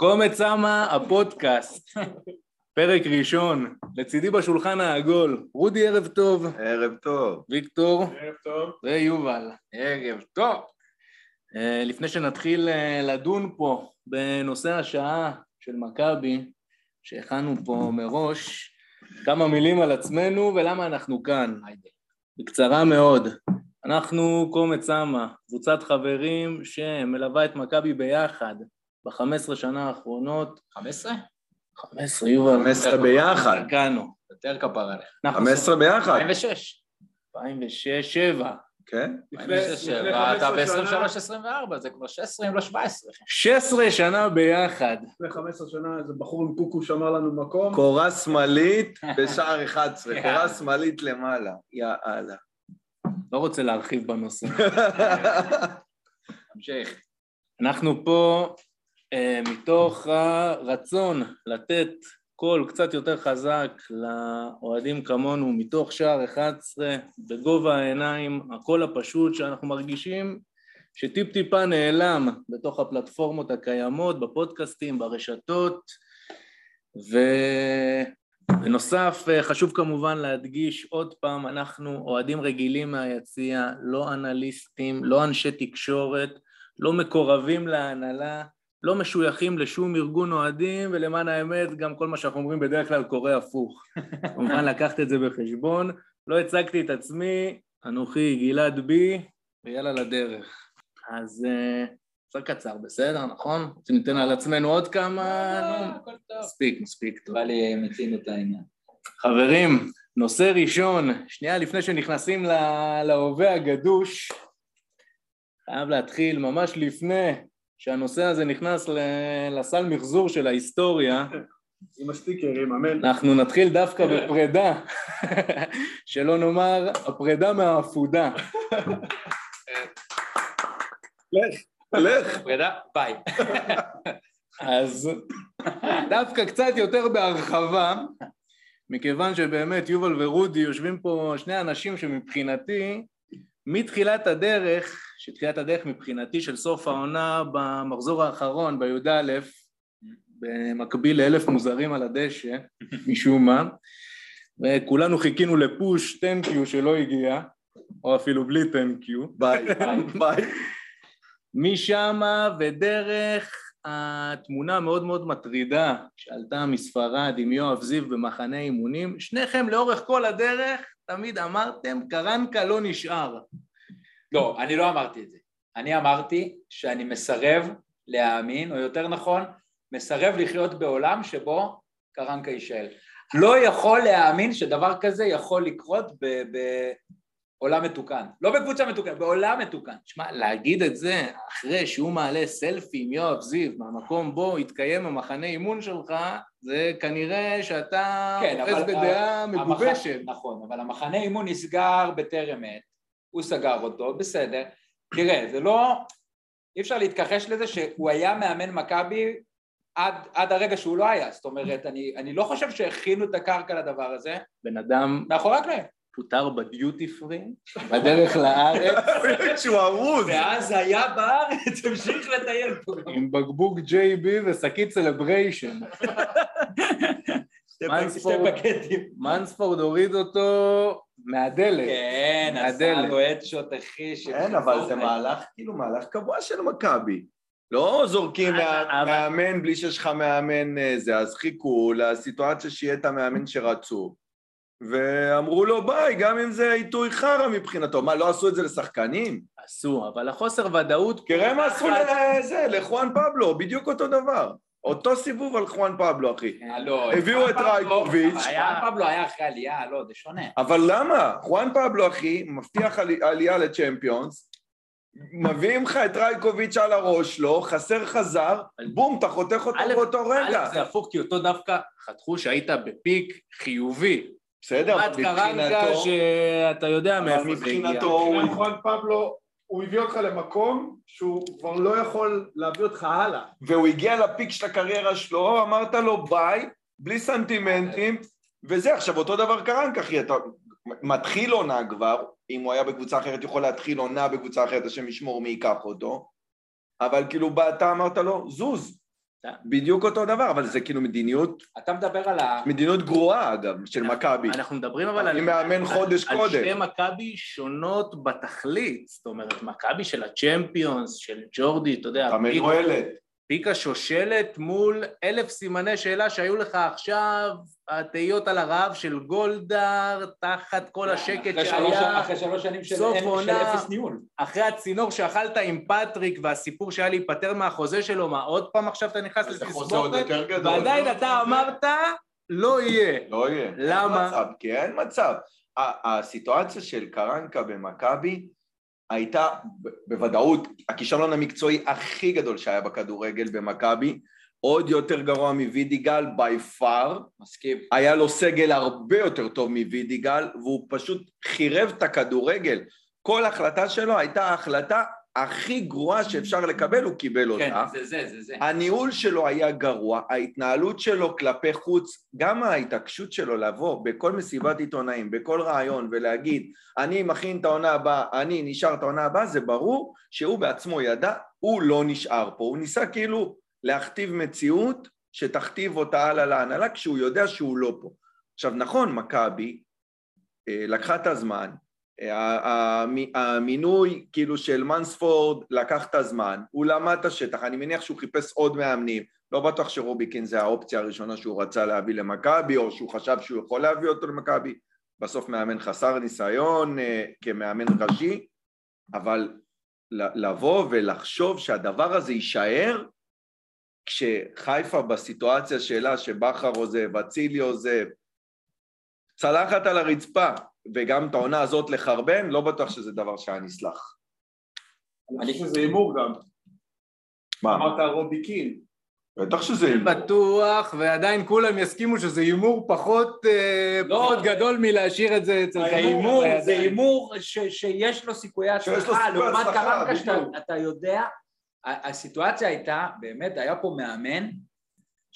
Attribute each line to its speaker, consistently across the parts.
Speaker 1: קומץ סמה, הפודקאסט, פרק ראשון, לצידי בשולחן העגול, רודי ערב טוב,
Speaker 2: ערב טוב.
Speaker 1: ויקטור
Speaker 3: ערב טוב.
Speaker 1: ויובל, ערב טוב. אה, לפני שנתחיל אה, לדון פה בנושא השעה של מכבי, שהכנו פה מראש, כמה מילים על עצמנו ולמה אנחנו כאן. בקצרה מאוד, אנחנו קומץ סמה, קבוצת חברים שמלווה את מכבי ביחד ב-15 שנה האחרונות.
Speaker 3: 15?
Speaker 1: 15, יובל.
Speaker 2: 15 ביחד.
Speaker 1: הגענו.
Speaker 3: יותר כפר עליך.
Speaker 1: אנחנו
Speaker 2: 15 ביחד,
Speaker 3: 46.
Speaker 1: 2006, 7.
Speaker 2: כן?
Speaker 3: לפני 7, אתה ב-23-24, זה כבר 16 אם לא 17.
Speaker 1: 16 שנה ביחד.
Speaker 4: לפני 15 שנה איזה בחור עם קוקו שמר לנו מקום.
Speaker 2: קורה שמאלית בשער 11, קורה שמאלית למעלה, יאללה.
Speaker 1: לא רוצה להרחיב בנושא.
Speaker 3: תמשיך.
Speaker 1: אנחנו פה אה, מתוך הרצון לתת קול קצת יותר חזק לאוהדים כמונו, מתוך שער 11, בגובה העיניים, הקול הפשוט שאנחנו מרגישים שטיפ טיפה נעלם בתוך הפלטפורמות הקיימות, בפודקאסטים, ברשתות, ובנוסף אה, חשוב כמובן להדגיש עוד פעם, אנחנו אוהדים רגילים מהיציע, לא אנליסטים, לא אנשי תקשורת, לא מקורבים להנהלה, לא משויכים לשום ארגון אוהדים, ולמען האמת, גם כל מה שאנחנו אומרים בדרך כלל קורה הפוך. כמובן, לקחת את זה בחשבון. לא הצגתי את עצמי, אנוכי גלעד בי, ויאללה לדרך. אז אה, זה קצר, בסדר, נכון? רוצים ניתן על עצמנו עוד כמה... נו,
Speaker 3: לא, הכל טוב.
Speaker 1: מספיק, מספיק טוב.
Speaker 3: בא לי מיצינו את העניין.
Speaker 1: חברים, נושא ראשון, שנייה לפני שנכנסים לה, להווה הגדוש, חייב להתחיל ממש לפני שהנושא הזה נכנס ל- לסל מחזור של ההיסטוריה,
Speaker 4: עם הסטיקרים, אמן.
Speaker 1: אנחנו נתחיל דווקא בפרידה, שלא נאמר הפרידה מהאפודה.
Speaker 2: לך.
Speaker 3: פרידה, ביי.
Speaker 1: אז דווקא קצת יותר בהרחבה, מכיוון שבאמת יובל ורודי יושבים פה שני אנשים שמבחינתי, מתחילת הדרך, שתחילת הדרך מבחינתי של סוף העונה במחזור האחרון בי"א, במקביל לאלף מוזרים על הדשא, משום מה, וכולנו חיכינו לפוש טנקיו שלא הגיע, או אפילו בלי טנקיו,
Speaker 2: ביי, ביי.
Speaker 1: משם ודרך התמונה המאוד מאוד מטרידה שעלתה מספרד עם יואב זיו במחנה אימונים, שניכם לאורך כל הדרך תמיד אמרתם קרנקה לא נשאר.
Speaker 3: לא, אני לא אמרתי את זה. אני אמרתי שאני מסרב להאמין, או יותר נכון, מסרב לחיות בעולם שבו קרנקה יישאל. לא יכול להאמין שדבר כזה יכול לקרות ב- בעולם מתוקן. לא בקבוצה מתוקנת, בעולם מתוקן.
Speaker 1: שמע, להגיד את זה אחרי שהוא מעלה סלפי עם יואב זיו מהמקום בו התקיים המחנה אימון שלך, זה כנראה שאתה
Speaker 3: כן,
Speaker 1: אוחז
Speaker 3: אבל-
Speaker 1: בדעה
Speaker 3: המח-
Speaker 1: מגובשת.
Speaker 3: נכון, אבל המחנה אימון נסגר בטרם עת, הוא סגר אותו, בסדר. תראה, זה לא... אי אפשר להתכחש לזה שהוא היה מאמן מכבי עד, עד הרגע שהוא לא היה, זאת אומרת, אני, אני לא חושב שהכינו את הקרקע לדבר הזה,
Speaker 1: בן אדם
Speaker 3: מאחורי הקלעים.
Speaker 1: פוטר בדיוטי פרי, בדרך לארץ,
Speaker 2: שהוא ארוז.
Speaker 3: ואז היה בארץ, המשיך לטייל פה.
Speaker 1: עם בקבוק ג'יי בי ושקית סלבריישן.
Speaker 3: שתי
Speaker 1: מה
Speaker 3: פק- שתי
Speaker 1: הספורט?
Speaker 3: פקטים.
Speaker 1: מנספורד הוריד אותו מהדלת.
Speaker 3: כן, עשה
Speaker 1: מהדלת.
Speaker 3: לו אדשוט אחי.
Speaker 2: כן, אבל זה מהלך, כאילו, מהלך קבוע של מכבי. לא זורקים מה-
Speaker 1: אבל-
Speaker 2: מאמן בלי שיש לך מאמן אה, זה, אז חיכו לסיטואציה שיהיה את המאמן שרצו. ואמרו לו ביי, גם אם זה עיתוי חרא מבחינתו. מה, לא עשו את זה לשחקנים?
Speaker 1: עשו, אבל החוסר ודאות...
Speaker 2: תראה מה עשו לזה, לחואן פבלו, בדיוק אותו דבר. אותו סיבוב על חואן פבלו, אחי.
Speaker 1: כן.
Speaker 3: אה, לא,
Speaker 2: הביאו את רייקוביץ'.
Speaker 3: היה... פבלו היה אחרי עלייה, לא, זה שונה.
Speaker 2: אבל למה? חואן פבלו, אחי, מבטיח עלי- עלייה לצ'מפיונס, מביאים לך את רייקוביץ' על הראש שלו, חסר חזר, בום, אתה חותך אותו
Speaker 1: א',
Speaker 2: באותו רגע.
Speaker 1: א', זה הפוך, כי אותו דווקא חתכו שהיית בפיק חיובי.
Speaker 2: בסדר,
Speaker 1: עד קרנקה
Speaker 2: מבחינתו...
Speaker 1: שאתה יודע
Speaker 2: אבל
Speaker 1: מאיפה זה הגיע.
Speaker 2: מבחינתו הוא...
Speaker 4: נכון, פבלו, הוא הביא אותך למקום שהוא כבר לא יכול להביא אותך הלאה.
Speaker 2: והוא הגיע לפיק של הקריירה שלו, אמרת לו ביי, בלי סנטימנטים, וזה, עכשיו אותו דבר קרנק, אחי, אתה מתחיל עונה כבר, אם הוא היה בקבוצה אחרת, יכול להתחיל עונה בקבוצה אחרת, השם ישמור מי ייקח אותו, אבל כאילו בא, אתה אמרת לו, זוז,
Speaker 1: כן.
Speaker 2: בדיוק אותו דבר, אבל זה כאילו מדיניות,
Speaker 3: אתה מדבר על ה...
Speaker 2: מדיניות גרועה אגב, של מכבי.
Speaker 1: אנחנו מדברים נכון, אבל על...
Speaker 2: אם מאמן חודש
Speaker 1: על שתי
Speaker 2: קודם.
Speaker 1: מכבי שונות בתכלית, זאת אומרת, מכבי של הצ'מפיונס, של ג'ורדי, אתה יודע,
Speaker 2: אתה
Speaker 1: פיק-
Speaker 2: מנוהלת.
Speaker 1: פיק השושלת מול אלף סימני שאלה שהיו לך עכשיו, התהיות על הרעב של גולדהר, תחת כל השקט
Speaker 3: אחרי שלוש-
Speaker 1: שהיה,
Speaker 3: אחרי שלוש שנים של
Speaker 1: סוף
Speaker 3: אין- של
Speaker 1: עונה.
Speaker 3: אפס ניהול.
Speaker 1: אחרי הצינור שאכלת עם פטריק והסיפור שהיה להיפטר מהחוזה שלו, מה עוד פעם עכשיו אתה נכנס
Speaker 2: זה חוזה עוד
Speaker 1: לתסבוכת?
Speaker 2: יותר גדול.
Speaker 1: ועדיין אתה אמרת, לא יהיה.
Speaker 2: לא יהיה.
Speaker 1: למה?
Speaker 2: אין מצב, כי אין מצב. ה- הסיטואציה של קרנקה במכבי הייתה ב- בוודאות הכישלון המקצועי הכי גדול שהיה בכדורגל במכבי, עוד יותר גרוע מווידיגל בי פאר,
Speaker 3: מסכים.
Speaker 2: היה לו סגל הרבה יותר טוב מווידיגל, והוא פשוט חירב את הכדורגל. כל החלטה שלו הייתה ההחלטה הכי גרועה שאפשר לקבל, הוא קיבל אותה.
Speaker 3: כן, זה זה, זה זה.
Speaker 2: הניהול שלו היה גרוע, ההתנהלות שלו כלפי חוץ, גם ההתעקשות שלו לבוא בכל מסיבת עיתונאים, בכל רעיון ולהגיד אני מכין את העונה הבאה, אני נשאר את העונה הבאה, זה ברור שהוא בעצמו ידע, הוא לא נשאר פה, הוא ניסה כאילו להכתיב מציאות שתכתיב אותה הלאה להנהלה כשהוא יודע שהוא לא פה. עכשיו נכון, מכבי אה, לקחה את הזמן, אה, ה- המי- המינוי כאילו של מנספורד לקח את הזמן, הוא למד את השטח, אני מניח שהוא חיפש עוד מאמנים, לא בטוח שרוביקין זה האופציה הראשונה שהוא רצה להביא למכבי, או שהוא חשב שהוא יכול להביא אותו למכבי, בסוף מאמן חסר ניסיון אה, כמאמן ראשי, אבל ל- לבוא ולחשוב שהדבר הזה יישאר כשחיפה בסיטואציה שלה שבכר עוזב, אצילי עוזב, צלחת על הרצפה, וגם את העונה הזאת לחרבן, לא בטוח שזה דבר שהיה נסלח.
Speaker 4: אני חושב שזה הימור גם.
Speaker 2: מה?
Speaker 4: אמרת על רובי קין.
Speaker 2: בטח שזה...
Speaker 1: בטוח, ועדיין כולם יסכימו שזה הימור פחות, אה,
Speaker 3: לא.
Speaker 1: פחות גדול מלהשאיר את אצל
Speaker 3: זה
Speaker 1: חיים
Speaker 3: הימור,
Speaker 1: בידיים.
Speaker 3: זה הימור ש- שיש לו סיכויי
Speaker 2: שיש לו
Speaker 3: הצלחה,
Speaker 2: סיכויי
Speaker 3: לעומת
Speaker 2: הצלחה,
Speaker 3: קרנקה שאתה
Speaker 2: בדיוק.
Speaker 3: אתה יודע, ה- הסיטואציה הייתה, באמת, היה פה מאמן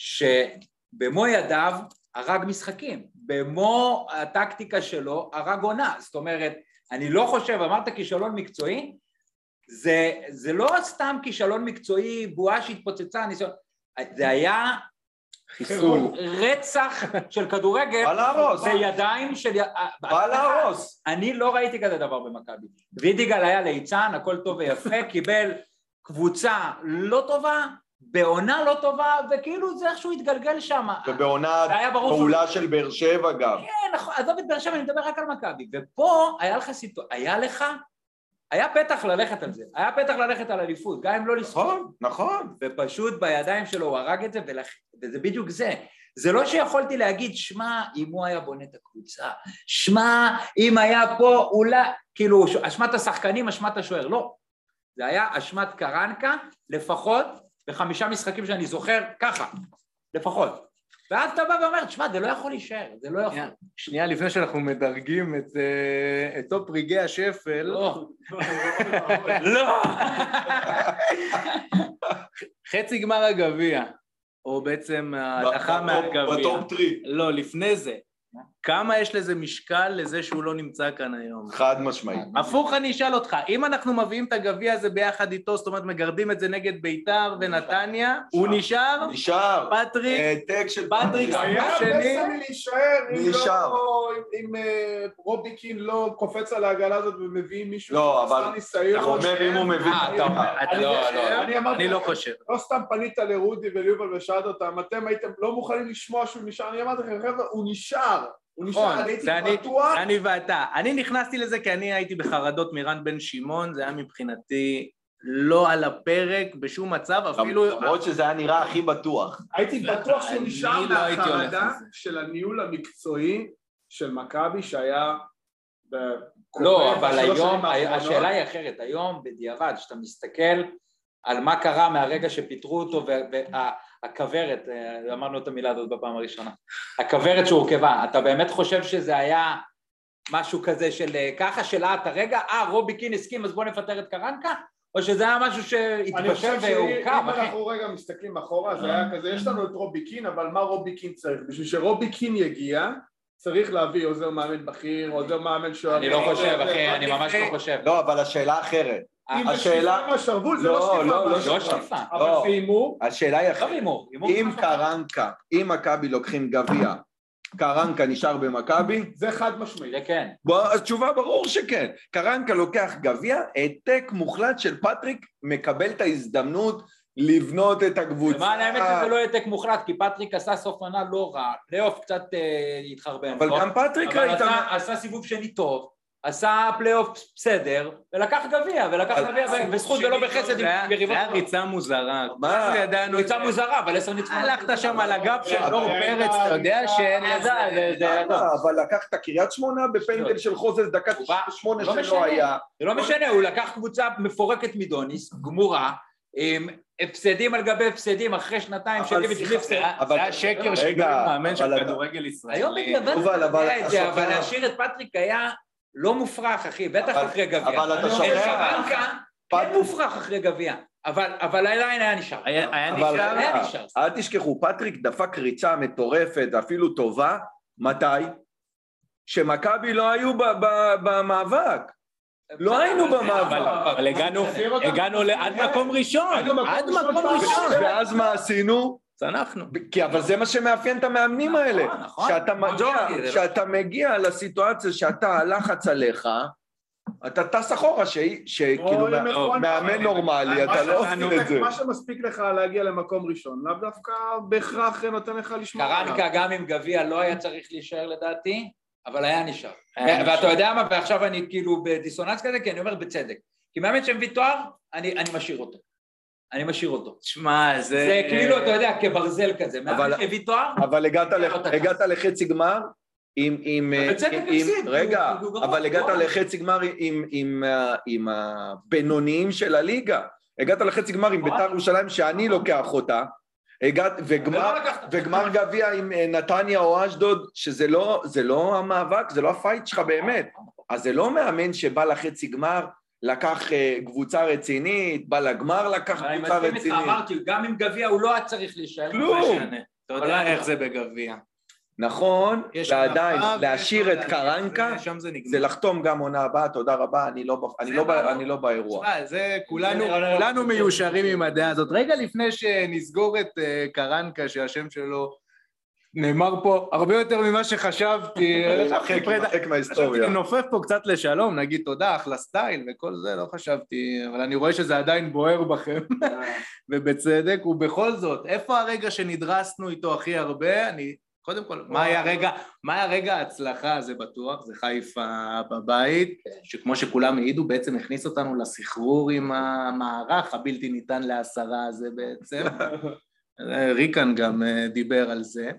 Speaker 3: שבמו ידיו הרג משחקים, במו הטקטיקה שלו הרג עונה, זאת אומרת, אני לא חושב, אמרת כישלון מקצועי, זה, זה לא סתם כישלון מקצועי, בועה שהתפוצצה, ניסיון, זה היה
Speaker 4: חיסול.
Speaker 3: רצח של כדורגל,
Speaker 2: בא להרוס,
Speaker 3: בידיים של... י- אה,
Speaker 2: בא להרוס.
Speaker 3: אני לא ראיתי כזה דבר במכבי. וידיגל היה ליצן, הכל טוב ויפה, קיבל קבוצה לא טובה, בעונה לא טובה, וכאילו זה איכשהו התגלגל שם.
Speaker 2: ובעונה
Speaker 3: זה היה ברור
Speaker 2: פעולה של באר שבע גם.
Speaker 3: כן, נכון, עזוב את באר שבע, אני מדבר רק על מכבי. ופה היה לך סיטואציה, היה לך, היה פתח ללכת על זה, היה פתח ללכת על אליפות, גם אם לא לסחור.
Speaker 2: נכון, נכון.
Speaker 3: ופשוט בידיים שלו הוא הרג את זה, ולכ... וזה בדיוק זה. זה לא שיכולתי להגיד, שמע, אם הוא היה בונה את הקבוצה, שמע, אם היה פה, אולי, כאילו, ש- אשמת השחקנים, אשמת השוער, לא. זה היה אשמת קרנקה, לפחות בחמישה משחקים שאני זוכר, ככה, לפחות. ואז אתה בא ואומר, תשמע, זה לא יכול להישאר, זה לא יכול.
Speaker 1: שנייה, שנייה לפני שאנחנו מדרגים את, אה, את טופ רגעי השפל,
Speaker 3: לא. לא.
Speaker 1: חצי גמר הגביע, או בעצם ההדחה
Speaker 2: בטופ-
Speaker 1: מהגביע.
Speaker 2: בטופ טרי.
Speaker 1: לא, לפני זה. כמה יש לזה משקל לזה שהוא לא נמצא כאן היום?
Speaker 2: חד משמעית.
Speaker 1: הפוך אני אשאל אותך, אם אנחנו מביאים את הגביע הזה ביחד איתו, זאת אומרת מגרדים את זה נגד ביתר ונתניה, הוא נשאר?
Speaker 2: נשאר. אה,
Speaker 1: פטריק?
Speaker 2: העתק של... אה,
Speaker 1: פטריק,
Speaker 4: היה הרבה
Speaker 1: שני-
Speaker 4: סמי להישאר אם
Speaker 2: נשאר.
Speaker 4: לא... אם אה, רובי קין לא קופץ על העגלה הזאת ומביא מישהו
Speaker 2: לא,
Speaker 4: שחסר
Speaker 2: אבל-
Speaker 4: ניסיון.
Speaker 2: אתה אומר אם הוא מבין
Speaker 3: אה, אתה אומר,
Speaker 2: את
Speaker 1: אתה-
Speaker 4: אני-
Speaker 3: לא, לא.
Speaker 4: אני אמרתי...
Speaker 1: אני לא חושב.
Speaker 4: לא סתם פנית לרודי וליובל ושאלת אותם, אתם הייתם לא מוכנים לשמוע שהוא נשאר, אני אמרתי לכם, חבר'ה, הוא נשאר, הוא נשאר,
Speaker 1: נכון,
Speaker 4: אני הייתי
Speaker 1: זה אני-
Speaker 4: בטוח,
Speaker 1: זה אני ואתה. אני נכנסתי לזה כי אני הייתי בחרדות מרן בן שמעון, זה היה מבחינתי לא על הפרק בשום מצב, אפילו...
Speaker 2: למרות שזה היה נראה הכי בטוח.
Speaker 4: הייתי בטוח שהוא
Speaker 1: אני
Speaker 4: נשאר
Speaker 1: לא הייתי הולך
Speaker 4: מהחרדה
Speaker 1: על זה.
Speaker 4: של הניהול המקצועי של מכבי שהיה... ב-
Speaker 3: לא,
Speaker 4: קורה
Speaker 3: אבל
Speaker 4: בשלוש
Speaker 3: היום,
Speaker 4: שנים האחרונות.
Speaker 3: השאלה היא אחרת, היום בדיעבד, כשאתה מסתכל על מה קרה מהרגע שפיטרו אותו, והכוורת, אה, אמרנו את המילה הזאת בפעם הראשונה, הכוורת שהורכבה, אתה באמת חושב שזה היה משהו כזה של אה, ככה, של אה, אתה רגע, אה, רובי קין הסכים, אז בוא נפטר את קרנקה? או שזה היה משהו
Speaker 4: אני
Speaker 3: שהתפשר
Speaker 4: חושב שאם
Speaker 3: והורכב, אחי?
Speaker 4: אנחנו רגע מסתכלים אחורה, זה היה כזה, יש לנו את רובי קין, אבל מה רובי קין צריך? בשביל שרובי קין יגיע, צריך להביא עוזר מאמן בכיר, עוזר מאמן שוער.
Speaker 3: אני לא חושב, אחי, אני
Speaker 1: לפני-
Speaker 3: ממש לא חושב.
Speaker 2: לא, אבל השאלה אחרת.
Speaker 4: אם זה
Speaker 2: השאלה-
Speaker 4: שטיפה מהשרוול, זה
Speaker 2: לא,
Speaker 4: לא שטיפה
Speaker 2: לא, לא,
Speaker 4: מהשרוול.
Speaker 3: לא שטיפה.
Speaker 2: לא.
Speaker 4: אבל סיימו,
Speaker 2: השאלה היא
Speaker 3: לא
Speaker 2: אחרת.
Speaker 3: הימור, הימור זה
Speaker 2: אם
Speaker 3: משהו אחר.
Speaker 2: קרנקה, אם מכבי לוקחים גביע, קרנקה נשאר במכבי?
Speaker 4: זה חד משמעי.
Speaker 3: זה כן.
Speaker 2: בוא, התשובה ברור שכן. קרנקה לוקח גביע, העתק מוחלט של פטריק מקבל את ההזדמנות לבנות את הקבוצה.
Speaker 3: למען האמת
Speaker 2: אה.
Speaker 3: שזה לא העתק מוחלט, כי פטריק עשה סוף עונה לא רע, פלייאוף קצת אה, התחרבן.
Speaker 2: אבל
Speaker 3: לא?
Speaker 2: גם פטריק
Speaker 3: אבל
Speaker 2: ראית...
Speaker 3: עשה- עשה סיבוב שני טוב, עשה פלייאוף בסדר, ולקח גביע, ולקח
Speaker 2: אבל
Speaker 3: גביע, ו- וזכות ולא לא בחסד
Speaker 1: זה
Speaker 3: עם
Speaker 1: היה- זה
Speaker 3: יריבות.
Speaker 1: היה ריצה מוזרה.
Speaker 2: מה?
Speaker 1: כולנו ידענו את
Speaker 3: ריצה
Speaker 1: זה.
Speaker 3: מוזרה, אבל עשר ניצחונות. לא,
Speaker 1: הלכת שם על הגב של
Speaker 2: אבל-
Speaker 1: דור פרץ, אתה יודע שאין לזה... זה- זה-
Speaker 2: למה? אבל לקחת קריית שמונה בפנדל של חוזז דקה
Speaker 3: הוא בא-
Speaker 2: 98
Speaker 3: לא
Speaker 2: שלא
Speaker 3: משנה.
Speaker 2: היה.
Speaker 3: זה לא משנה, הוא לקח קבוצה מפורקת מדוניס, גמורה, עם הפסדים על גבי הפסדים, אחרי שנתיים
Speaker 2: אבל
Speaker 3: של
Speaker 2: סליחה,
Speaker 3: ליביץ' ליפסר.
Speaker 2: אבל-
Speaker 1: זה השקר
Speaker 2: רגע,
Speaker 1: שגורם מאמן
Speaker 2: אבל-
Speaker 1: של כדורגל ישראלי.
Speaker 3: היום בדיעבד
Speaker 2: אבל-
Speaker 3: אתה
Speaker 2: אבל-
Speaker 3: יודע את זה, אבל
Speaker 2: השופט-
Speaker 3: להשאיר את פטריק היה לא מופרך, אחי, בטח
Speaker 2: אבל-
Speaker 3: אחרי גביע.
Speaker 2: אבל אתה
Speaker 3: את
Speaker 2: שוכח.
Speaker 3: קרנקה כן
Speaker 2: פט-
Speaker 3: מופרך אחרי גביע, אבל אבל עדיין היה נשאר.
Speaker 1: היה היה
Speaker 2: אבל- אה,
Speaker 1: נשאר...
Speaker 3: היה נשאר.
Speaker 2: אל תשכחו, פטריק דפק ריצה מטורפת, אפילו טובה, מתי? שמכבי לא היו ב- ב- במאבק. לא היינו
Speaker 1: אבל-
Speaker 2: במאבק.
Speaker 1: אבל הגענו-
Speaker 4: נחזיר אותם.
Speaker 1: הגענו ל- עד מקום ראשון,
Speaker 4: היינו מקום
Speaker 1: עד
Speaker 4: ראשון
Speaker 1: מקום
Speaker 4: פעם
Speaker 1: ראשון.
Speaker 3: נכון.
Speaker 4: ראשונה.
Speaker 2: ואז מה עשינו?
Speaker 1: צנחנו.
Speaker 2: כי אבל זה מה שמאפיין את המאמנים האלה.
Speaker 3: נכון, נכון.
Speaker 2: שאתה
Speaker 3: אמרתי, זה
Speaker 2: מגיע,
Speaker 3: לא-
Speaker 2: שאתה מגיע לסיטואציה שאתה, הלחץ עליך, אתה טס אחורה, שהיא- שכאילו
Speaker 4: אוי,
Speaker 2: כאילו מה-
Speaker 4: נכון.
Speaker 2: מאמן נורמלי,
Speaker 4: מה
Speaker 2: אתה לא
Speaker 4: שמספיק
Speaker 2: עושה את
Speaker 4: לך-
Speaker 2: זה.
Speaker 4: מה שמספיק לך להגיע למקום ראשון, לאו דווקא בהכרח נותן לך לשמור. עליו.
Speaker 3: קרנקה גם עם גביע לא היה צריך להישאר לדעתי, אבל היה נשאר.
Speaker 1: היה
Speaker 3: ואתה יודע מה, ועכשיו אני כאילו בדיסוננס כזה, כי אני אומר בצדק. כי מאמן שמביא תואר, אני אני משאיר אותו. אני משאיר אותו.
Speaker 1: שמע, זה...
Speaker 3: זה כאילו, אתה יודע, כברזל כזה.
Speaker 2: אבל-
Speaker 3: מאמן שהביא תואר,
Speaker 2: אבל הגעת,
Speaker 3: לא
Speaker 2: לח...
Speaker 3: תקף.
Speaker 2: הגעת לחצי גמר עם... עם, אה,
Speaker 3: אבל בצדק
Speaker 2: עם,
Speaker 3: הפסיד,
Speaker 2: עם
Speaker 3: כי
Speaker 2: רגע,
Speaker 3: הוא- כי הוא גרוע,
Speaker 2: אבל הגעת
Speaker 3: הוא גרוע.
Speaker 2: לחצי גמר עם, עם, עם, ה- עם הבינוניים של הליגה. הגעת לחצי גמר עם
Speaker 3: נכון.
Speaker 2: ביתר ירושלים שאני לוקח אותה. הגעת, וגמר,
Speaker 3: ולא לקחת.
Speaker 2: וגמר גביע עם אה, נתניה או אשדוד, שזה לא, זה לא המאבק, זה לא הפייט שלך באמת. אז זה לא מאמן שבא לחצי גמר, לקח אה, קבוצה רצינית, בא לגמר, לקח
Speaker 3: אני
Speaker 2: קבוצה
Speaker 3: מסכים איתך,
Speaker 2: רצינית.
Speaker 3: אמרתי, גם עם גביע הוא לא היה צריך להישאר.
Speaker 2: כלום.
Speaker 1: לא משנה. אתה יודע איך זה בגביע.
Speaker 2: נכון,
Speaker 1: יש
Speaker 2: ועדיין,
Speaker 1: הנפה ויש
Speaker 2: להשאיר את
Speaker 1: עוד-
Speaker 2: קרנקה,
Speaker 1: זה- שם זה נגמר.
Speaker 2: זה לחתום גם עונה הבאה, תודה רבה, אני לא, ב- אני
Speaker 1: זה
Speaker 2: לא, ב-
Speaker 1: ברור.
Speaker 2: אני לא באירוע.
Speaker 1: שמע, זה כולנו,
Speaker 3: זה נראה-
Speaker 1: כולנו מיושרים עם הדעה הזאת. רגע לפני שנסגור את אה, קרנקה, שהשם שלו נאמר פה הרבה יותר ממה שחשבתי, אה, חשבתי
Speaker 2: הרחק-
Speaker 1: פרדה,
Speaker 2: הרחק
Speaker 1: חשבתי
Speaker 2: מההיסטוריה.
Speaker 1: לנופף פה קצת לשלום, נגיד תודה, אחלה סטייל וכל זה, לא חשבתי, אבל אני רואה שזה עדיין בוער בכם, ובצדק, ובכל זאת, איפה הרגע שנדרסנו איתו הכי הרבה? אני, קודם כל, מה היה רגע, מה היה רגע ההצלחה, זה בטוח, זה חיפה בבית, שכמו שכולם העידו, בעצם הכניס אותנו לסחרור עם המערך הבלתי ניתן להסרה הזה בעצם. ריקן גם אה, דיבר על זה.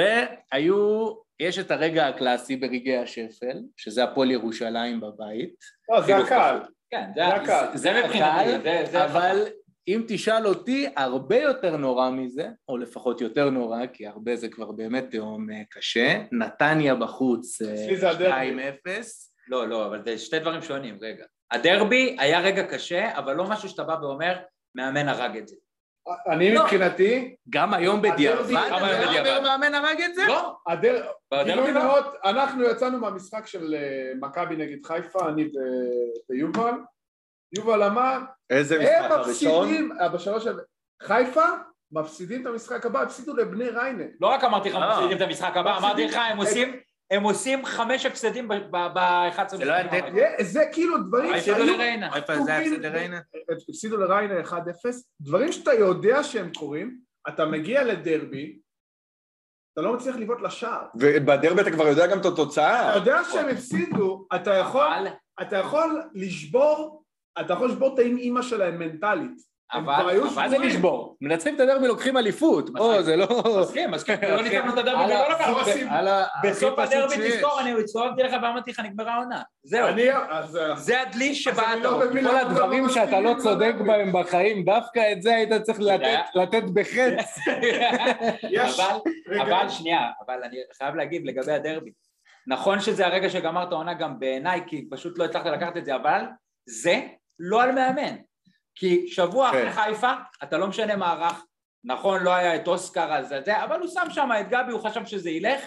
Speaker 1: והיו, יש את הרגע הקלאסי ברגעי השפל, שזה הפועל ירושלים בבית.
Speaker 4: לא, זה
Speaker 3: כאילו-
Speaker 4: הקהל.
Speaker 3: כן,
Speaker 4: זה הקהל.
Speaker 3: זה
Speaker 1: אבל-
Speaker 3: מבחינתי, זה- זה
Speaker 1: אבל אם תשאל אותי, הרבה יותר נורא מזה, או לפחות יותר נורא, כי הרבה זה כבר באמת תהום אה, קשה, נתניה בחוץ אה,
Speaker 4: אצלי זה הדרבי.
Speaker 1: 2-0.
Speaker 3: לא, לא, אבל זה שתי דברים שונים, רגע. הדרבי היה רגע קשה, אבל לא משהו שאתה בא ואומר, מאמן הרג את זה.
Speaker 4: אני
Speaker 3: לא.
Speaker 4: מבחינתי,
Speaker 1: גם היום בדיעבד,
Speaker 4: הדרבי-
Speaker 1: אתה
Speaker 3: גם היום
Speaker 1: אומר
Speaker 3: בדיעבד.
Speaker 1: מאמן הרג את זה?
Speaker 3: לא,
Speaker 4: הדר-
Speaker 3: בדרבי
Speaker 4: גילוי
Speaker 3: לא.
Speaker 4: נאות, אנחנו יצאנו מהמשחק של אה, מכבי נגד חיפה, אני ו- ויובל. יובל אמר,
Speaker 2: איזה משחק
Speaker 4: הם
Speaker 2: הראשון?
Speaker 4: מפסידים, אה, בשלוש... ה- חיפה מפסידים את המשחק הבא, הפסידו לבני ריינה.
Speaker 3: לא רק אמרתי לך,
Speaker 1: אה.
Speaker 3: מפסידים את המשחק הבא, אמרתי לך,
Speaker 4: אה-
Speaker 3: הם עושים... הם עושים חמש הפסדים ב-11 משחקים.
Speaker 1: זה לא היה
Speaker 3: הבאים.
Speaker 1: תיקו.
Speaker 4: זה- זה כאילו דברים
Speaker 3: הפסידו לריינה.
Speaker 1: חיפה זה היה הפסד לריינה?
Speaker 4: הפסידו לריינה 1-0, דברים שאתה יודע שהם קורים, אתה מגיע לדרבי, אתה לא מצליח לבעוט לשער.
Speaker 2: ובדרבי אתה כבר יודע גם את
Speaker 4: אתה
Speaker 2: התוצאה.
Speaker 4: יודע שהם הפסידו, אתה יכול,
Speaker 3: אבל,
Speaker 4: אתה יכול לשבור, אתה יכול לשבור את האימא שלהם מנטלית. הם כבר
Speaker 3: אבל,
Speaker 4: היו
Speaker 3: אבל
Speaker 1: מה זה לשבור? מנצחים את הדרבי, לוקחים אליפות. או, זה לא...
Speaker 3: מסכים, מסכים, לא ניצחנו את הדרבי
Speaker 1: הלאה,
Speaker 3: ולא לקחנו.
Speaker 4: זו הסיבה.
Speaker 1: הלאה,
Speaker 3: בסוף
Speaker 1: הכי פשוט
Speaker 3: הדרבי
Speaker 1: שיש.
Speaker 3: תזכור, אני הצטרפתי לך ואמרתי לך, נגמרה העונה. זהו,
Speaker 4: כאילו אני, אז... אה, אז
Speaker 3: זה הדלי
Speaker 4: אני
Speaker 3: שבעט
Speaker 4: לא מבין
Speaker 1: כל
Speaker 4: למה אתה לא
Speaker 1: הדברים שאתה לא
Speaker 4: מסכים
Speaker 1: צודק
Speaker 4: לדרבי.
Speaker 1: בהם בחיים, דווקא את זה היית צריך לתת- לתת בחץ.
Speaker 4: יש...
Speaker 3: אבל,
Speaker 4: רגע,
Speaker 3: אבל שנייה, אבל אני חייב להגיד לגבי הדרבי. נכון שזה הרגע שגמרת עונה גם בעיניי, כי פשוט לא הצלחת לקחת את זה, אבל זה לא על מאמן. כי שבוע
Speaker 2: כן.
Speaker 3: אחרי חיפה, אתה לא משנה מערך. נכון, לא היה את אוסקר אז זה, אבל הוא שם שם את גבי, הוא חשב שזה ילך.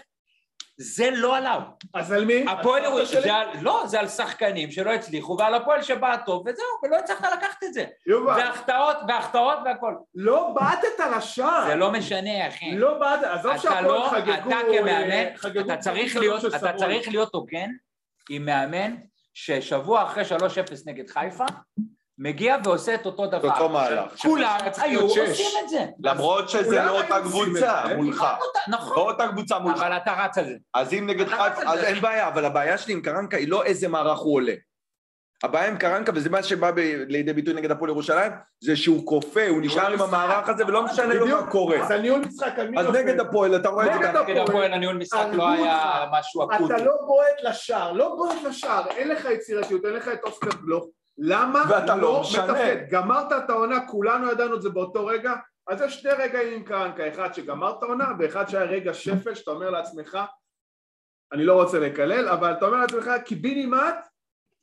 Speaker 3: זה לא עליו.
Speaker 4: אז על מי?
Speaker 3: הפועל
Speaker 4: הסבתא
Speaker 3: ירושלים,
Speaker 4: שלי?
Speaker 3: זה על- לא, זה על שחקנים שלא הצליחו, ועל הפועל שבא טוב, וזהו, ולא הצלחת לקחת את זה.
Speaker 4: יובל,
Speaker 3: והחטאות, והחטאות והכל.
Speaker 4: לא בעטת לשער.
Speaker 3: זה לא משנה, אחי.
Speaker 4: לא בעד, עזוב
Speaker 3: אתה
Speaker 4: שהפועל
Speaker 3: לא,
Speaker 4: חגגו...
Speaker 3: אתה
Speaker 4: אה,
Speaker 3: כמאמן,
Speaker 4: חגגו
Speaker 3: אתה צריך
Speaker 4: שלוש
Speaker 3: להיות,
Speaker 4: של
Speaker 3: אתה
Speaker 4: סבון.
Speaker 3: צריך להיות הוגן עם מאמן ששבוע אחרי 3-0 נגד חיפה, מגיע ועושה את אותו דבר.
Speaker 2: אותו מהלך.
Speaker 3: כולם
Speaker 2: צריך
Speaker 3: היו
Speaker 2: להיות שש.
Speaker 3: עושים את זה.
Speaker 2: למרות שזה
Speaker 4: כולם
Speaker 2: לא
Speaker 4: היו
Speaker 2: אותה
Speaker 4: עושים את
Speaker 2: קבוצה
Speaker 4: זה.
Speaker 2: מולך. לא
Speaker 3: נכון,
Speaker 2: אותה קבוצה מולך.
Speaker 3: אבל אתה רץ על זה.
Speaker 2: אז אם נגד
Speaker 3: אתה רץ
Speaker 1: לא
Speaker 2: חיפה,
Speaker 3: על
Speaker 2: אז
Speaker 3: זה.
Speaker 2: אין בעיה, אבל הבעיה שלי עם קרנקה היא לא איזה מערך הוא עולה. הבעיה עם קרנקה, וזה מה שבא ב- לידי ביטוי נגד הפועל ירושלים, זה שהוא כופה, הוא נשאר עם
Speaker 1: לא,
Speaker 3: משחק.
Speaker 2: המערך הזה ולא משנה לו
Speaker 4: בדיוק.
Speaker 2: מה קורה.
Speaker 4: אז לא על ניהול משחק, על מי
Speaker 2: אז
Speaker 4: נופל?
Speaker 2: נגד הפועל, אתה רואה את זה
Speaker 4: נגד
Speaker 2: ככה.
Speaker 4: הפועל.
Speaker 3: נגד הפועל הניהול משחק לא
Speaker 4: הרגו
Speaker 3: היה
Speaker 4: אותך.
Speaker 3: משהו אקוטי.
Speaker 4: אתה לא בועט לשער, לא בועט לשער, אין לך יצירתיות, אין לך את אוסקר בלוך. למה
Speaker 2: ואתה לא
Speaker 4: לא
Speaker 2: משנה.
Speaker 4: מתפקד? גמרת את העונה, כולנו ידענו את זה באותו רגע, אז יש שני רגעים עם קרנקה, אחד שגמרת עונה ואחד שהיה רגע שפל, שאתה אומר לעצמך, אני לא רוצה לקלל, אבל אתה אומר לעצמך, קיבינימט,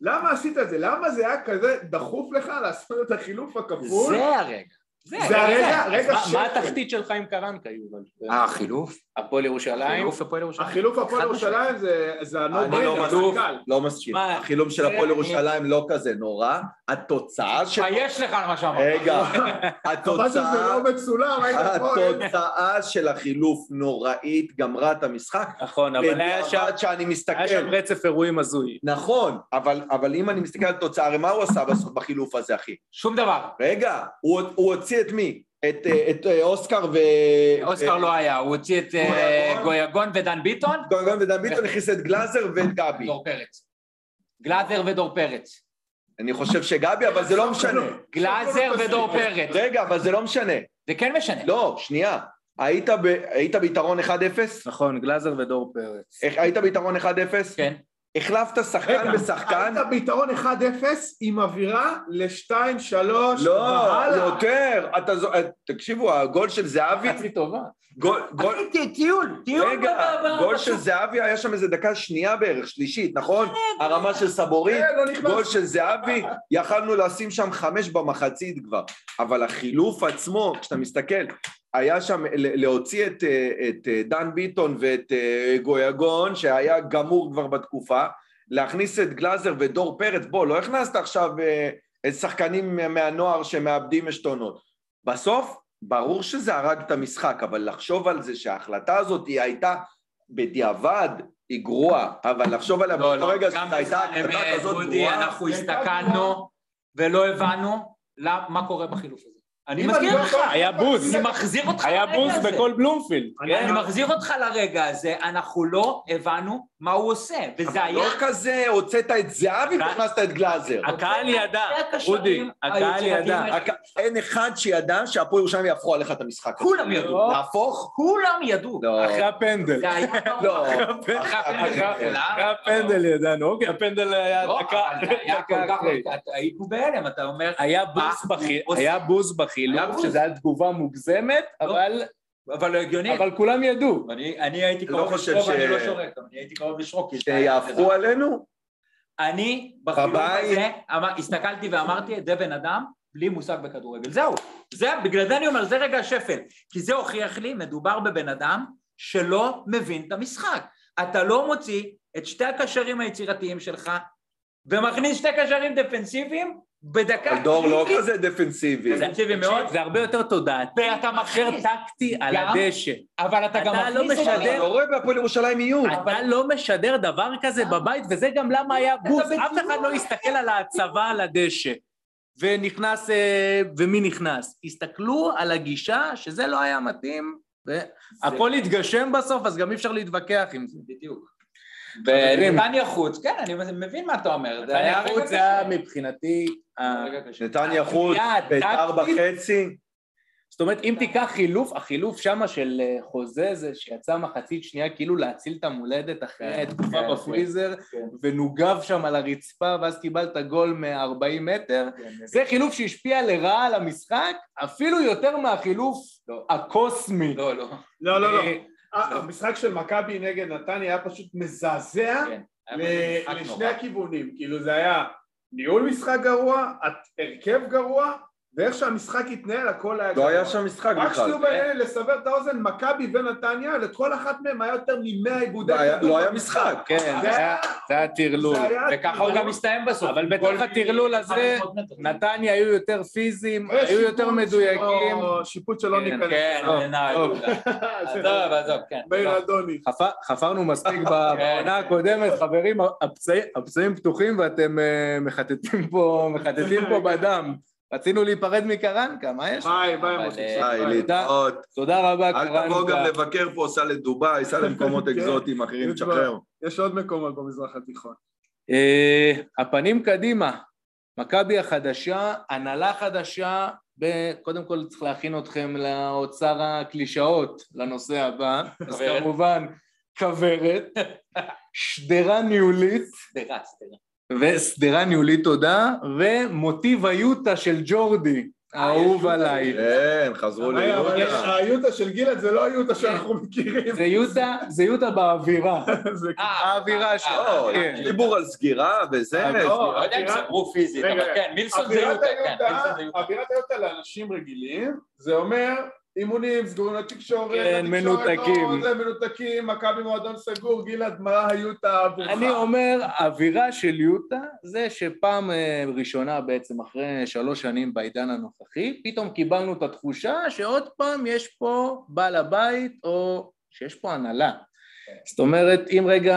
Speaker 4: למה עשית את זה? למה זה היה כזה דחוף לך לעשות את החילוף הכפול?
Speaker 3: זה הרגע.
Speaker 4: זה הרגע,
Speaker 3: אז
Speaker 4: רגע
Speaker 3: מה-
Speaker 4: שפל.
Speaker 1: מה התחתית שלך עם קרנקה, יובל?
Speaker 3: אה, החילוף?
Speaker 1: הפועל ירושלים?
Speaker 3: החילוף הפועל ירושלים.
Speaker 4: החילוף הפועל
Speaker 3: חד
Speaker 4: ירושלים זה- זה
Speaker 2: אני
Speaker 4: הנוברנר,
Speaker 2: לא
Speaker 4: זה
Speaker 2: מסכים.
Speaker 4: קל.
Speaker 2: לא מסכים.
Speaker 1: מה? אה,
Speaker 2: החילום של הפועל
Speaker 1: זה-
Speaker 2: ירושלים לא כזה נורא. התוצאה של...
Speaker 3: תתבייש לך על מה שאמרת.
Speaker 2: רגע,
Speaker 4: חבל שזה
Speaker 2: התוצאה...
Speaker 4: לא מצולם, היית פה...
Speaker 2: התוצאה של החילוף נוראית גמרה את המשחק.
Speaker 1: נכון, אבל היה שם-
Speaker 2: בדיעבד שאני
Speaker 1: היה שם
Speaker 2: מסתכל.
Speaker 1: רצף אירועים הזוי.
Speaker 2: נכון, אבל, אבל אם אני מסתכל על תוצאה, הרי מה הוא עשה בסוף בחילוף הזה, אחי?
Speaker 3: שום דבר.
Speaker 2: רגע, הוא, הוא הוציא את מי? את, אה, את אה, אוסקר ו...
Speaker 3: אוסקר לא היה, הוא הוציא את אה,
Speaker 2: גויגון.
Speaker 3: גויגון ודן ביטון,
Speaker 2: גונגון אה, ודן ביטון הכניס את גלאזר ואת גבי.
Speaker 3: דור פרץ. גלאזר ודור פרץ.
Speaker 2: אני חושב שגבי, אבל זה לא משנה.
Speaker 3: גלאזר ודור פרץ.
Speaker 2: רגע, אבל זה לא משנה.
Speaker 3: זה כן משנה.
Speaker 2: לא, שנייה. היית, ב, היית ביתרון 1-0?
Speaker 1: נכון, גלאזר ודור פרץ.
Speaker 2: איך- היית ביתרון 1-0?
Speaker 3: כן.
Speaker 2: החלפת
Speaker 4: רגע,
Speaker 2: שחקן בשחקן?
Speaker 4: היית ביתרון 1-0 עם אווירה ל-2-3
Speaker 2: לא, יותר. אתה זו... אה, תקשיבו, הגול של זהבי...
Speaker 3: חצי טובה.
Speaker 2: גול, גול...
Speaker 3: טיול,
Speaker 2: רגע, גול של זהבי היה שם איזה דקה שנייה בערך, שלישית, נכון?
Speaker 3: כן,
Speaker 2: הרמה של סבורית,
Speaker 4: כן, לא נכנס.
Speaker 2: גול של זהבי, יכלנו לשים שם חמש במחצית כבר. אבל החילוף עצמו, כשאתה מסתכל, היה שם ל- להוציא את, אה, את אה, דן ביטון ואת אה, גויגון, שהיה גמור כבר בתקופה, להכניס את גלאזר ודור פרץ, בוא, לא הכנסת עכשיו אה, את שחקנים מהנוער שמאבדים עשתונות. בסוף, ברור שזה הרג את המשחק, אבל לחשוב על זה שההחלטה הזאת היא הייתה בדיעבד, היא גרועה, אבל לחשוב עליה
Speaker 3: לא, לא,
Speaker 2: רגע
Speaker 3: גם
Speaker 2: שזו הייתה
Speaker 3: בזמן
Speaker 2: ההחלטה
Speaker 3: אמת,
Speaker 2: כזאת
Speaker 3: דודי,
Speaker 2: גרועה. כן.
Speaker 3: אנחנו הסתכלנו ולא הבנו למ- מה קורה בחילוף הזה. אני מזכיר לך,
Speaker 1: היה בוז.
Speaker 3: אני מחזיר אותך
Speaker 1: היה
Speaker 3: לרגע
Speaker 1: בוז
Speaker 3: הזה.
Speaker 1: בכל בלומפילד.
Speaker 4: אני-
Speaker 1: כן?
Speaker 3: אני מחזיר אותך לרגע הזה, אנחנו לא הבנו מה הוא עושה, וזה היה...
Speaker 2: לא כזה, הוצאת את זהבי והכנסת את גלאזר.
Speaker 1: הקהל ידע,
Speaker 3: זה הקשרים
Speaker 1: אודי, הקהל
Speaker 3: היצירתיים
Speaker 1: ידע.
Speaker 3: האלה.
Speaker 2: רק- אין אחד שידע שהפועל ירושלים יהפכו עליך את המשחק. הזה.
Speaker 3: כולם ידעו,
Speaker 2: להפוך?
Speaker 3: כולם ידעו.
Speaker 2: לא.
Speaker 1: אה, אחרי הפנדל.
Speaker 3: זה היה...
Speaker 2: לא.
Speaker 3: אחרי
Speaker 2: הפנדל.
Speaker 3: הפנדל.
Speaker 1: אחרי הפנדל ידענו, אוקיי, הפנדל היה
Speaker 3: לא,
Speaker 1: דקה.
Speaker 3: אבל זה היה כל כך... אתה- היינו בהלם, אתה אומר...
Speaker 1: היה אה, בוז
Speaker 3: מה
Speaker 1: בחי-
Speaker 3: הוא
Speaker 1: היה
Speaker 3: עושה?
Speaker 1: בוז
Speaker 3: היה
Speaker 1: בחילוף,
Speaker 3: בוז.
Speaker 1: שזו הייתה תגובה מוגזמת,
Speaker 3: לא.
Speaker 1: אבל-
Speaker 3: אבל לא הגיוני.
Speaker 1: אבל כולם ידעו.
Speaker 3: אני אני הייתי
Speaker 2: לא
Speaker 3: קרוב
Speaker 2: חושב
Speaker 3: לשרוק,
Speaker 2: ש-
Speaker 3: אני לא שורק, אבל אני הייתי קרוב לשרוק. כי זה היה-
Speaker 2: שיהפכו עלינו?
Speaker 3: אני בחילוף
Speaker 2: בבית.
Speaker 3: הזה אמר- הסתכלתי ואמרתי, זה בן אדם בלי מושג בכדורגל. זהו. זה, בגלל זה אני אומר, זה רגע השפל. כי זה הוכיח לי, מדובר בבן אדם שלא מבין את המשחק. אתה לא מוציא את שתי הקשרים היצירתיים שלך ומכניס שתי קשרים דפנסיביים בדקה...
Speaker 2: הדור לא
Speaker 3: קריטית.
Speaker 2: כזה דפנסיבי.
Speaker 3: כן. זה- דפנסיבי מאוד.
Speaker 1: זה הרבה יותר תודעתי,
Speaker 3: ואתה
Speaker 1: אחר
Speaker 3: מכניס,
Speaker 1: טקטי על
Speaker 3: גם-
Speaker 1: הדשא.
Speaker 3: אבל אתה גם
Speaker 1: אתה לא
Speaker 3: מכניס...
Speaker 1: משדר.
Speaker 2: אתה לא רואה בהפועל ירושלים איום.
Speaker 1: אתה לא משדר דבר כזה בבית, וזה גם למה היה בוז. אף אחד לא הסתכל על ההצבה על הדשא. ונכנס, אה, ומי נכנס? הסתכלו על הגישה שזה לא היה מתאים, והכל התגשם בסוף, אז גם אי אפשר להתווכח עם זה.
Speaker 3: בדיוק.
Speaker 1: חברים.
Speaker 3: נתניה חוץ, כן, אני מבין מה אתה אומר. זה
Speaker 1: נתניה
Speaker 3: היה רגע
Speaker 1: חוץ זה
Speaker 3: קשה.
Speaker 1: היה מבחינתי... ה-
Speaker 3: רגע קשה.
Speaker 2: נתניה חוץ,
Speaker 1: היה
Speaker 2: ביתר
Speaker 1: טקטית.
Speaker 2: בחצי.
Speaker 1: זאת אומרת, אם תיקח חילוף, החילוף שמה של אה, חוזה זה שיצא מחצית שנייה כאילו להציל את המולדת אחרי
Speaker 3: כן,
Speaker 1: תקופה
Speaker 3: כן,
Speaker 1: בפריזר,
Speaker 3: כן.
Speaker 1: ונוגב שם על הרצפה, ואז קיבלת גול מ-40 מטר.
Speaker 3: כן,
Speaker 1: זה חילוף שהשפיע לרעה על המשחק, אפילו יותר מהחילוף
Speaker 3: לא.
Speaker 1: הקוסמי.
Speaker 3: לא, לא.
Speaker 4: לא, לא, לא.
Speaker 1: אה,
Speaker 4: אה, המשחק של מכבי נגד נתניה היה פשוט מזעזע
Speaker 3: כן. היה
Speaker 4: ל-
Speaker 3: משחק נורא.
Speaker 4: לשני הכיוונים. כאילו זה היה ניהול משחק גרוע, הת- הרכב גרוע, ואיך שהמשחק התנהל הכל היה...
Speaker 2: לא היה
Speaker 4: גרוע.
Speaker 2: שם משחק
Speaker 4: רק
Speaker 2: בכלל.
Speaker 4: שתהיו בעניין לסבר את האוזן, מכבי ונתניה, לכל אחת מהם היה יותר מ-100 עיבודי
Speaker 2: לא היה-
Speaker 4: כדור
Speaker 2: לא היה
Speaker 4: במשחק.
Speaker 2: משחק.
Speaker 1: כן,
Speaker 4: זה
Speaker 1: זה היה- זה היה טרלול.
Speaker 4: זה היה-
Speaker 3: וככה הוא גם מסתיים בסוף. אה,
Speaker 1: אבל בתוך
Speaker 3: גול
Speaker 1: הטרלול הזה,
Speaker 3: 500 מטר.
Speaker 1: נתניה היו יותר פיזיים,
Speaker 4: יש
Speaker 1: היו יותר
Speaker 4: שיפוט
Speaker 1: מדויקים.
Speaker 4: שלא- שיפוט שלא
Speaker 1: כן,
Speaker 4: ניכנס. אה,
Speaker 3: כן,
Speaker 1: טוב,
Speaker 3: נעל.
Speaker 1: טוב.
Speaker 4: זה-
Speaker 3: עזוב, עזוב, כן.
Speaker 4: מאיר
Speaker 3: לא.
Speaker 4: אדוני.
Speaker 1: חפ- חפרנו מספיק
Speaker 2: כן,
Speaker 1: ב- בעונה הקודמת, חברים, הפצעים- הפצעים פתוחים ואתם אה, מחטטים פה, מחטטים פה בדם. רצינו להיפרד מקרנקה, מה יש?
Speaker 4: ביי, ביי,
Speaker 3: אבל,
Speaker 4: מוטי.
Speaker 3: אה,
Speaker 2: די,
Speaker 4: ביי.
Speaker 2: להתראות.
Speaker 1: תודה רבה,
Speaker 2: אל תבוא גם
Speaker 1: קרנקה.
Speaker 2: לבקר פה, סע לדובאי, סע למקומות
Speaker 4: כן.
Speaker 2: אקזוטיים אחרים,
Speaker 4: יש כבר-
Speaker 2: תשחרר.
Speaker 4: יש עוד מקומות במזרח התיכון.
Speaker 1: אה, הפנים קדימה, מכבי החדשה, הנהלה חדשה, ב- קודם כל צריך להכין אתכם לאוצר הקלישאות, לנושא הבא. אז
Speaker 3: כוורת.
Speaker 1: כמובן, כוורת, שדרה ניהולית.
Speaker 3: סדרה, סדרה.
Speaker 1: ושדרה ניהולית תודה, ומוטיב היוטה של ג'ורדי, האהוב עליי.
Speaker 2: כן, חזרו
Speaker 4: אבל- אבל
Speaker 2: ליהודה.
Speaker 4: היוטה של גלעד זה לא היוטה שאנחנו מכירים.
Speaker 1: זה יוטה, זה יוטה באווירה.
Speaker 4: זה-
Speaker 1: אה,
Speaker 3: אה,
Speaker 1: האווירה שלו.
Speaker 2: לא,
Speaker 1: כן.
Speaker 2: יש דיבור על סגירה וזה.
Speaker 4: אה, לא,
Speaker 3: לא יודע אם
Speaker 4: אווירת-
Speaker 3: סגרו פיזית,
Speaker 4: רגע,
Speaker 3: אבל
Speaker 4: רגע.
Speaker 3: כן, מילסון זה
Speaker 4: אווירת
Speaker 3: יוטה, כן, מילסון זה
Speaker 4: היוטה,
Speaker 3: יוטה.
Speaker 4: אווירת היוטה לאנשים רגילים, זה אומר אימונים סגורים לתקשורת,
Speaker 1: כן,
Speaker 4: התקשורת
Speaker 1: מנותקים.
Speaker 4: לא, זה מנותקים, מכבי מועדון סגור, גלעד, מה היוטה עבורך?
Speaker 1: אני אומר, האווירה של יוטה זה שפעם אה, ראשונה בעצם, אחרי שלוש שנים בעידן הנוכחי, פתאום קיבלנו את התחושה שעוד פעם יש פה בעל הבית, או שיש פה הנהלה. זאת אומרת, אם רגע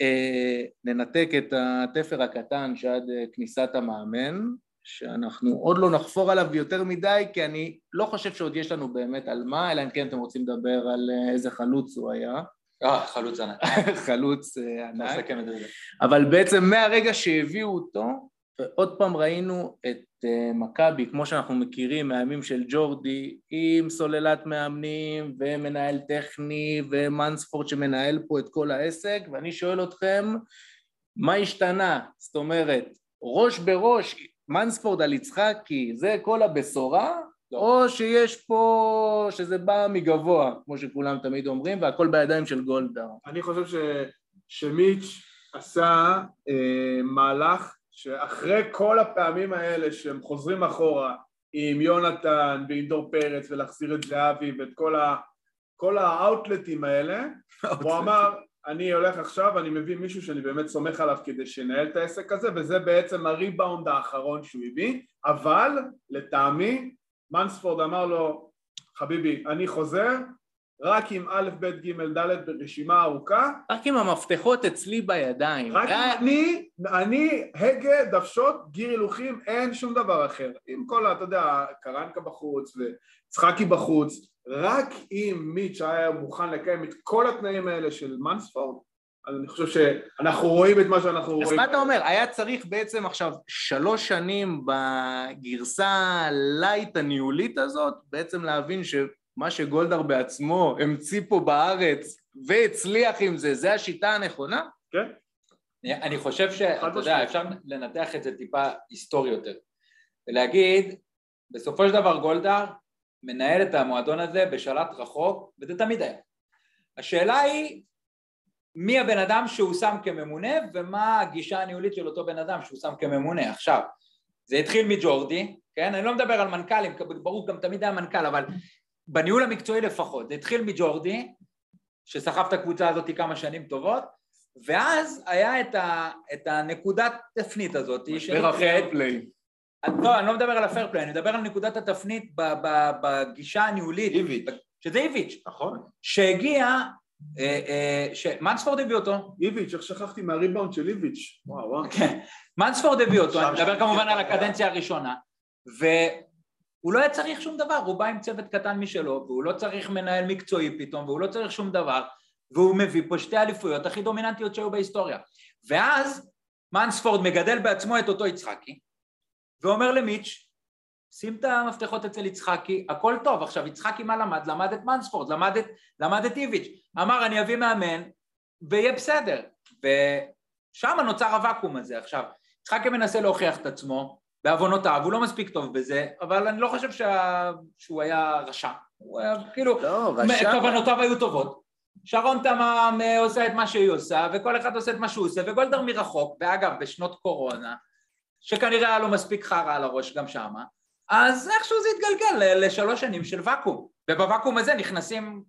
Speaker 1: אה, ננתק את התפר הקטן שעד אה, כניסת המאמן, שאנחנו עוד לא נחפור עליו יותר מדי, כי אני לא חושב שעוד יש לנו באמת על מה, אלא אם כן אתם רוצים לדבר על אה, איזה חלוץ הוא היה,
Speaker 3: אה, חלוץ ענק.
Speaker 1: חלוץ אה, ענק.
Speaker 3: נסכם את זה.
Speaker 1: אבל בעצם מהרגע שהביאו אותו, עוד פעם ראינו את אה, מכבי, כמו שאנחנו מכירים מהימים של ג'ורדי, עם סוללת מאמנים ומנהל טכני ומנספורד שמנהל פה את כל העסק, ואני שואל אתכם, מה השתנה? זאת אומרת, ראש בראש, מנספורד על יצחקי, זה כל הבשורה?
Speaker 3: לא.
Speaker 1: או שיש פה, שזה בא מגבוה, כמו שכולם תמיד אומרים, והכל בידיים של גולדהר.
Speaker 4: אני חושב ש, שמיץ' עשה אה, מהלך שאחרי כל הפעמים האלה שהם חוזרים אחורה עם יונתן ועם דור פרץ ולהחזיר את זהבי ואת כל, ה, כל האאוטלטים האלה, הוא אמר, אני הולך עכשיו, אני מביא מישהו שאני באמת סומך עליו כדי שינהל את העסק הזה, וזה בעצם הריבאונד האחרון שהוא הביא, אבל לטעמי, מנספורד אמר לו, חביבי, אני חוזר, רק עם א', ב', ג', ד' ברשימה ארוכה,
Speaker 1: רק עם המפתחות אצלי בידיים.
Speaker 4: רק
Speaker 1: די.
Speaker 3: אה.
Speaker 4: אם אני, אני, הגה, דוושות, גיר הילוכים, אין שום דבר אחר. עם כל, ה- אתה יודע, קרנקה בחוץ וצחקי בחוץ, רק אם מיץ' היה מוכן לקיים את כל התנאים האלה של מנספורד, אז אני חושב שאנחנו רואים את מה שאנחנו רואים.
Speaker 1: אז מה אתה אומר? היה צריך בעצם עכשיו שלוש שנים בגרסה הלייט הניהולית הזאת, בעצם להבין שמה שגולדהר בעצמו המציא פה בארץ והצליח עם זה, זה השיטה הנכונה?
Speaker 4: כן?
Speaker 3: אני- אני חושב
Speaker 4: חד
Speaker 3: שאתה יודע,
Speaker 4: משמעית.
Speaker 3: אפשר לנתח את זה טיפה היסטורי יותר. ולהגיד, בסופו של דבר גולדהר מנהל את המועדון הזה בשלט רחוק, וזה תמיד היה. השאלה היא, מי הבן אדם שהוא שם כממונה, ומה הגישה הניהולית של אותו בן אדם שהוא שם כממונה. עכשיו, זה התחיל מג'ורדי, כן? אני לא מדבר על מנכ"לים, ברור, גם תמיד היה מנכ"ל, אבל בניהול המקצועי לפחות. זה התחיל מג'ורדי, שסחב את הקבוצה הזאת כמה שנים טובות, ואז היה את, ה, את הנקודת תפנית הזאת, שנקראת...
Speaker 1: פליי.
Speaker 3: אני- לא, אני לא מדבר על הפייר פליי, אני מדבר על נקודת התפנית ב, ב, בגישה הניהולית.
Speaker 2: איביץ'.
Speaker 3: שזה איביץ',
Speaker 2: נכון.
Speaker 3: שהגיע, אה, אה, שמנספורד הביא אותו,
Speaker 4: איביץ', איך שכחתי מהריבאונד של איביץ'. וואו, וואו.
Speaker 3: כן. מנספורד הביא אותו, אני
Speaker 2: שם
Speaker 3: מדבר
Speaker 2: שם
Speaker 3: כמובן על
Speaker 2: שם.
Speaker 3: הקדנציה הראשונה, והוא לא היה צריך שום דבר, הוא בא עם צוות קטן משלו, והוא לא צריך מנהל מקצועי פתאום, והוא לא צריך שום דבר, והוא מביא פה שתי אליפויות הכי דומיננטיות שהיו בהיסטוריה. ואז מנספורד מגדל בעצמו את אותו יצחקי, ואומר למיץ', שים את המפתחות אצל יצחקי, הכל טוב. עכשיו, יצחקי מה למד? למד את מנספורד, למד את, למד את איביץ'. אמר, אני אביא מאמן, ויהיה בסדר. ושם נוצר הוואקום הזה. עכשיו, יצחקי מנסה להוכיח את עצמו, בעוונותיו, הוא לא מספיק טוב בזה, אבל אני לא חושב שה... שהוא היה רשע. הוא היה, כאילו,
Speaker 1: לא,
Speaker 3: כוונותיו היו טובות. שרון תמם אה, עושה את מה שהיא עושה, וכל אחד עושה את מה שהוא עושה, וגולדר מרחוק, ואגב, בשנות קורונה, שכנראה היה לו מספיק חרא על הראש גם שמה, אז איכשהו זה התגלגל ל- לשלוש שנים של ואקום, ובוואקום הזה נכנסים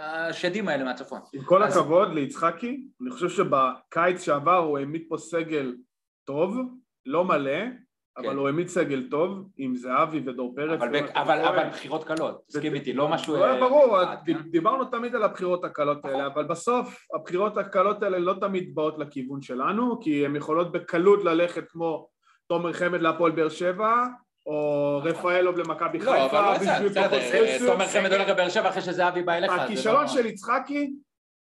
Speaker 3: אה, השדים האלה מהצפון.
Speaker 4: עם כל
Speaker 3: אז-
Speaker 4: הכבוד ליצחקי, אני חושב שבקיץ שעבר הוא העמיד פה סגל טוב, לא מלא, אבל
Speaker 3: כן.
Speaker 4: הוא העמיד סגל טוב עם זהבי ודור פרץ.
Speaker 3: אבל בק-
Speaker 4: ויונתן
Speaker 3: אבל
Speaker 4: כהן.
Speaker 3: אבל בחירות קלות, תסכים איתי, לא משהו...
Speaker 4: לא,
Speaker 3: אה,
Speaker 4: ברור,
Speaker 3: מיוחד, כן? נכון.
Speaker 4: ד- דיברנו תמיד על הבחירות הקלות האלה, אבל בסוף הבחירות הקלות האלה לא תמיד באות לכיוון שלנו, כי הן יכולות בקלות ללכת כמו תומר חמד להפועל באר שבע, או רפאלוב למכבי
Speaker 3: לא, אבל
Speaker 4: חיפה,
Speaker 3: לא יצא,
Speaker 4: בשביל
Speaker 3: בסדר,
Speaker 4: פחות
Speaker 3: אה,
Speaker 4: כסף.
Speaker 3: תומר חמד הולך לבאר שבע אחרי שזהבי בא אליך. זה
Speaker 4: הכישלון
Speaker 3: לא-
Speaker 4: של יצחקי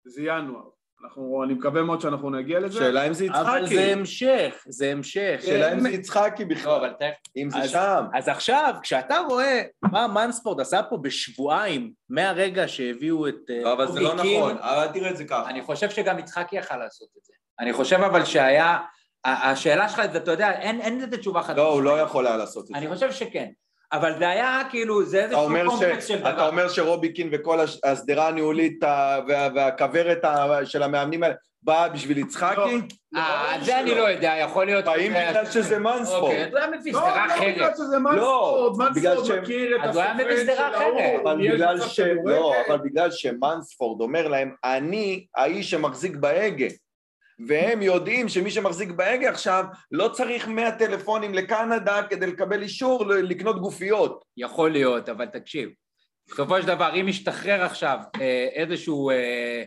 Speaker 4: זה ינואר. אנחנו, אני מקווה מאוד שאנחנו נגיע לזה.
Speaker 2: שאלה אם זה
Speaker 1: אבל זה
Speaker 2: יצחקי,
Speaker 1: המשך, זה המשך.
Speaker 2: שאלה אם זה יצחקי
Speaker 3: לא,
Speaker 2: בכלל,
Speaker 3: אבל תכף,
Speaker 2: אם זה
Speaker 1: אז- אה,
Speaker 2: שם.
Speaker 1: אז עכשיו, כשאתה רואה מה מנספורד עשה פה בשבועיים, מהרגע שהביאו את... אה,
Speaker 2: לא, אבל זה לא
Speaker 1: רובי קין,
Speaker 2: נכון, אבל תראה את זה ככה.
Speaker 3: אני חושב שגם יצחקי יכל לעשות את זה. אני חושב אבל שהיה, ה- השאלה שלך, אתה יודע, אין אין לזה תשובה חדשה.
Speaker 2: לא, הוא לא יכול היה לעשות את זה.
Speaker 3: אני חושב שכן. אבל זה היה כאילו, זה
Speaker 2: אתה
Speaker 3: איזשהו
Speaker 2: אומר,
Speaker 3: קומפלקס
Speaker 2: ש...
Speaker 3: של
Speaker 2: אתה
Speaker 3: דבר.
Speaker 2: אומר שרובי קין וכל הש- השדרה הניהולית ה- וה- והכוורת ה- של המאמנים האלה באה בשביל
Speaker 4: לא,
Speaker 2: יצחקי?
Speaker 3: אה,
Speaker 4: לא,
Speaker 3: זה אני
Speaker 4: שלא.
Speaker 3: לא יודע, יכול להיות...
Speaker 2: באים בגלל שזה מנספורד.
Speaker 3: אה, אוקיי, אז הוא היה מפיס,
Speaker 4: לא,
Speaker 3: זה
Speaker 4: לא
Speaker 3: רע אחרת. לא,
Speaker 4: בגלל שזה מנספורד,
Speaker 2: בגלל
Speaker 4: מנספורד
Speaker 2: שהם-
Speaker 4: מכיר את
Speaker 3: אז הוא היה
Speaker 4: הסוכן
Speaker 3: מביא
Speaker 4: של
Speaker 3: שדרה אחרת.
Speaker 4: ההוא,
Speaker 2: אבל
Speaker 4: יש
Speaker 2: בגלל
Speaker 4: מצב
Speaker 2: ש... לא,
Speaker 4: כדורגל.
Speaker 2: אבל בגלל שמנספורד אומר להם, אני האיש שמחזיק בהגה. והם יודעים שמי שמחזיק בהגה עכשיו לא צריך 100 טלפונים לקנדה כדי לקבל אישור ל- לקנות גופיות.
Speaker 3: יכול להיות, אבל תקשיב, בסופו של דבר, אם ישתחרר עכשיו אה, איזשהו, אה,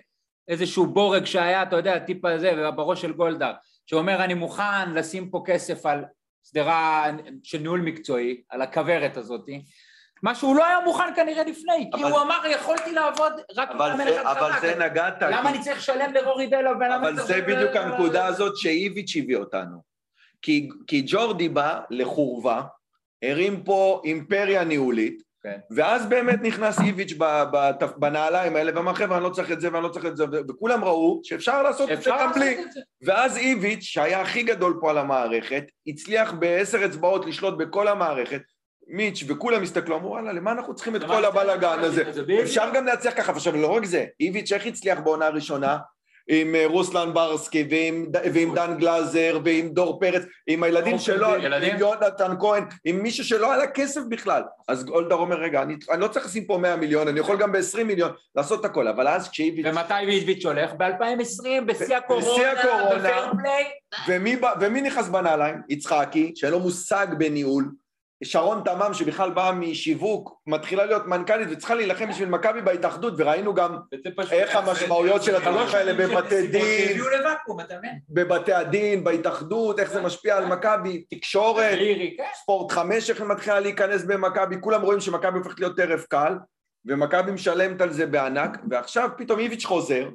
Speaker 3: איזשהו בורג שהיה, אתה יודע, טיפה זה, בראש של גולדהר, שאומר, אני מוכן לשים פה כסף על שדרה של ניהול מקצועי, על הכוורת הזאת, מה שהוא לא היה מוכן כנראה לפני, כי
Speaker 2: אבל-
Speaker 3: הוא אמר, יכולתי לעבוד רק
Speaker 2: אבל
Speaker 3: עם
Speaker 2: זה,
Speaker 3: אחד
Speaker 2: אבל
Speaker 3: חזק,
Speaker 2: זה נגעת. כי-
Speaker 3: למה אני צריך לשלם לרורי דלה ולמה אני
Speaker 2: אבל
Speaker 3: צריך
Speaker 2: זה
Speaker 3: לשלם
Speaker 2: בדיוק
Speaker 3: ל-
Speaker 2: הנקודה הזאת שאיביץ' הביא אותנו. כי, כי ג'ורדי בא לחורבה, הרים פה אימפריה ניהולית,
Speaker 3: כן.
Speaker 2: ואז באמת נכנס איביץ' ב- בתפ- בנעליים האלה, ואמר חבר'ה אני לא צריך את זה ואני לא צריך את זה, ו- וכולם ראו שאפשר לעשות את זה
Speaker 3: אפשר
Speaker 2: גם
Speaker 3: לעשות
Speaker 2: בלי.
Speaker 3: את זה.
Speaker 2: ואז איביץ', שהיה הכי גדול פה על המערכת, הצליח בעשר אצבעות לשלוט בכל המערכת, מיץ' וכולם הסתכלו, אמרו וואלה, למה אנחנו צריכים את
Speaker 3: למה
Speaker 2: כל
Speaker 3: אני צריך
Speaker 2: הבלאגן
Speaker 3: לעשות
Speaker 2: הזה?
Speaker 3: את זה? בדיוק.
Speaker 2: אפשר גם להצליח ככה, ועכשיו לא רק זה, איביץ' איך הצליח בעונה הראשונה? עם אה, רוסלן ברסקי ועם, ד- ועם דן גלאזר ועם דור פרץ, עם הילדים
Speaker 3: דור
Speaker 2: שלו,
Speaker 3: פרץ, ילדים?
Speaker 2: עם יונתן כהן, עם מישהו שלא היה לה כסף בכלל. אז גולדהר אומר, רגע, אני, אני לא צריך לשים פה 100 מיליון, אני יכול גם ב-20 מיליון לעשות את הכל, אבל אז כשאיביץ'
Speaker 3: ומתי איביץ' הולך? ב-2020, בשיא הקורונה,
Speaker 2: בשיא הקורונה.
Speaker 3: בפייר פליי,
Speaker 2: ומי, בא- ומי נכנס בנעליים? יצחקי, שאין לו מושג בניהול. שרון תמם, שבכלל באה משיווק, מתחילה להיות מנכ"לית וצריכה להילחם בשביל מכבי בהתאחדות, וראינו גם איך המשמעויות של הדברים האלה בבתי דין,
Speaker 3: הביאו לוואקום, אתה מבין?
Speaker 2: בבתי הדין, בהתאחדות, איך זה משפיע על מכבי, תקשורת,
Speaker 3: לירי, כן.
Speaker 2: ספורט חמש, איך היא מתחילה להיכנס במכבי, כולם רואים שמכבי הופכת להיות טרף קל, ומכבי משלמת על זה בענק, ועכשיו פתאום איביץ' חוזר,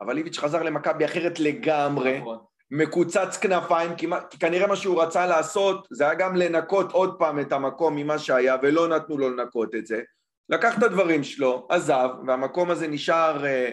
Speaker 2: אבל איביץ' חזר למכבי אחרת לגמרי.
Speaker 3: נכון.
Speaker 2: מקוצץ כנפיים, כי, מה- כי כנראה מה שהוא רצה לעשות זה היה גם לנקות עוד פעם את המקום ממה שהיה, ולא נתנו לו לנקות את זה. לקח את הדברים שלו, עזב, והמקום הזה נשאר אה,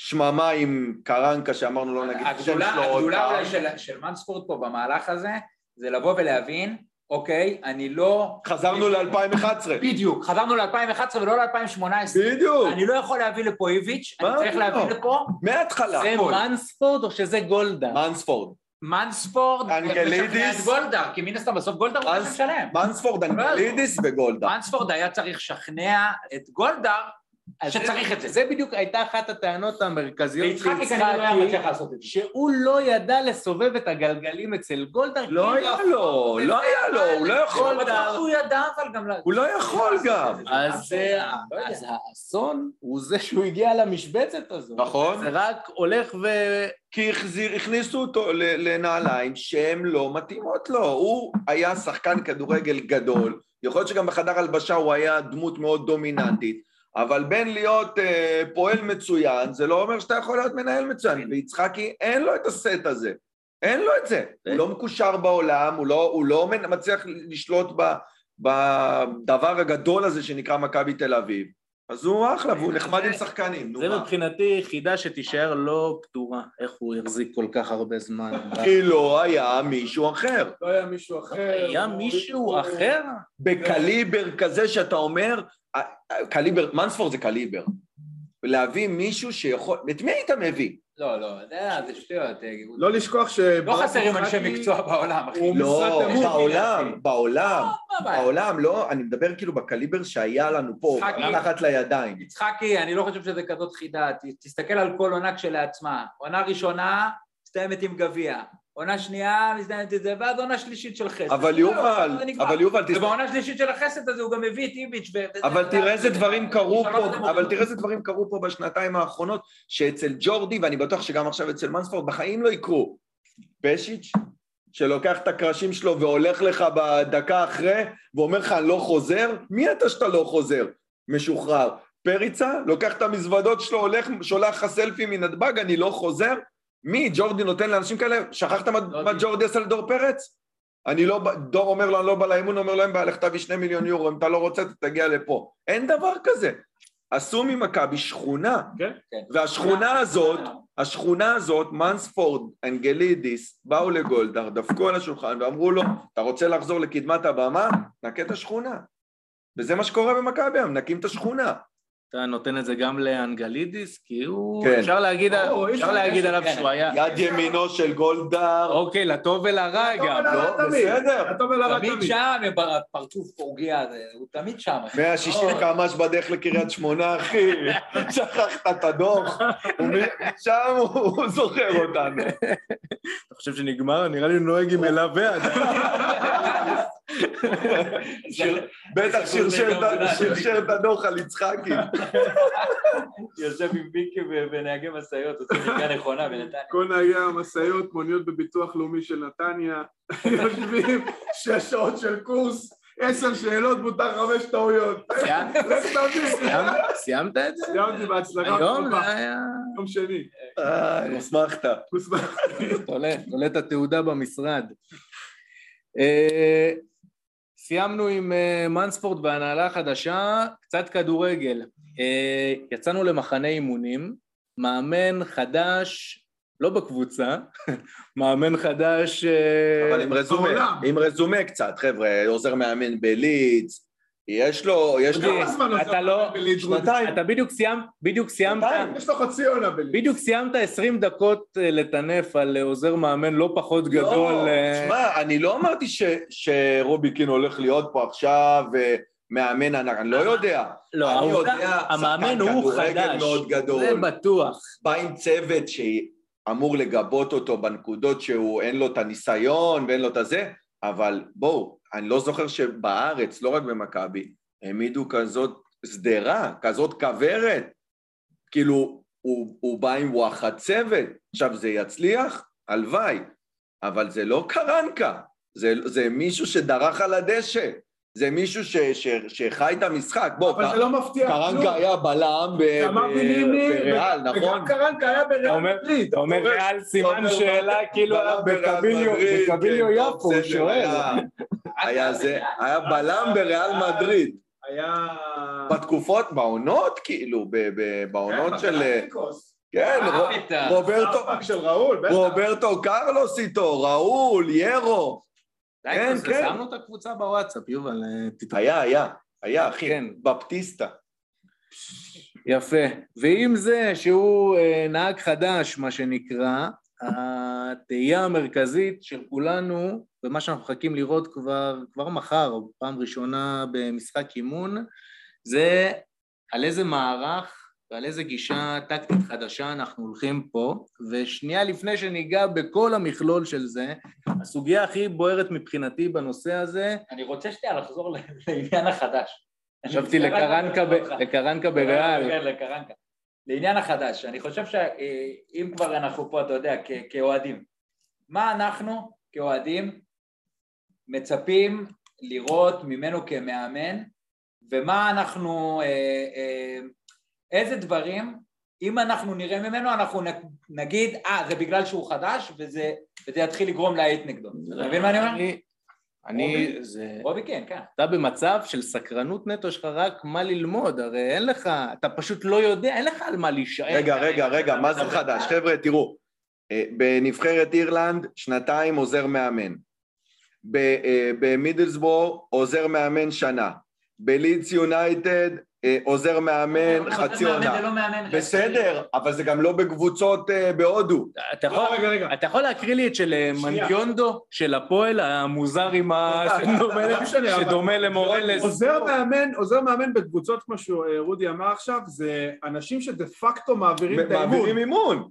Speaker 2: שממה עם קרנקה שאמרנו לא נגיד את השם
Speaker 3: הגדולה-
Speaker 2: שלו עוד
Speaker 3: הגדולה
Speaker 2: פעם.
Speaker 3: אולי של- של מנספורד פה במהלך הזה, זה לבוא ולהבין, אוקיי, אני לא...
Speaker 2: חזרנו ל-2011.
Speaker 3: בדיוק, חזרנו ל-2011 ולא ל-2018.
Speaker 2: בדיוק,
Speaker 3: אני לא יכול להביא לפה איביץ', אני
Speaker 2: מה
Speaker 3: צריך
Speaker 2: לא?
Speaker 3: להביא לפה
Speaker 2: מההתחלה.
Speaker 1: זה מנספורד או שזה גולדה?
Speaker 2: מנספורד.
Speaker 3: מנספורד,
Speaker 2: אנגלידיס.
Speaker 3: משכנע את גולדהר, כי מן הסתם בסוף גולדהר הוא
Speaker 2: מנס-
Speaker 3: זה שמשלם.
Speaker 2: מנספורד, אנגלידיס וגולדה.
Speaker 3: מנספורד היה צריך לשכנע את גולדהר
Speaker 1: אז זה-
Speaker 3: שצריך את זה.
Speaker 1: זה בדיוק הייתה אחת הטענות המרכזיות של
Speaker 3: ויצחקי כנראה לא היה מצליח לעשות את זה.
Speaker 1: שהוא לא ידע לסובב את הגלגלים אצל גולדהר. כאילו-
Speaker 2: לא
Speaker 1: כי
Speaker 2: היה
Speaker 1: הוא-
Speaker 2: לו, לא היה לו, הוא לא יכול
Speaker 3: אבל
Speaker 2: גם.
Speaker 3: הוא ידע אבל גם... לה-
Speaker 2: הוא לא יכול גם.
Speaker 1: אז אה,
Speaker 3: לא יודע.
Speaker 1: אז האסון הוא זה שהוא הגיע למשבצת הזו.
Speaker 2: נכון.
Speaker 1: זה רק הולך ו...
Speaker 2: כי החזיר, הכניסו אותו ל- לנעליים שהן לא מתאימות לו. הוא היה שחקן כדורגל גדול, יכול להיות שגם בחדר הלבשה הוא היה דמות מאוד דומיננטית, אבל בין להיות אה, פועל מצוין, זה לא אומר שאתה יכול להיות מנהל מצוין. ויצחקי, אין לו את הסט הזה. אין לו את זה. הוא לא מקושר בעולם, הוא לא, הוא לא מנ- מצליח לשלוט ב, בדבר הגדול הזה שנקרא מכבי תל אביב. אז הוא אחלה, והוא נחמד עם שחקנים, נו
Speaker 1: זה
Speaker 2: מה.
Speaker 1: מבחינתי יחידה שתישאר לא פתורה, איך הוא החזיק כל כך הרבה זמן.
Speaker 2: כי לא היה מישהו אחר.
Speaker 4: לא היה מישהו אחר.
Speaker 1: היה
Speaker 4: הוא-
Speaker 1: מישהו
Speaker 4: הוא-
Speaker 1: אחר?
Speaker 2: בקליבר כזה שאתה אומר, אה, אה, קליבר, מנספורד זה קליבר. להביא מישהו שיכול, את מי היית מביא?
Speaker 3: לא, לא, זה- זה שטויות. לא,
Speaker 4: לא לשכוח ש...
Speaker 3: לא חסרים אנשי מקצוע בעולם, אחי.
Speaker 4: הוא-
Speaker 2: לא,
Speaker 4: משחק דמות,
Speaker 2: בעולם,
Speaker 3: לדעתי.
Speaker 2: בעולם,
Speaker 3: מה הבעיה?
Speaker 2: בעולם, לא, אני מדבר כאילו בקליבר שהיה לנו פה,
Speaker 3: משחק
Speaker 2: מתחת לידיים.
Speaker 3: יצחקי, אני לא חושב שזה כזאת חידה, ת- תסתכל על כל עונה כשלעצמה. עונה ראשונה, מסתיימת עם גביע. עונה שנייה, מסתיימת את זה, ואז עונה שלישית של חסד.
Speaker 2: אבל
Speaker 3: זהו,
Speaker 2: יובל,
Speaker 3: זה נגמר.
Speaker 2: אבל יובל, תס-
Speaker 3: ובעונה השלישית של החסד הזה הוא גם הביא את איביץ' ו... וזה-
Speaker 2: אבל
Speaker 3: זה-
Speaker 2: תראה איזה
Speaker 3: זה-
Speaker 2: דברים קרו
Speaker 3: זה-
Speaker 2: פה, אבל
Speaker 3: זה-
Speaker 2: תראה איזה דברים קרו פה בשנתיים האחרונות, שאצל ג'ורדי, ואני בטוח שגם עכשיו אצל מנספורד, בחיים לא יקרו. פשיץ', שלוקח את הקרשים שלו והולך לך בדקה אחרי, ואומר לך, אני לא חוזר? מי אתה שאתה לא חוזר? משוחרר. פריצה, לוקח את המזוודות שלו, הולך, שולח לך סלפי מנתב"ג, אני לא חוזר? מי? ג'ורדי נותן לאנשים כאלה? שכחת מה,
Speaker 3: לא
Speaker 2: מה
Speaker 3: יודע.
Speaker 2: ג'ורדי עשה לדור פרץ? אני לא, בא- דור אומר לו, אני לא בא לאימון, אומר לו, אין בעיה, לך תביא שני מיליון יורו, אם אתה לא רוצה, אתה תגיע לפה. אין דבר כזה. עשו ממכבי שכונה,
Speaker 4: כן.
Speaker 3: כן.
Speaker 2: והשכונה הזאת, השכונה הזאת, מנספורד, אנגלידיס, באו לגולדהר, דפקו על השולחן ואמרו לו, אתה רוצה לחזור לקדמת הבמה? נקה את השכונה. וזה מה שקורה במכבי היום, נקים את השכונה.
Speaker 1: אתה נותן את זה גם לאנגלידיס? כי הוא...
Speaker 2: כן.
Speaker 1: אפשר להגיד,
Speaker 4: או, אי
Speaker 1: אפשר
Speaker 4: אפשר
Speaker 1: להגיד
Speaker 3: להגיד
Speaker 1: עליו
Speaker 3: שכן.
Speaker 1: שהוא היה...
Speaker 2: יד ימינו של גולדהר,
Speaker 1: אוקיי, לטוב ולרע גם.
Speaker 2: לא, בסדר.
Speaker 4: אתה מלרע
Speaker 3: תמיד
Speaker 4: תמיד.
Speaker 3: שם, עם הפרצוף פורגיה הזה, הוא תמיד שם. אחי.
Speaker 2: 160
Speaker 3: לא,
Speaker 2: קמ"ש בדרך לקריית שמונה, אחי, שכחת את הדוח, שם הוא זוכר אותנו.
Speaker 1: אתה חושב שנגמר? נראה לי הוא נוהג עם אליו ועד.
Speaker 2: שיר- בטח שרשר את- שרשר את הדוח על יצחקי.
Speaker 3: יושב עם מיקי ו- ונהגי משאיות, עושה נהיגה נכונה בנתניה.
Speaker 4: כל נהגי המשאיות, מוניות בביטוח לאומי של נתניה, יושבים שש שעות של קורס, עשר שאלות, מותר חמש טעויות.
Speaker 1: סיימת?
Speaker 4: לך תביא.
Speaker 1: סיימת- סיימת את זה?
Speaker 4: סיימתי בהצלחה.
Speaker 1: היום זה
Speaker 4: רבה.
Speaker 1: היה...
Speaker 4: יום שני.
Speaker 2: אה, נסמכת.
Speaker 4: חוץ מה-
Speaker 1: תולה, תולה את התעודה במשרד. אה, סיימנו עם אה, מנספורד והנהלה החדשה, קצת כדורגל. אה, יצאנו למחנה אימונים, מאמן חדש, לא בקבוצה, מאמן חדש... אה,
Speaker 2: אבל עם רזומה,
Speaker 4: בעולם.
Speaker 2: עם רזומה קצת, חבר'ה, עוזר מאמן בלידס, יש לו, יש לו...
Speaker 1: דודי,
Speaker 4: כמה זמן עושה
Speaker 1: אתה לא...
Speaker 4: בלידרוד?
Speaker 2: שנתיים.
Speaker 1: אתה בדיוק סיימת, בדיוק סיימת,
Speaker 2: שנתיים.
Speaker 4: יש לו חצי עונה בלידרוד.
Speaker 1: בדיוק סיימת 20 דקות אה, לטנף על אה, עוזר מאמן לא פחות גדול.
Speaker 2: לא,
Speaker 1: אה,
Speaker 2: תשמע, אני לא אמרתי ש- שרוביקין הולך להיות פה עכשיו אה, מאמן ענק, אני לא יודע.
Speaker 1: לא,
Speaker 2: אני
Speaker 1: העובדה-
Speaker 2: יודע,
Speaker 1: המאמן
Speaker 2: שחקן
Speaker 1: הוא
Speaker 2: כדורגל
Speaker 1: חדש,
Speaker 2: מאוד גדול.
Speaker 1: זה בטוח.
Speaker 2: בא עם צוות שאמור לגבות אותו בנקודות שהוא, אין לו את הניסיון ואין לו את הזה, אבל בואו, אני לא זוכר שבארץ, לא רק במכבי, העמידו כזאת שדרה, כזאת כוורת. כאילו, הוא, הוא בא עם וואחד צוות. עכשיו, זה יצליח? הלוואי. אבל זה לא קרנקה, זה, זה מישהו שדרך על הדשא. זה מישהו ש, ש, שחי את המשחק. בוא,
Speaker 4: אבל זה לא מפתיע.
Speaker 2: קרנקה היה בלם ב-
Speaker 4: כלום. אמר
Speaker 2: ב-
Speaker 4: ביניני,
Speaker 2: בריאל, נכון?
Speaker 4: וגם קרנקה היה
Speaker 1: אתה
Speaker 4: בריאל
Speaker 1: אומר-
Speaker 4: מדריד.
Speaker 1: אתה אומר ריאל סימן
Speaker 2: אומר,
Speaker 1: שאלה כאילו
Speaker 2: בלם
Speaker 1: עליו
Speaker 2: בריאל
Speaker 1: בקביליו
Speaker 2: מדריד,
Speaker 1: בקביליו
Speaker 2: כן,
Speaker 1: יפו, הוא
Speaker 2: בסדר,
Speaker 1: שואל.
Speaker 2: היה- היה זה, היה בלם בריאל מדריד.
Speaker 4: היה...
Speaker 2: בתקופות, בעונות כאילו, ב- ב- בעונות
Speaker 4: כן,
Speaker 2: של...
Speaker 4: בקלאסיקוס.
Speaker 2: כן, רו-
Speaker 3: מה פתאום?
Speaker 2: רוברטו,
Speaker 4: הפאק של ראול, בטח.
Speaker 2: רוברטו קרלוס איתו, ראול, ירו.
Speaker 1: די,
Speaker 2: כן,
Speaker 1: כבר
Speaker 2: כן.
Speaker 1: שמנו את הקבוצה בוואטסאפ, יובל, אה, תתראה.
Speaker 2: היה, היה, היה, אחי,
Speaker 1: כן.
Speaker 2: בפטיסטה.
Speaker 1: יפה. ועם זה שהוא אה, נהג חדש, מה שנקרא, התהייה המרכזית של כולנו, ומה שאנחנו מחכים לראות כבר, כבר מחר, פעם ראשונה במשחק אימון, זה על איזה מערך ועל איזה גישה טקטית חדשה אנחנו הולכים פה, ושנייה לפני שניגע בכל המכלול של זה, הסוגיה הכי בוערת מבחינתי בנושא הזה,
Speaker 3: אני רוצה שנייה לחזור ל- לעניין החדש.
Speaker 1: חשבתי
Speaker 3: אני
Speaker 1: לקרנקה, ב-
Speaker 3: אותך.
Speaker 1: לקרנקה בריאל,
Speaker 3: כן, לקרנקה. לעניין החדש, אני חושב שאם כבר אנחנו פה, אתה יודע, כ- כאוהדים, מה אנחנו כאוהדים מצפים לראות ממנו כמאמן, ומה אנחנו, אה, אה, איזה דברים, אם אנחנו נראה ממנו, אנחנו נ- נגיד, אה, זה בגלל שהוא חדש, וזה, וזה יתחיל לגרום להיט נגדו. אתה מבין מה אני אומר?
Speaker 1: אני- אני,
Speaker 3: רובי.
Speaker 1: זה...
Speaker 3: רובי כן, כן.
Speaker 1: אתה במצב של סקרנות נטו, יש לך רק מה ללמוד, הרי אין לך, אתה פשוט לא יודע, אין לך על מה להישאר.
Speaker 2: רגע, רגע, רגע, מה זה חדש? חבר'ה, תראו, אה, בנבחרת אירלנד, שנתיים עוזר מאמן. ב- אה, במידלסבור, עוזר מאמן שנה. בלידס יונייטד, אה, עוזר מאמן,
Speaker 3: אבל
Speaker 2: כן, חצי
Speaker 3: מאמן זה
Speaker 2: עונה.
Speaker 3: לא מאמן, חצי
Speaker 2: בסדר, אבל זה גם לא בקבוצות אה, בהודו.
Speaker 1: אתה יכול,
Speaker 4: לא, רגע, רגע.
Speaker 1: אתה יכול להקריא לי את של אה,
Speaker 4: שנייה.
Speaker 1: מנקיונדו, של הפועל, המוזר עם ה...
Speaker 4: לא משנה, אבל-
Speaker 1: שדומה למורלס.
Speaker 4: עוזר מאמן, עוזר מאמן בקבוצות, כמו שרודי אמר עכשיו, זה אנשים שדה פקטו מעבירים את האימון.
Speaker 2: מעבירים אימון.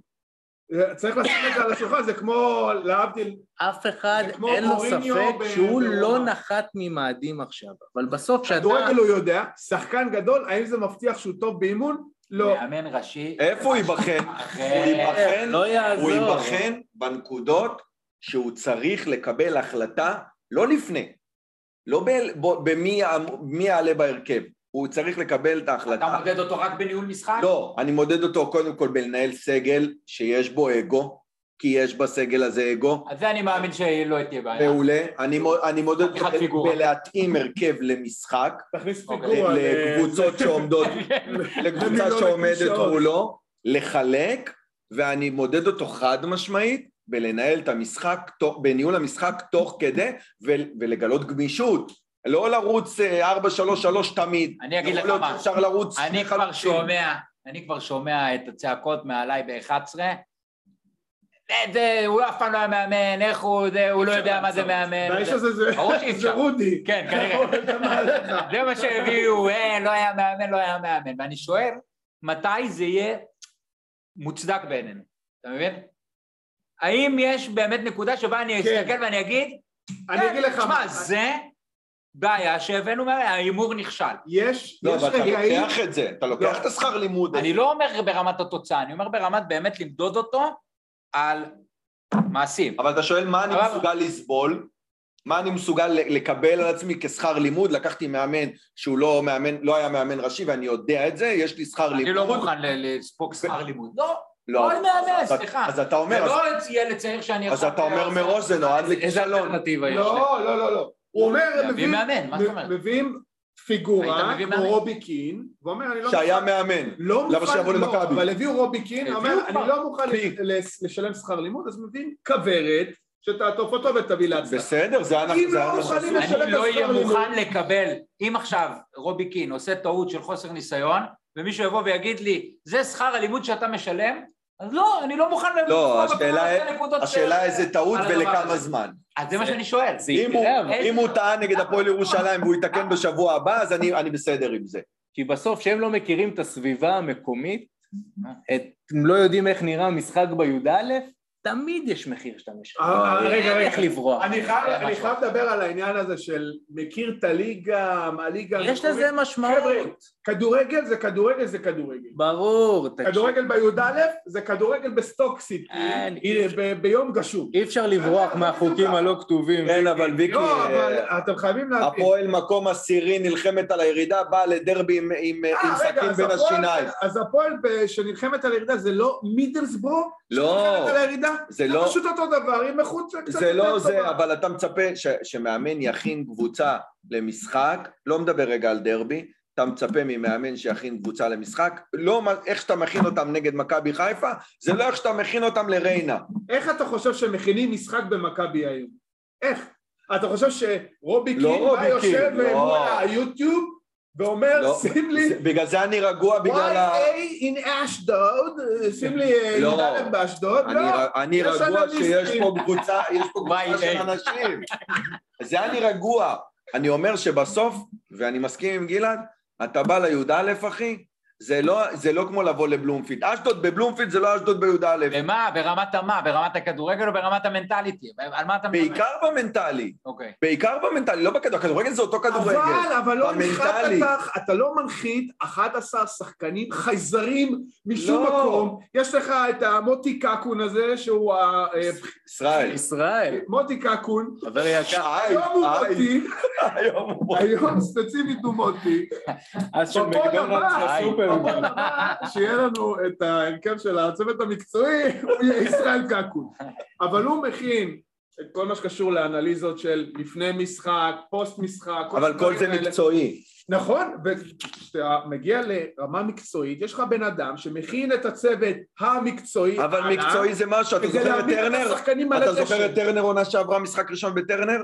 Speaker 4: צריך לשים את זה על השולחן, זה כמו, להבדיל,
Speaker 1: אף אחד,
Speaker 4: זה כמו
Speaker 1: אין לו
Speaker 4: מוריניו
Speaker 1: ספק
Speaker 4: ב-
Speaker 1: שהוא
Speaker 4: ברומא.
Speaker 1: לא נחת ממאדים עכשיו, אבל בסוף שאתה...
Speaker 4: דואגל הוא יודע, שחקן גדול, האם זה מבטיח שהוא טוב באימון? לא.
Speaker 3: מאמן ראשי.
Speaker 2: איפה הוא ייבחן? הוא ייבחן,
Speaker 1: לא יעזור.
Speaker 2: הוא ייבחן בנקודות שהוא צריך לקבל החלטה לא לפני, לא ב- ב- במי יע- מי יעלה בהרכב, הוא צריך לקבל את
Speaker 3: אתה
Speaker 2: ההחלטה.
Speaker 3: מודד אותו רק בניהול משחק?
Speaker 2: לא, אני מודד אותו קודם כל בלנהל סגל שיש בו אגו, כי יש בסגל הזה אגו,
Speaker 3: אז זה אני מאמין שלא תהיה בעיה.
Speaker 2: מעולה, אני מו- אני מודד אותו
Speaker 3: אה, חתיכת
Speaker 2: ב-
Speaker 3: פיגורה.
Speaker 2: בלהתאים הרכב למשחק,
Speaker 4: תכניס אה,
Speaker 3: אוקיי.
Speaker 4: פיגורה. ל-
Speaker 2: לקבוצות שעומדות לקבוצה
Speaker 4: למילון
Speaker 2: שעומדת
Speaker 4: הקלישאות.
Speaker 2: מולו, לחלק, ואני מודד אותו חד משמעית בלנהל את המשחק, תוך- בניהול המשחק תוך כדי, ול- ולגלות גמישות. לא לרוץ אה, 4-3-3 תמיד.
Speaker 3: אני אגיד
Speaker 2: יכול
Speaker 3: לך
Speaker 2: להיות
Speaker 3: מה.
Speaker 2: שאפשר לרוץ
Speaker 3: אני
Speaker 2: שני
Speaker 3: כבר
Speaker 2: חלוצים.
Speaker 3: שומע, אני כבר שומע את הצעקות מעליי ב-11. זה, הוא אף פעם לא היה מאמן, איך הוא, זה, הוא לא יודע מה זה מאמן.
Speaker 4: והאיש
Speaker 3: זה-
Speaker 4: הזה זה-
Speaker 3: ברור שאי
Speaker 4: זה
Speaker 3: אפשר.
Speaker 4: רודי. אוקיי,
Speaker 3: כן, כנראה.
Speaker 4: אתה מעליך.
Speaker 3: זה מה שהביאו, אה, לא היה מאמן, לא היה מאמן. ואני שואל, מתי זה יהיה מוצדק בעינינו? אתה מבין? האם יש באמת נקודה שבה אני
Speaker 4: כן.
Speaker 3: אסתכל ואני אגיד,
Speaker 4: אני אגיד לך
Speaker 3: מה,
Speaker 4: מה,
Speaker 3: זה בעיה שהבאנו, מה- ההימור נכשל.
Speaker 4: יש
Speaker 2: לא,
Speaker 4: יש
Speaker 2: אבל אתה
Speaker 4: רגעים,
Speaker 2: לוקח את זה, אתה לוקח
Speaker 4: לא.
Speaker 2: את השכר לימוד. הזה.
Speaker 3: אני לא אומר ברמת התוצאה, אני אומר ברמת באמת למדוד אותו על מעשים.
Speaker 2: אבל אתה שואל מה אני
Speaker 3: אבל-
Speaker 2: מסוגל לסבול, מה אני מסוגל ל- לקבל על עצמי כשכר לימוד, לקחתי מאמן שהוא לא מאמן, לא היה מאמן ראשי ואני יודע את זה, יש לי שכר לימוד.
Speaker 3: אני לא מוכן ל- לספוג שכר לימוד. לא,
Speaker 2: לא,
Speaker 3: כל מאמן,
Speaker 2: אז אתה-
Speaker 3: סליחה.
Speaker 2: אז אתה
Speaker 3: זה
Speaker 2: אומר, אז-
Speaker 3: לא ילד צעיר שאני
Speaker 2: אז
Speaker 3: עכשיו-
Speaker 2: אתה אומר מראש זה נועד
Speaker 1: איזה
Speaker 2: לכישלון.
Speaker 1: אלטרנטיבה יש להם?
Speaker 4: לא, לא, לא, לא. הוא אומר,
Speaker 3: להביא
Speaker 4: מביאים-
Speaker 3: מאמן, מה זאת אומרת?
Speaker 4: מביאים
Speaker 3: היית
Speaker 4: פיגורה,
Speaker 3: מביא
Speaker 4: כמו
Speaker 3: מאמן.
Speaker 4: רובי קין, ואומר,
Speaker 3: נכון.
Speaker 4: אני לא
Speaker 2: שהיה מאמן.
Speaker 4: לא
Speaker 2: למה
Speaker 4: מוכן,
Speaker 2: שיבוא
Speaker 4: לא,
Speaker 2: למכבי?
Speaker 4: אבל הביאו רובי קין,
Speaker 3: הביאו
Speaker 4: אומר, אני
Speaker 3: כבר.
Speaker 4: לא מוכן
Speaker 2: מספיק.
Speaker 4: לש- לשלם שכר לימוד, אז מביאים כוורת שתעטוף אותו ותביא להצלחה.
Speaker 2: בסדר, זה אנחנו...
Speaker 4: אם
Speaker 2: זה
Speaker 4: לא
Speaker 2: אנחנו-
Speaker 4: מוכנים לשלם-
Speaker 3: אני לא אהיה
Speaker 4: שכר לימוד.
Speaker 3: מוכן לקבל, אם עכשיו רובי קין עושה טעות של חוסר ניסיון, ומישהו יבוא ויגיד לי, זה שכר הלימוד שאתה משלם, אז לא, אני לא מוכן
Speaker 2: לא,
Speaker 3: לפגוע
Speaker 2: השאלה-
Speaker 3: בכל הנקודות
Speaker 2: השאלה
Speaker 3: ש-
Speaker 2: איזה טעות
Speaker 3: על הדבר
Speaker 2: ולכמה
Speaker 3: הזה.
Speaker 2: זמן.
Speaker 3: אז זה מה
Speaker 1: זה-
Speaker 3: שאני שואל.
Speaker 1: זה
Speaker 2: אם הוא-
Speaker 1: יקרה, אבל-
Speaker 3: איזה-
Speaker 2: אם הוא טעה נגד הפועל ירושלים והוא יתקן בשבוע הבא, אז אני אני בסדר עם זה.
Speaker 1: כי בסוף, כשהם לא מכירים את הסביבה המקומית, את, הם לא יודעים איך נראה המשחק בי"א, תמיד יש מחיר שאתה משלם.
Speaker 4: אה,
Speaker 1: אין
Speaker 4: רגע, רגע.
Speaker 1: איך לברוח.
Speaker 4: אני חייב-
Speaker 2: אה,
Speaker 3: זה
Speaker 4: אני
Speaker 3: משהו
Speaker 4: חייב
Speaker 3: אחר.
Speaker 4: לדבר על העניין הזה של מכיר את הליגה, מהליגה...
Speaker 1: יש
Speaker 4: המקומית.
Speaker 1: לזה
Speaker 4: חבר'ה,
Speaker 1: משמעות.
Speaker 4: כדורגל זה כדורגל זה כדורגל.
Speaker 1: ברור, תקשיב.
Speaker 4: כדורגל בי"א זה כדורגל בסטוק סיטי,
Speaker 1: אה, אני-
Speaker 4: אה, ב- ביום גשום.
Speaker 1: אי אפשר לברוח מהחוקים הלא כתובים.
Speaker 2: כן, אבל ויקי,
Speaker 4: לא, אבל
Speaker 2: אה,
Speaker 4: אתם חייבים להבין.
Speaker 2: הפועל מקום עשירי נלחמת על הירידה, באה לדרבי עם- עם
Speaker 4: אה,
Speaker 2: עם
Speaker 4: רגע,
Speaker 2: סכין
Speaker 4: אז
Speaker 2: בין
Speaker 4: הפועל-
Speaker 2: השיניים.
Speaker 4: אז הפועל ב- שנלחמת על הירידה זה לא מידלסבורו?
Speaker 2: לא,
Speaker 4: שנלחמת על הירידה?
Speaker 2: זה לא...
Speaker 4: פשוט אותו דבר, עם איכות קצת
Speaker 2: זה
Speaker 4: יותר
Speaker 2: לא זה,
Speaker 4: טובה.
Speaker 2: אבל אתה מצפה ש, שמאמן יכין קבוצה למשחק, לא מדבר רגע על דרבי, אתה מצפה ממאמן שיכין קבוצה למשחק, לא מה- איך שאתה מכין אותם נגד מכבי חיפה, זה לא איך שאתה מכין אותם לריינה.
Speaker 4: איך אתה חושב שמכינים משחק במכבי היום? איך? אתה חושב שרובי
Speaker 2: לא
Speaker 4: קין בא
Speaker 2: רובי
Speaker 4: יושב
Speaker 2: קין,
Speaker 4: מול
Speaker 2: לא.
Speaker 4: היוטיוב ואומר,
Speaker 2: לא,
Speaker 4: שים לי
Speaker 2: זה- בגלל זה אני רגוע, בגלל ה...
Speaker 4: YA in אשדוד, שים לי אה,
Speaker 2: לא.
Speaker 4: י"א באשדוד,
Speaker 2: אני,
Speaker 4: לא.
Speaker 2: ר- אני
Speaker 4: יש
Speaker 2: רגוע
Speaker 4: אנליסטים.
Speaker 2: שיש פה קבוצה, יש פה
Speaker 3: וואי,
Speaker 2: קבוצה של
Speaker 3: אה.
Speaker 2: אנשים. זה אני רגוע. אני אומר שבסוף, ואני מסכים עם גלעד, אתה בא לי"א, אחי, זה לא, זה לא כמו לבוא לבלומפילד. אשדוד בבלומפילד זה לא אשדוד בי"א.
Speaker 3: במה? ברמת המה? ברמת הכדורגל או ברמת המנטליטי? על מה אתה מדבר?
Speaker 2: בעיקר במנטלי,
Speaker 3: אוקיי.
Speaker 2: בעיקר במנטלי, לא בכדורגל, הכדורגל זה אותו כדורגל.
Speaker 4: אבל, אבל לא
Speaker 2: במנטלי.
Speaker 4: הנחת אותך, אתה לא מנחית 11 שחקנים חייזרים משום
Speaker 2: לא.
Speaker 4: מקום. יש לך את המוטי קקון הזה, שהוא ה... אה,
Speaker 2: ישראל.
Speaker 1: ישראל,
Speaker 4: מוטי קקון, לא
Speaker 1: חבר יקר.
Speaker 2: איי,
Speaker 4: היום הוא
Speaker 2: איי,
Speaker 4: מוטי,
Speaker 2: היום הוא מוטי.
Speaker 4: היום ספציפית הוא מוטי.
Speaker 1: אז לא של
Speaker 4: בפוד
Speaker 1: מקדונלדס
Speaker 4: הבא,
Speaker 1: לסופר.
Speaker 4: בפוד הבא, שיהיה לנו את ההרכב של הצוות המקצועי, הוא יהיה ישראל קקון. אבל הוא מכין את כל מה שקשור לאנליזות של לפני משחק, פוסט משחק.
Speaker 2: אבל כל זה
Speaker 4: הדברים האלה.
Speaker 2: מקצועי.
Speaker 4: נכון, וכשאתה מגיע לרמה מקצועית, יש לך בן אדם שמכין את הצוות המקצועי.
Speaker 2: אבל
Speaker 4: הלאה,
Speaker 2: מקצועי זה משהו, אתה
Speaker 4: כדי
Speaker 2: זוכר את
Speaker 4: להעמיד את
Speaker 2: טרנר?
Speaker 4: השחקנים על
Speaker 2: אתה
Speaker 4: הדשא.
Speaker 2: זוכר את טרנר עונה שעברה משחק ראשון בטרנר?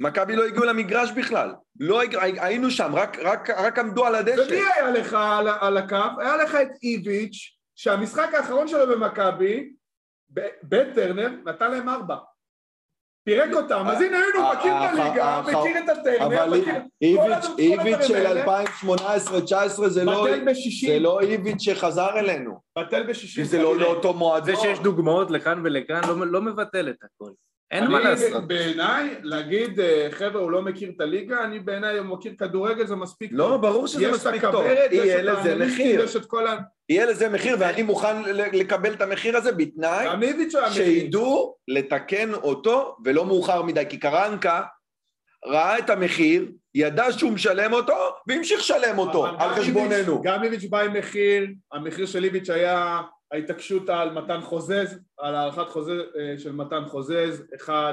Speaker 5: מכבי לא הגיעו למגרש בכלל. לא, הג- היינו שם, רק, רק, רק עמדו על הדשא.
Speaker 4: ומי היה לך על, על הקו? היה לך את איביץ', שהמשחק האחרון שלו במכבי, ב- בטרנר, נתן להם ארבע. פירק אותם, אז הנה היינו,
Speaker 2: ה-
Speaker 4: מכיר את
Speaker 2: ה-
Speaker 4: הליגה,
Speaker 2: ה-
Speaker 4: מכיר את הטרנר,
Speaker 2: אבל
Speaker 4: מכיר...
Speaker 2: איביץ'
Speaker 4: כל
Speaker 2: איביץ' של
Speaker 4: הדברים האלה.
Speaker 2: 2018-2019 זה לא...
Speaker 4: בטל
Speaker 2: זה
Speaker 4: בשישים,
Speaker 2: לא איביץ' שחזר אלינו,
Speaker 4: בטל בשישים.
Speaker 2: שזה לא לאותו מועדון.
Speaker 1: זה שיש דוגמאות לכאן ולכאן לא, לא מבטל את הכל. אין מה
Speaker 4: אני
Speaker 1: לעשות.
Speaker 4: בעיניי, להגיד, אה, חבר'ה, הוא לא מכיר את הליגה, אני בעיניי הוא מכיר כדורגל, זה מספיק
Speaker 5: לא,
Speaker 4: טוב.
Speaker 5: ברור שזה
Speaker 4: יש את
Speaker 5: מספיק טוב.
Speaker 4: הכוורת, יש
Speaker 5: יהיה
Speaker 4: את
Speaker 5: לזה
Speaker 4: האנליסטים,
Speaker 5: מחיר.
Speaker 4: יש את כל ה...
Speaker 5: יהיה לזה מחיר, ואני
Speaker 2: אני מוכן ל- לקבל את המחיר הזה בתנאי
Speaker 4: גם איביץ' היה מכיר.
Speaker 2: שידעו לתקן אותו ולא מאוחר מדי, כי קרנקה ראה את המחיר, ידע שהוא משלם אותו והמשיך לשלם אותו
Speaker 4: אבל גם
Speaker 2: על
Speaker 4: איביץ'-
Speaker 2: חשבוננו.
Speaker 4: גם איביץ' בא עם מחיר, המחיר של איביץ' היה ההתעקשות על מתן חוזז, על הארכת חוזה אה, של מתן חוזז, אחד.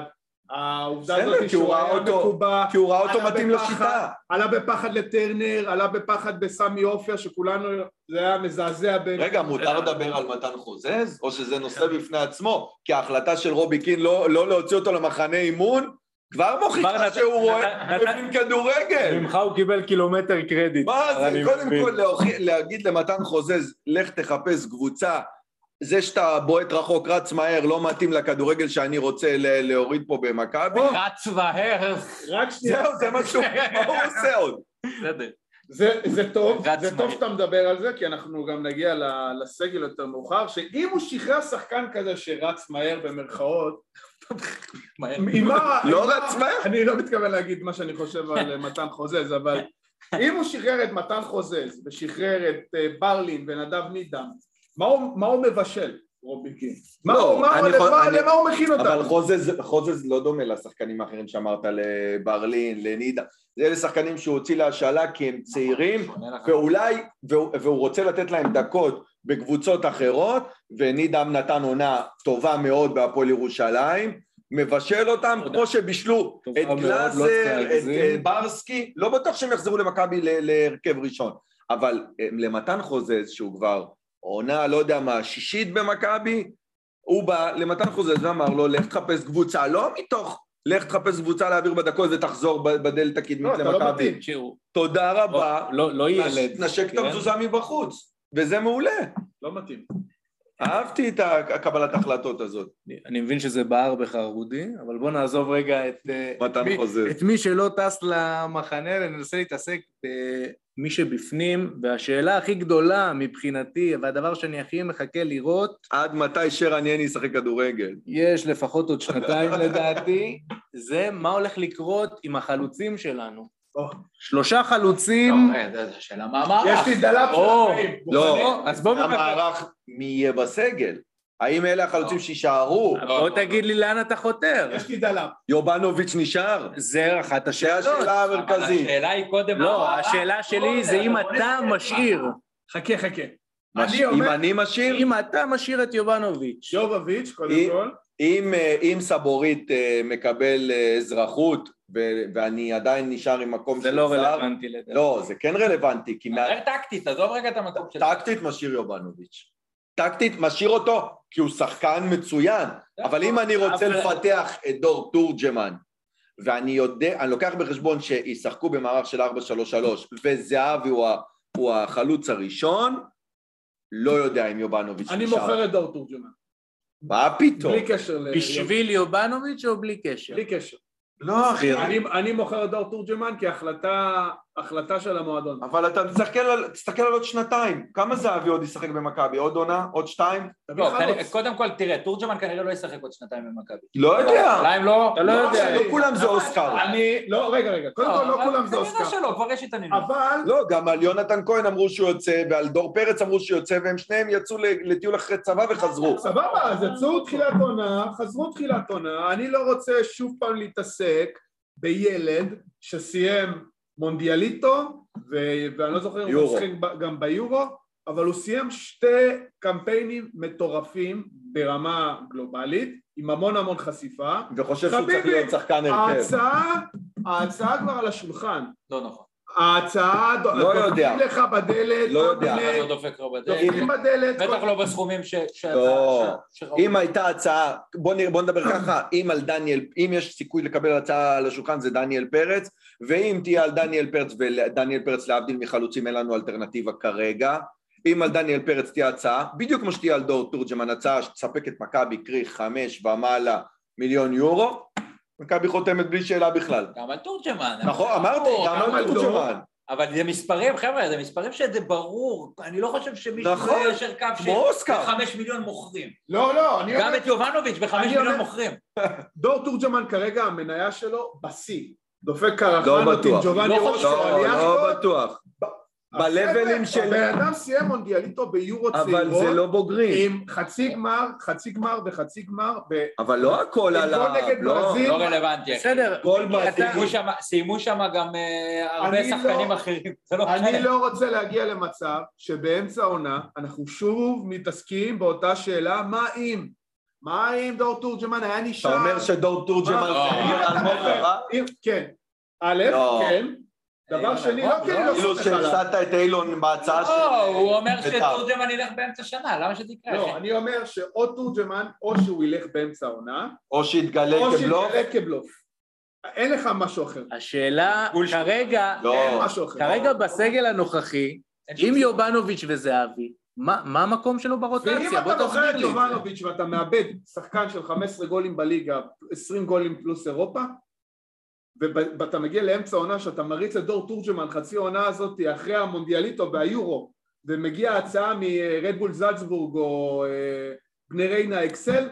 Speaker 4: העובדה
Speaker 2: בסדר,
Speaker 4: הזאת
Speaker 2: כי הוא
Speaker 4: שהוא
Speaker 2: ראה
Speaker 4: היה
Speaker 2: אותו-
Speaker 4: מקובע,
Speaker 2: כי הוא ראה אותו
Speaker 4: היה
Speaker 2: מתאים
Speaker 4: בפחד.
Speaker 2: לשיטה.
Speaker 4: עלה בפחד לטרנר, עלה בפחד בסמי עופר, שכולנו, זה היה מזעזע בעיניי.
Speaker 2: רגע, מותר לדבר על מתן חוזז, או שזה נושא
Speaker 4: כן.
Speaker 2: בפני עצמו? כי ההחלטה של רובי קין לא לא להוציא אותו למחנה אימון, כבר
Speaker 1: כבר
Speaker 2: מוכיחה
Speaker 1: נת-
Speaker 2: שהוא רואה,
Speaker 1: נת- נת-
Speaker 2: מבין כדורגל.
Speaker 1: ממך הוא קיבל קילומטר קרדיט.
Speaker 2: מה זה,
Speaker 1: אני
Speaker 2: קודם
Speaker 1: מבין.
Speaker 2: כל להוכיח- להגיד למתן חוזז, לך תחפש קבוצה, זה שאתה בועט רחוק, רץ מהר, לא מתאים לכדורגל שאני רוצה ל- להוריד פה במכבי.
Speaker 3: רץ מהר,
Speaker 4: רק שנייה,
Speaker 2: זהו, זה מה שהוא, מה הוא עושה עוד?
Speaker 1: בסדר.
Speaker 4: זה, זה טוב,
Speaker 3: רץ
Speaker 4: זה טוב
Speaker 3: מהר.
Speaker 4: שאתה מדבר על זה, כי אנחנו גם נגיע ל- לסגל יותר מאוחר, שאם הוא שחרר שחקן כזה שרץ מהר במרכאות,
Speaker 3: מהר.
Speaker 4: עם מה...
Speaker 2: לא
Speaker 4: עם מה-
Speaker 2: רץ מהר?
Speaker 4: אני לא מתכוון להגיד מה שאני חושב על אה, מתן חוזז, אבל אם הוא שחרר את מתן חוזז ושחרר את אה, ברלין ונדב נידם, מה הוא- מה הוא מבשל, רובי קין? מה
Speaker 2: לא,
Speaker 4: הוא- מה הוא-
Speaker 2: אני חו-
Speaker 4: למה
Speaker 2: אני-
Speaker 4: למה הוא מכין אותנו?
Speaker 2: אבל חוזז, חוזז לא דומה לשחקנים האחרים שאמרת, לברלין, לנידה. זה אלה שחקנים שהוא הוציא להשאלה כי
Speaker 1: נכון,
Speaker 2: הם צעירים, ואולי, והוא, והוא רוצה לתת להם דקות בקבוצות אחרות, ונידם נתן עונה טובה מאוד בהפועל ירושלים, מבשל אותם כמו שבישלו
Speaker 1: טובה
Speaker 2: את
Speaker 1: מאוד, לא
Speaker 2: גלאזר,
Speaker 1: צריך
Speaker 2: את
Speaker 1: להגזים.
Speaker 2: אה, ברסקי, לא בטוח שהם יחזרו למכבי ל- להרכב ראשון, אבל אה, למתן חוזז, שהוא כבר עונה, לא יודע מה, שישית במכבי, הוא בא למתן חוזז ואמר לו, לך תחפש קבוצה, לא מתוך... לך תחפש קבוצה להעביר בדקות ותחזור ב- בדלת הקדמית
Speaker 4: לא, אתה לא
Speaker 2: למכבי.
Speaker 4: מתאים.
Speaker 1: תראו,
Speaker 2: תודה רבה,
Speaker 1: לא- לא לא ילד.
Speaker 2: נשק את
Speaker 1: כן?
Speaker 2: המזוזה מבחוץ, וזה מעולה.
Speaker 4: לא מתאים.
Speaker 2: אהבתי את הקבלת ההחלטות הזאת,
Speaker 1: אני- אני מבין שזה בער בך רודי, אבל בוא נעזוב רגע את... אה,
Speaker 2: מתן
Speaker 1: מי-
Speaker 2: חוזז.
Speaker 1: את מי שלא טס למחנה, ננסה להתעסק במי שבפנים, והשאלה הכי גדולה מבחינתי, והדבר שאני הכי מחכה לראות,
Speaker 2: עד מתי שרן יני ישחק כדורגל?
Speaker 1: יש לפחות עוד שנתיים לדעתי, זה מה הולך לקרות עם החלוצים שלנו.
Speaker 4: או.
Speaker 1: שלושה חלוצים...
Speaker 3: זו אה, שאלה מה המערך.
Speaker 4: יש לי דלת של
Speaker 1: או,
Speaker 4: החיים.
Speaker 2: לא,
Speaker 1: אז בואו נדבר.
Speaker 2: המערך מי יהיה בסגל? האם אלה החלוצים שיישארו?
Speaker 1: בוא תגיד לי לאן אתה חותר.
Speaker 4: יש לי דלת.
Speaker 2: יובנוביץ' נשאר?
Speaker 1: זה אחת
Speaker 2: זו
Speaker 1: השאלות.
Speaker 2: השאלה
Speaker 3: אבל
Speaker 2: המרכזית.
Speaker 3: השאלה היא קודם...
Speaker 1: לא,
Speaker 3: המערך.
Speaker 1: השאלה שלי זה אם אתה משאיר,
Speaker 4: חכה, חכה.
Speaker 2: מש-
Speaker 4: אני
Speaker 2: אם
Speaker 4: אומר,
Speaker 2: אני משאיר?
Speaker 1: אם אתה משאיר את יובנוביץ'.
Speaker 4: יובביץ', קודם
Speaker 2: אם-
Speaker 4: כל.
Speaker 2: אם, אה, אם סבורית אה, מקבל אה, אזרחות ו- ואני עדיין נשאר עם מקום
Speaker 1: זה
Speaker 2: של
Speaker 1: לא
Speaker 2: שר-
Speaker 1: רלוונטי לדעתי.
Speaker 2: לא, זה כן רלוונטי, כי מה-
Speaker 3: דבר טקטית, עזוב רגע את המקום שלך.
Speaker 2: טקטית משאיר יובנוביץ'. טקטית משאיר אותו, כי הוא שחקן מצוין. אבל
Speaker 4: נכון,
Speaker 2: אם אני רוצה
Speaker 1: אבל-
Speaker 2: לפתח את דור תורג'מן, ואני יודע, אני לוקח בחשבון שישחקו במערך של 4-3-3, וזהבי הוא ה- הוא החלוץ הראשון, לא יודע אם יובנוביץ'
Speaker 4: אני
Speaker 2: נשאר.
Speaker 4: מוכר את דור תורג'מן.
Speaker 2: מה פתאום?
Speaker 4: בלי קשר ל...
Speaker 1: בשביל יובנוביץ' או בלי קשר?
Speaker 4: בלי קשר.
Speaker 2: לא, אחי.
Speaker 4: אני, אני מוכר את דור תורג'מן כהחלטה החלטה של המועדון.
Speaker 2: אבל אתה תסתכל על, תסתכל על עוד שנתיים, כמה זהבי עוד ישחק במכבי? עוד עונה? עוד שתיים?
Speaker 4: תביא
Speaker 3: לא,
Speaker 4: חלוץ.
Speaker 3: כנראה- קודם כל, תראה, תורג'מן כנראה לא ישחק עוד שנתיים במכבי.
Speaker 2: לא יודע.
Speaker 3: אולי אם לא...
Speaker 1: אתה לא יודע.
Speaker 2: לא כולם זה אוסקר. אה.
Speaker 4: אני... לא, רגע, רגע. קודם כל, לא
Speaker 3: אבל
Speaker 4: כולם זה
Speaker 3: כנראה
Speaker 4: אוסקר.
Speaker 3: שלא, כבר יש התעניינות.
Speaker 4: אבל...
Speaker 2: לא, גם על יונתן כהן אמרו שהוא יוצא, ועל דור פרץ אמרו שהוא יוצא, והם שניהם יצאו ל- לטיול אחרי צבא וחזרו.
Speaker 4: סבבה, אז יצאו תחילת עונה, חזרו תחילת עונה, אני לא רוצה שוב פעם להתעסק בילד שסיים מונדיאליטו, ו- ואני לא זוכר אם הוא
Speaker 2: יורו.
Speaker 4: משחק ב- גם ביורו, אבל הוא סיים שתי קמפיינים מטורפים ברמה גלובלית, עם המון המון חשיפה.
Speaker 2: וחושב שהוא צריך
Speaker 4: חביבי,
Speaker 2: להיות שחקן הרכב.
Speaker 4: ההצעה, ההצעה כבר על השולחן.
Speaker 3: לא נכון.
Speaker 4: ההצעה,
Speaker 2: לא יודע.
Speaker 4: דופקים לך בדלת,
Speaker 2: לא
Speaker 4: כל
Speaker 2: יודע.
Speaker 3: אף אחד
Speaker 4: מיני-
Speaker 3: לא דופק לו בדלת,
Speaker 4: דופקים בדלת, כל-
Speaker 3: בטח לא בסכומים ש... ש-
Speaker 2: לא.
Speaker 3: ש- שראו.
Speaker 2: אם הייתה הצעה, בוא, נראה, בוא נדבר ככה, אם על דניאל, אם יש סיכוי לקבל הצעה על השולחן זה דניאל פרץ, ואם תהיה על דניאל פרץ, ודניאל פרץ להבדיל מחלוצים אין לנו אלטרנטיבה כרגע, אם על דניאל פרץ תהיה הצעה, בדיוק כמו שתהיה על דור תורג'מן הצעה שתספק את מכבי קרי חמש ומעלה מיליון יורו, מכבי חותמת בלי שאלה בכלל.
Speaker 3: גם על תורג'מן.
Speaker 2: נכון, אמרתי,
Speaker 3: ברור,
Speaker 2: גם
Speaker 4: על
Speaker 2: על
Speaker 4: דור.
Speaker 2: תורג'מן.
Speaker 3: אבל זה מספרים, חבר'ה, זה מספרים שזה ברור. אני לא חושב שמישהו
Speaker 2: נכון,
Speaker 3: לא יישר קו
Speaker 2: כמו אוסקר.
Speaker 3: שבחמש מיליון מוכרים.
Speaker 4: לא, לא, אני
Speaker 3: גם
Speaker 4: אומר,
Speaker 3: את יובנוביץ' בחמש
Speaker 4: אני
Speaker 3: מיליון
Speaker 4: אומר-
Speaker 3: מוכרים.
Speaker 4: דור תורג'מן כרגע המניה שלו בשיא, דופק קרחנות
Speaker 2: לא
Speaker 4: עם
Speaker 2: בטוח.
Speaker 4: ג'ובאני
Speaker 3: לא
Speaker 4: רוס,
Speaker 3: חושב.
Speaker 2: לא,
Speaker 4: אליאשקו.
Speaker 2: לא בטוח. בלבלים של-
Speaker 4: הבן אדם סיים מונדיאליטו ביורו
Speaker 2: אבל זה
Speaker 4: צעירות,
Speaker 2: לא בוגרים.
Speaker 4: עם חצי גמר, חצי גמר וחצי גמר, ב-
Speaker 2: אבל לא הכל
Speaker 4: עם
Speaker 2: עליו.
Speaker 4: גול נגד
Speaker 2: לא.
Speaker 4: ברזיל.
Speaker 3: לא רלוונטי. אחי.
Speaker 1: בסדר,
Speaker 2: גול
Speaker 1: מיקי, אתה-
Speaker 2: מהסיבוב.
Speaker 3: סיימו שמה- סיימו שם גם אה, הרבה
Speaker 4: אני לא-
Speaker 3: שחקנים אחרים. זה לא משנה.
Speaker 4: אני לא רוצה להגיע למצב שבאמצע העונה אנחנו שוב מתעסקים באותה שאלה מה אם? מה אם דור תורג'מן היה נשאר?
Speaker 2: אתה אומר שדור תורג'מן
Speaker 4: מה?
Speaker 2: זה אה?
Speaker 3: לא.
Speaker 2: ליגה על מוקרה?
Speaker 4: אם- כן. א',
Speaker 2: לא.
Speaker 4: כן. דבר
Speaker 3: אילון
Speaker 4: שני,
Speaker 3: אלמוג,
Speaker 4: לא כי אני
Speaker 3: לא?
Speaker 4: לא
Speaker 2: כאילו
Speaker 4: סומך עליו.
Speaker 2: שהפסדת את אילון בהצעה
Speaker 3: לא,
Speaker 2: של...
Speaker 3: הוא אומר
Speaker 2: בית"ר.
Speaker 3: שתורג'מן ילך באמצע שנה, למה שזה יקרה?
Speaker 4: לא,
Speaker 3: אחי?
Speaker 4: אני אומר שאו תורג'מן או שהוא ילך באמצע העונה,
Speaker 2: או שהתגלה
Speaker 4: או
Speaker 2: כבלוף.
Speaker 4: שיתגלה כבלוף. אין לך משהו אחר.
Speaker 1: השאלה, כרגע,
Speaker 4: אין
Speaker 2: לא.
Speaker 4: משהו אחר.
Speaker 1: כרגע בסגל הנוכחי,
Speaker 3: אין שום
Speaker 1: עם
Speaker 3: סיכוי.
Speaker 1: יובנוביץ' וזהבי, מה מה המקום שלו
Speaker 4: ואם
Speaker 1: ברוטציה? בוא
Speaker 4: אתה מוכר
Speaker 1: תסביר
Speaker 4: את
Speaker 1: לי את זה.
Speaker 4: יובנוביץ' ואתה מאבד שחקן של 15 גולים בליגה, 20 גולים פלוס אירופה, וב- ואתה מגיע לאמצע העונה שאתה מריץ את דור תורג'מן חצי העונה הזאת אחרי המונדיאליטו והיורו, ומגיעה הצעה מרדבול זלצבורג או אה, בני ריינה אקסל,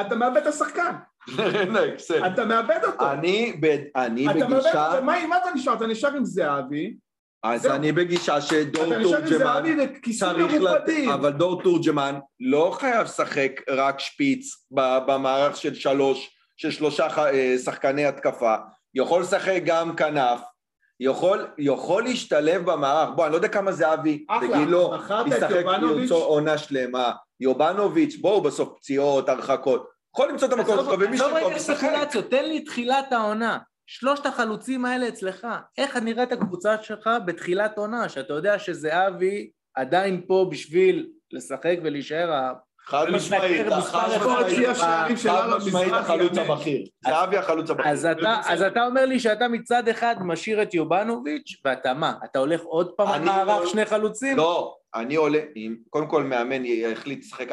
Speaker 4: אתה מאבד את השחקן,
Speaker 2: הנה, אקסל.
Speaker 4: אתה מאבד אותו.
Speaker 2: אני ב- אני
Speaker 4: אתה מאבד
Speaker 2: בגישה,
Speaker 4: אותו, מה עם מה אתה נשאר? אתה נשאר עם זהבי,
Speaker 2: אז
Speaker 4: זהו.
Speaker 2: אני בגישה שדור
Speaker 4: אתה נשאר עם
Speaker 2: תורג'מן
Speaker 4: זהבי וכיסוי
Speaker 2: צריך לתת,
Speaker 4: מרופדים.
Speaker 2: אבל דור תורג'מן לא חייב לשחק רק שפיץ ב- במערך של שלוש, של שלושה ח- אה, שחקני התקפה, יכול לשחק גם כנף, יכול, יכול להשתלב במערך, בוא, אני לא יודע כמה זהבי
Speaker 4: אחלה,
Speaker 2: בגילו
Speaker 4: מכרת את
Speaker 2: ישחק
Speaker 4: יובנוביץ'?
Speaker 2: למצוא עונה שלמה, יובנוביץ', בואו בסוף פציעות, הרחקות, יכול למצוא את המקום שלך ומי
Speaker 1: עזוב
Speaker 2: שטוב
Speaker 1: רגע
Speaker 2: ישחק.
Speaker 1: ספקולציות, תן לי תחילת העונה. שלושת החלוצים האלה אצלך, איך נראית הקבוצה שלך בתחילת עונה, שאתה יודע שזהבי עדיין פה בשביל לשחק ולהישאר ה...
Speaker 2: חד משמעית,
Speaker 1: מספר
Speaker 2: חד
Speaker 1: יכול להיות
Speaker 2: משמעית,
Speaker 1: שיש שערים
Speaker 4: של
Speaker 2: חד
Speaker 4: אהרון
Speaker 2: משמעית
Speaker 4: מזרחי,
Speaker 2: החלוץ
Speaker 4: אמן.
Speaker 2: הבכיר, זהבי החלוץ הבכיר.
Speaker 1: אז אתה, אז אתה אומר לי שאתה מצד אחד משאיר את יובנוביץ', ואתה מה, אתה הולך עוד פעם על
Speaker 2: אני
Speaker 1: מערך
Speaker 2: לא-
Speaker 1: שני חלוצים?
Speaker 2: לא, אני עולה, אם קודם כל מאמן החליט לשחק 4-3-3,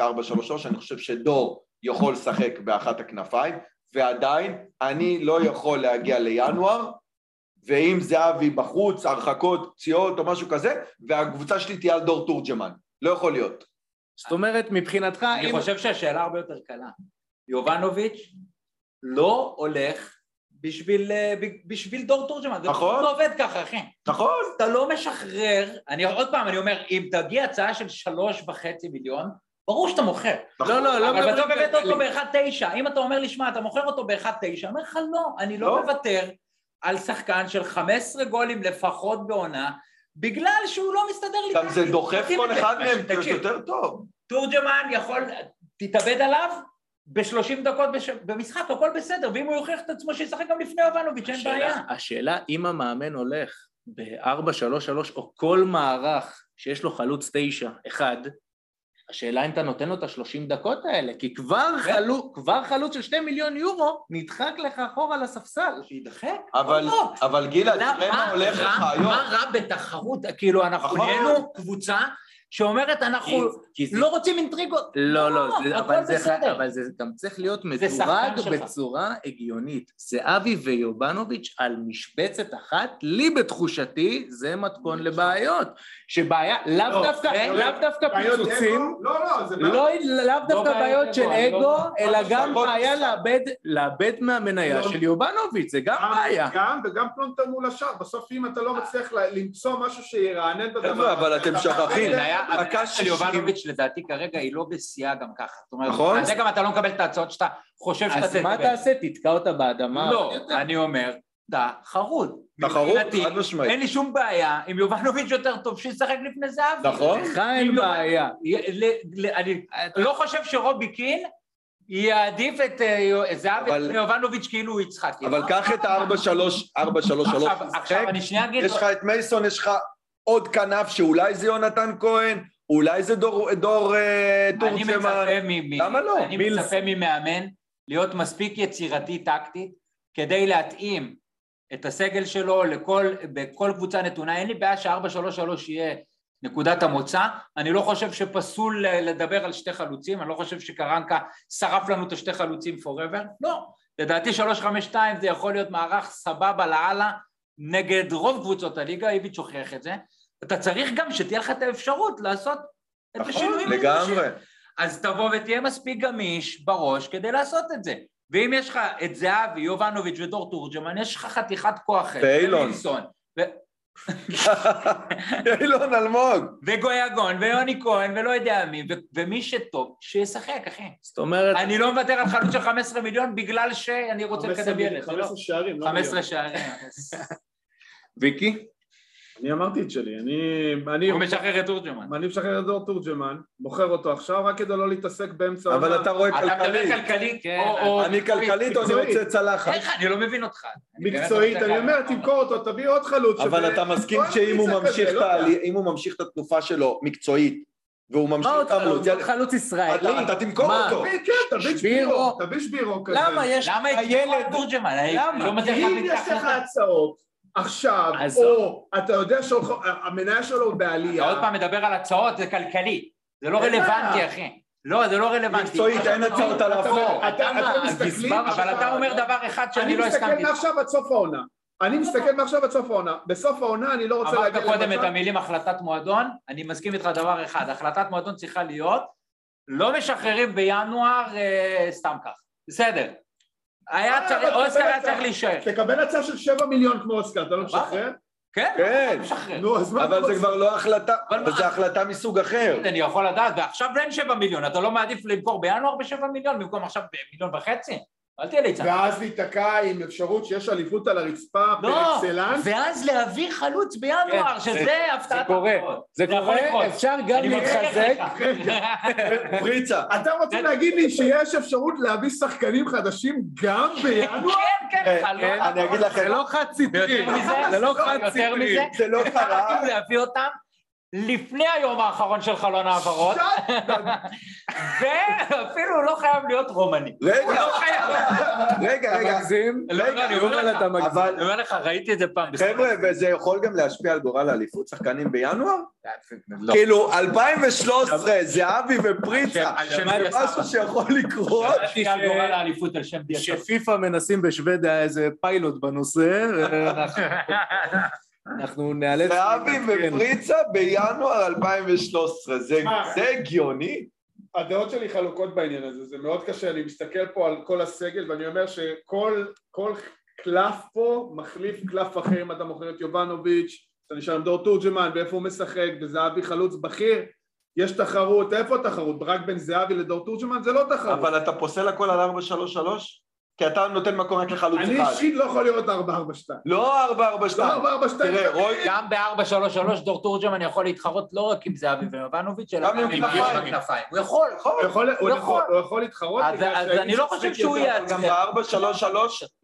Speaker 2: אני חושב שדור יכול לשחק באחת הכנפיים, ועדיין אני לא יכול להגיע לינואר, ואם זהבי בחוץ, הרחקות, פציעות או משהו כזה, והקבוצה שלי תהיה על דור תורג'מן. לא יכול להיות.
Speaker 1: זאת אומרת, מבחינתך,
Speaker 3: אני
Speaker 1: אם...
Speaker 3: חושב שהשאלה הרבה יותר קלה. יובנוביץ' לא הולך בשביל, אה, ב- בשביל דור תורג'מן. זה
Speaker 2: נכון.
Speaker 3: פשוט לא עובד ככה, אחי.
Speaker 2: נכון?
Speaker 3: אתה לא משחרר, אני עוד פעם, אני אומר, אם תגיע הצעה של שלוש וחצי מיליון, ברור שאתה מוכר.
Speaker 2: נכון.
Speaker 1: לא, לא, לא
Speaker 3: אבל בסוף
Speaker 1: מדברים
Speaker 3: הבאת אותו
Speaker 1: כללי.
Speaker 3: ב-1.9. אם אתה אומר לי, שמע, אתה מוכר אותו ב-1.9, אני אומר לך, לא, אני לא
Speaker 2: לא.
Speaker 3: מוותר על שחקן של 15 גולים לפחות בעונה, בגלל שהוא לא מסתדר לי.
Speaker 2: גם זה
Speaker 3: טקטית.
Speaker 2: דוחף
Speaker 3: תשים
Speaker 2: כל
Speaker 3: את זה.
Speaker 2: אחד מהם
Speaker 3: תקשיב,
Speaker 2: יותר טוב.
Speaker 3: תורג'מן יכול, תתאבד עליו ב-30 דקות בש... במשחק, הכל בסדר, ואם הוא יוכיח את עצמו שישחק גם לפני יובנוביץ', אין בעיה.
Speaker 1: השאלה, השאלה אם המאמן הולך ב-4-3-3 או כל מערך שיש לו חלוץ 9, 1, השאלה אם אתה נותן לו את ה-30 דקות האלה, כי כבר,
Speaker 3: כן.
Speaker 1: חלו, כבר חלוץ של 2 מיליון יורו נדחק לך אחורה לספסל.
Speaker 3: שידחק,
Speaker 2: אבל,
Speaker 3: לא.
Speaker 2: אבל גילה,
Speaker 3: למה-
Speaker 2: תראה מה
Speaker 3: מה
Speaker 2: הולך
Speaker 3: רע-
Speaker 2: לך היום.
Speaker 3: מה רע בתחרות? כאילו, אנחנו
Speaker 2: נכון.
Speaker 3: נהיינו קבוצה שאומרת, אנחנו
Speaker 1: כי זה-
Speaker 3: לא רוצים אינטריגות.
Speaker 1: לא, לא, זה,
Speaker 3: הכל
Speaker 1: אבל, זה, ח-
Speaker 3: בסדר.
Speaker 1: אבל זה גם צריך להיות
Speaker 3: זה שחקן
Speaker 1: מדורג
Speaker 3: שלך.
Speaker 1: בצורה הגיונית. זהבי ויובנוביץ' על משבצת אחת, לי בתחושתי זה מתכון לבעיות. שבעיה, לאו
Speaker 4: לא,
Speaker 1: דווקא,
Speaker 4: זה-
Speaker 1: לאו דווקא
Speaker 4: בעיות אגו?
Speaker 1: פיצוצים,
Speaker 4: לא, לא, זה
Speaker 1: לא, לאו דווקא
Speaker 3: בעיית
Speaker 1: בעיות
Speaker 3: אגו,
Speaker 1: של
Speaker 3: אני לא-
Speaker 1: אגו,
Speaker 3: לא
Speaker 1: אלא
Speaker 2: משחק,
Speaker 1: גם
Speaker 2: לא
Speaker 1: בעיה
Speaker 2: משחק.
Speaker 1: לאבד, לאבד מהמניה
Speaker 4: לא. אה,
Speaker 1: של יובנוביץ', זה גם
Speaker 4: גם-
Speaker 1: בעיה.
Speaker 4: גם וגם פלונטר מול השאר, בסוף אם אתה לא מצליח ל- למצוא משהו שירענן את
Speaker 2: חבר'ה, אבל אתם
Speaker 4: אתה-
Speaker 2: שכחים.
Speaker 4: אתה-
Speaker 3: המניה- המניה של
Speaker 2: שישים.
Speaker 3: יובנוביץ' לדעתי כרגע היא לא בשיאה גם ככה. זאת אומרת,
Speaker 2: נכון.
Speaker 3: בגלל זה גם אתה לא מקבל את ההצעות שאתה חושב שאתה
Speaker 1: אז מה תעשה? תתקע אותה באדמה?
Speaker 3: לא, אני אומר, תחרות.
Speaker 2: תחרות,
Speaker 3: מבחינתי,
Speaker 2: חד משמעית.
Speaker 3: אין לי שום בעיה, אם יובנוביץ' יותר טוב, שישחק לפני זהבי.
Speaker 2: נכון.
Speaker 3: לא-
Speaker 1: לך אין
Speaker 3: אם לא-
Speaker 1: בעיה.
Speaker 3: ל- ל- אני לא חושב שרובי קין יעדיף את אה, יו- את זהבי
Speaker 2: אבל-
Speaker 3: על יובנוביץ' כאילו הוא יצחקי.
Speaker 2: אבל קח את ה-4-3-3
Speaker 3: עכשיו, עכשיו אני שנייה אגיד
Speaker 2: יש
Speaker 3: לך,
Speaker 2: לך את מייסון, יש לך עוד כנף שאולי זה יונתן כהן, אולי זה דור- דור אה,
Speaker 3: אני
Speaker 2: תורג'מן.
Speaker 3: מצפה מ- מ-
Speaker 2: למה לא?
Speaker 3: אני
Speaker 2: מילס.
Speaker 3: מצפה ממאמן להיות מספיק יצירתי טקטית כדי להתאים את הסגל שלו לכל, בכל קבוצה נתונה. אין לי בעיה ש-4-3-3 יהיה נקודת המוצא. אני לא חושב שפסול אה, לדבר על שתי חלוצים, אני לא חושב שקרנקה שרף לנו את השתי חלוצים forever. לא. לדעתי 3-5-2 זה יכול להיות מערך סבבה לאללה נגד רוב קבוצות הליגה, איביץ' הוכיח את זה. אתה צריך גם שתהיה לך את האפשרות לעשות את השינויים. הנדרשים.
Speaker 2: נכון. לגמרי.
Speaker 3: אז תבוא ותהיה מספיק גמיש בראש כדי לעשות את זה. ואם יש לך את זהבי, יובנוביץ' ודור תורג'מן, יש לך חתיכת כוח.
Speaker 2: ואילון.
Speaker 3: ומילסון, ו-
Speaker 2: אילון אלמוג.
Speaker 3: וגויגון, ויוני כהן, ולא יודע מי, ו- ומי שטוב, שישחק, אחי.
Speaker 1: זאת אומרת,
Speaker 3: אני לא מוותר על חלוץ של 15 מיליון בגלל שאני רוצה לקדם ילד. זה לא-
Speaker 4: 15 שערים, לא
Speaker 3: 15
Speaker 4: מיליון.
Speaker 3: שערים.
Speaker 2: ויקי?
Speaker 4: אני אמרתי את שלי, אני... אני-
Speaker 3: הוא משחרר את תורג'מן.
Speaker 4: אני משחרר את דור תורג'מן, מוכר אותו עכשיו רק כדי לא להתעסק באמצע
Speaker 2: אבל
Speaker 4: העונה.
Speaker 2: אתה רואה
Speaker 3: אתה מדבר
Speaker 2: כלכלית.
Speaker 3: כלכלית,
Speaker 1: כן,
Speaker 3: או- או...
Speaker 2: אני כלכלית, אני
Speaker 4: מקצועית.
Speaker 2: רוצה צלחת.
Speaker 3: איך? אני לא מבין אותך. אני באמת לא
Speaker 4: מקצועית,
Speaker 3: מבין
Speaker 4: אני
Speaker 3: אותך.
Speaker 4: אומר, תמכור אותו, תביא עוד חלוץ.
Speaker 2: אבל
Speaker 4: שב-
Speaker 2: אתה מסכים
Speaker 4: כל
Speaker 2: שאם הוא
Speaker 4: פריצה כזה,
Speaker 2: ממשיך
Speaker 4: לא
Speaker 2: את
Speaker 4: יודע.
Speaker 2: העלי- אם הוא ממשיך את התקופה שלו מקצועית, והוא ממשיך
Speaker 1: מה עוד
Speaker 2: את העלות,
Speaker 1: חלוץ? עוד חלוץ ישראלי?
Speaker 2: אתה- אתה תמכור
Speaker 1: מה?
Speaker 2: אותו.
Speaker 4: תביא, כן, תביא
Speaker 1: שבירו.
Speaker 4: שבירו, תביא שבירו כזה.
Speaker 1: למה יש
Speaker 3: למה התקשרו על
Speaker 1: הילד?
Speaker 3: תורג'מן?
Speaker 1: למה?
Speaker 3: לא
Speaker 4: כי
Speaker 3: מצליח
Speaker 4: אם
Speaker 3: להבין את
Speaker 4: יש לך
Speaker 3: ההחלטה.
Speaker 4: הצעות עכשיו,
Speaker 1: אז-
Speaker 4: או אתה יודע שהמניה שלו
Speaker 3: לא. אתה
Speaker 4: בעלייה,
Speaker 3: עוד פעם מדבר על הצעות, זה כלכלי. זה לא
Speaker 4: אין
Speaker 3: רלוונטי,
Speaker 4: בעיה.
Speaker 3: אחי. לא, זה לא רלוונטי.
Speaker 2: מקצועית, אין הצעות על החוק.
Speaker 4: אתה-
Speaker 1: אתה מה,
Speaker 4: אתם מסתכלים-
Speaker 1: הגזבר שלך?
Speaker 3: אבל אתה אומר דבר אחד שאני
Speaker 4: אני
Speaker 3: לא
Speaker 4: מסתכל
Speaker 3: הסכמתי. איתו.
Speaker 4: מעכשיו עד סוף העונה. אני מסתכל מעכשיו עד סוף העונה. בסוף העונה אני לא רוצה
Speaker 3: אמרת
Speaker 4: להגיע
Speaker 3: קודם את המילים החלטת מועדון, אני מסכים איתך דבר אחד, החלטת מועדון צריכה להיות, לא משחררים בינואר אה, סתם כך. בסדר. היה
Speaker 4: אה,
Speaker 3: צריך,
Speaker 4: אבל
Speaker 3: אוסקר
Speaker 4: אתה-
Speaker 3: היה צריך להישאר.
Speaker 4: תקבל הצעה של 7 מיליון כמו אוסקר, אתה לא
Speaker 3: סבבה.
Speaker 4: משחרר?
Speaker 3: כן,
Speaker 2: כן,
Speaker 3: משחרר.
Speaker 4: נו, אז מה אתה
Speaker 2: אבל זה
Speaker 4: רוצה?
Speaker 2: כבר לא החלטה,
Speaker 3: אבל מה-
Speaker 2: אבל זו החלטה מסוג אחר.
Speaker 3: כן. אני יכול לדעת, ועכשיו אין שבע מיליון, אתה לא מעדיף למכור בינואר בשבע מיליון במקום עכשיו במיליון וחצי? אל תהיה ליצן.
Speaker 4: ואז להיתקע עם אפשרות שיש אליפות על הרצפה
Speaker 3: לא,
Speaker 4: באקסלנס?
Speaker 3: ואז להביא חלוץ בינואר,
Speaker 6: כן,
Speaker 3: שזה הפתעת
Speaker 6: זה קורה,
Speaker 3: הבחירות. כן,
Speaker 6: זה
Speaker 3: יכול לקרות.
Speaker 6: קורה, אפשר גם
Speaker 3: אני מבטיח
Speaker 6: להתחזק,
Speaker 3: לך.
Speaker 2: פריצה.
Speaker 4: אתם רוצים
Speaker 3: זה-
Speaker 4: להגיד לי שיש אפשרות להביא שחקנים חדשים גם בינואר?
Speaker 3: כן, כן,
Speaker 2: כן,
Speaker 3: חלוץ.
Speaker 2: אני אגיד לכם,
Speaker 6: זה לא חד סטרי,
Speaker 3: ויותר מזה,
Speaker 6: זה לא חד
Speaker 3: יותר
Speaker 6: סטרי,
Speaker 3: מזה,
Speaker 2: זה לא קרה.
Speaker 3: החלטנו להביא אותם לפני היום האחרון של חלון העברות, ואפילו לא חייב להיות רומני. הוא
Speaker 2: רגע,
Speaker 3: לא חייב.
Speaker 2: רגע,
Speaker 6: אתה
Speaker 2: רגע.
Speaker 6: מגזים,
Speaker 3: לא, לא, אני אומר
Speaker 6: יובל,
Speaker 3: לך,
Speaker 6: אתה מגזים.
Speaker 2: אבל
Speaker 3: אני אומר לך, ראיתי את זה פעם.
Speaker 2: חבר'ה, וזה יכול גם להשפיע על גורל האליפות שחקנים בינואר?
Speaker 3: לא.
Speaker 2: כאילו, 2013, זהבי ופריצה,
Speaker 3: השם- השם
Speaker 2: זה
Speaker 3: יסבא.
Speaker 2: משהו שיכול לקרות?
Speaker 3: שמעתי על גורל האליפות על שם דיה סבא.
Speaker 1: שפיפ"א מנסים בשוודיה איזה פיילוט בנושא, ואנחנו- אנחנו
Speaker 2: כן,
Speaker 1: נאלץ...
Speaker 2: זהבי
Speaker 1: להתעדכן.
Speaker 2: ופריצה בינואר 2013, זה זה הגיוני?
Speaker 4: הדעות שלי חלוקות בעניין הזה, זה מאוד קשה, אני מסתכל פה על כל הסגל ואני אומר שכל כל קלף פה מחליף קלף אחר אם אתה מוכר את יובנוביץ', אתה נשאר עם דור תורג'מן ואיפה הוא משחק, בזהבי חלוץ בכיר, יש תחרות, איפה תחרות? רק בין זהבי לדור תורג'מן? זה לא תחרות.
Speaker 2: אבל אתה פוסל הכל על 433? כי אתה נותן מקום רק לחלוץ
Speaker 4: אני
Speaker 2: אחד.
Speaker 4: אישית לא יכול לראות 442.
Speaker 2: לא 442.
Speaker 4: לא 442.
Speaker 2: תראה, רוי,
Speaker 3: גם ב-433 דור תורג'מן יכול להתחרות לא רק עם זהבי ויובנוביץ', אלא
Speaker 2: גם עם כנפיים.
Speaker 3: הכנפיים. הוא יכול.
Speaker 4: הוא יכול- הוא
Speaker 3: הוא
Speaker 4: יכול-
Speaker 3: יכול.
Speaker 4: הוא יכול להתחרות
Speaker 3: נכון. אז-
Speaker 4: בגלל
Speaker 3: אז
Speaker 4: שהאיש
Speaker 3: אני לא
Speaker 4: משחק
Speaker 3: חושב שהוא
Speaker 4: יותר.
Speaker 3: יעצ-
Speaker 2: גם ב-433,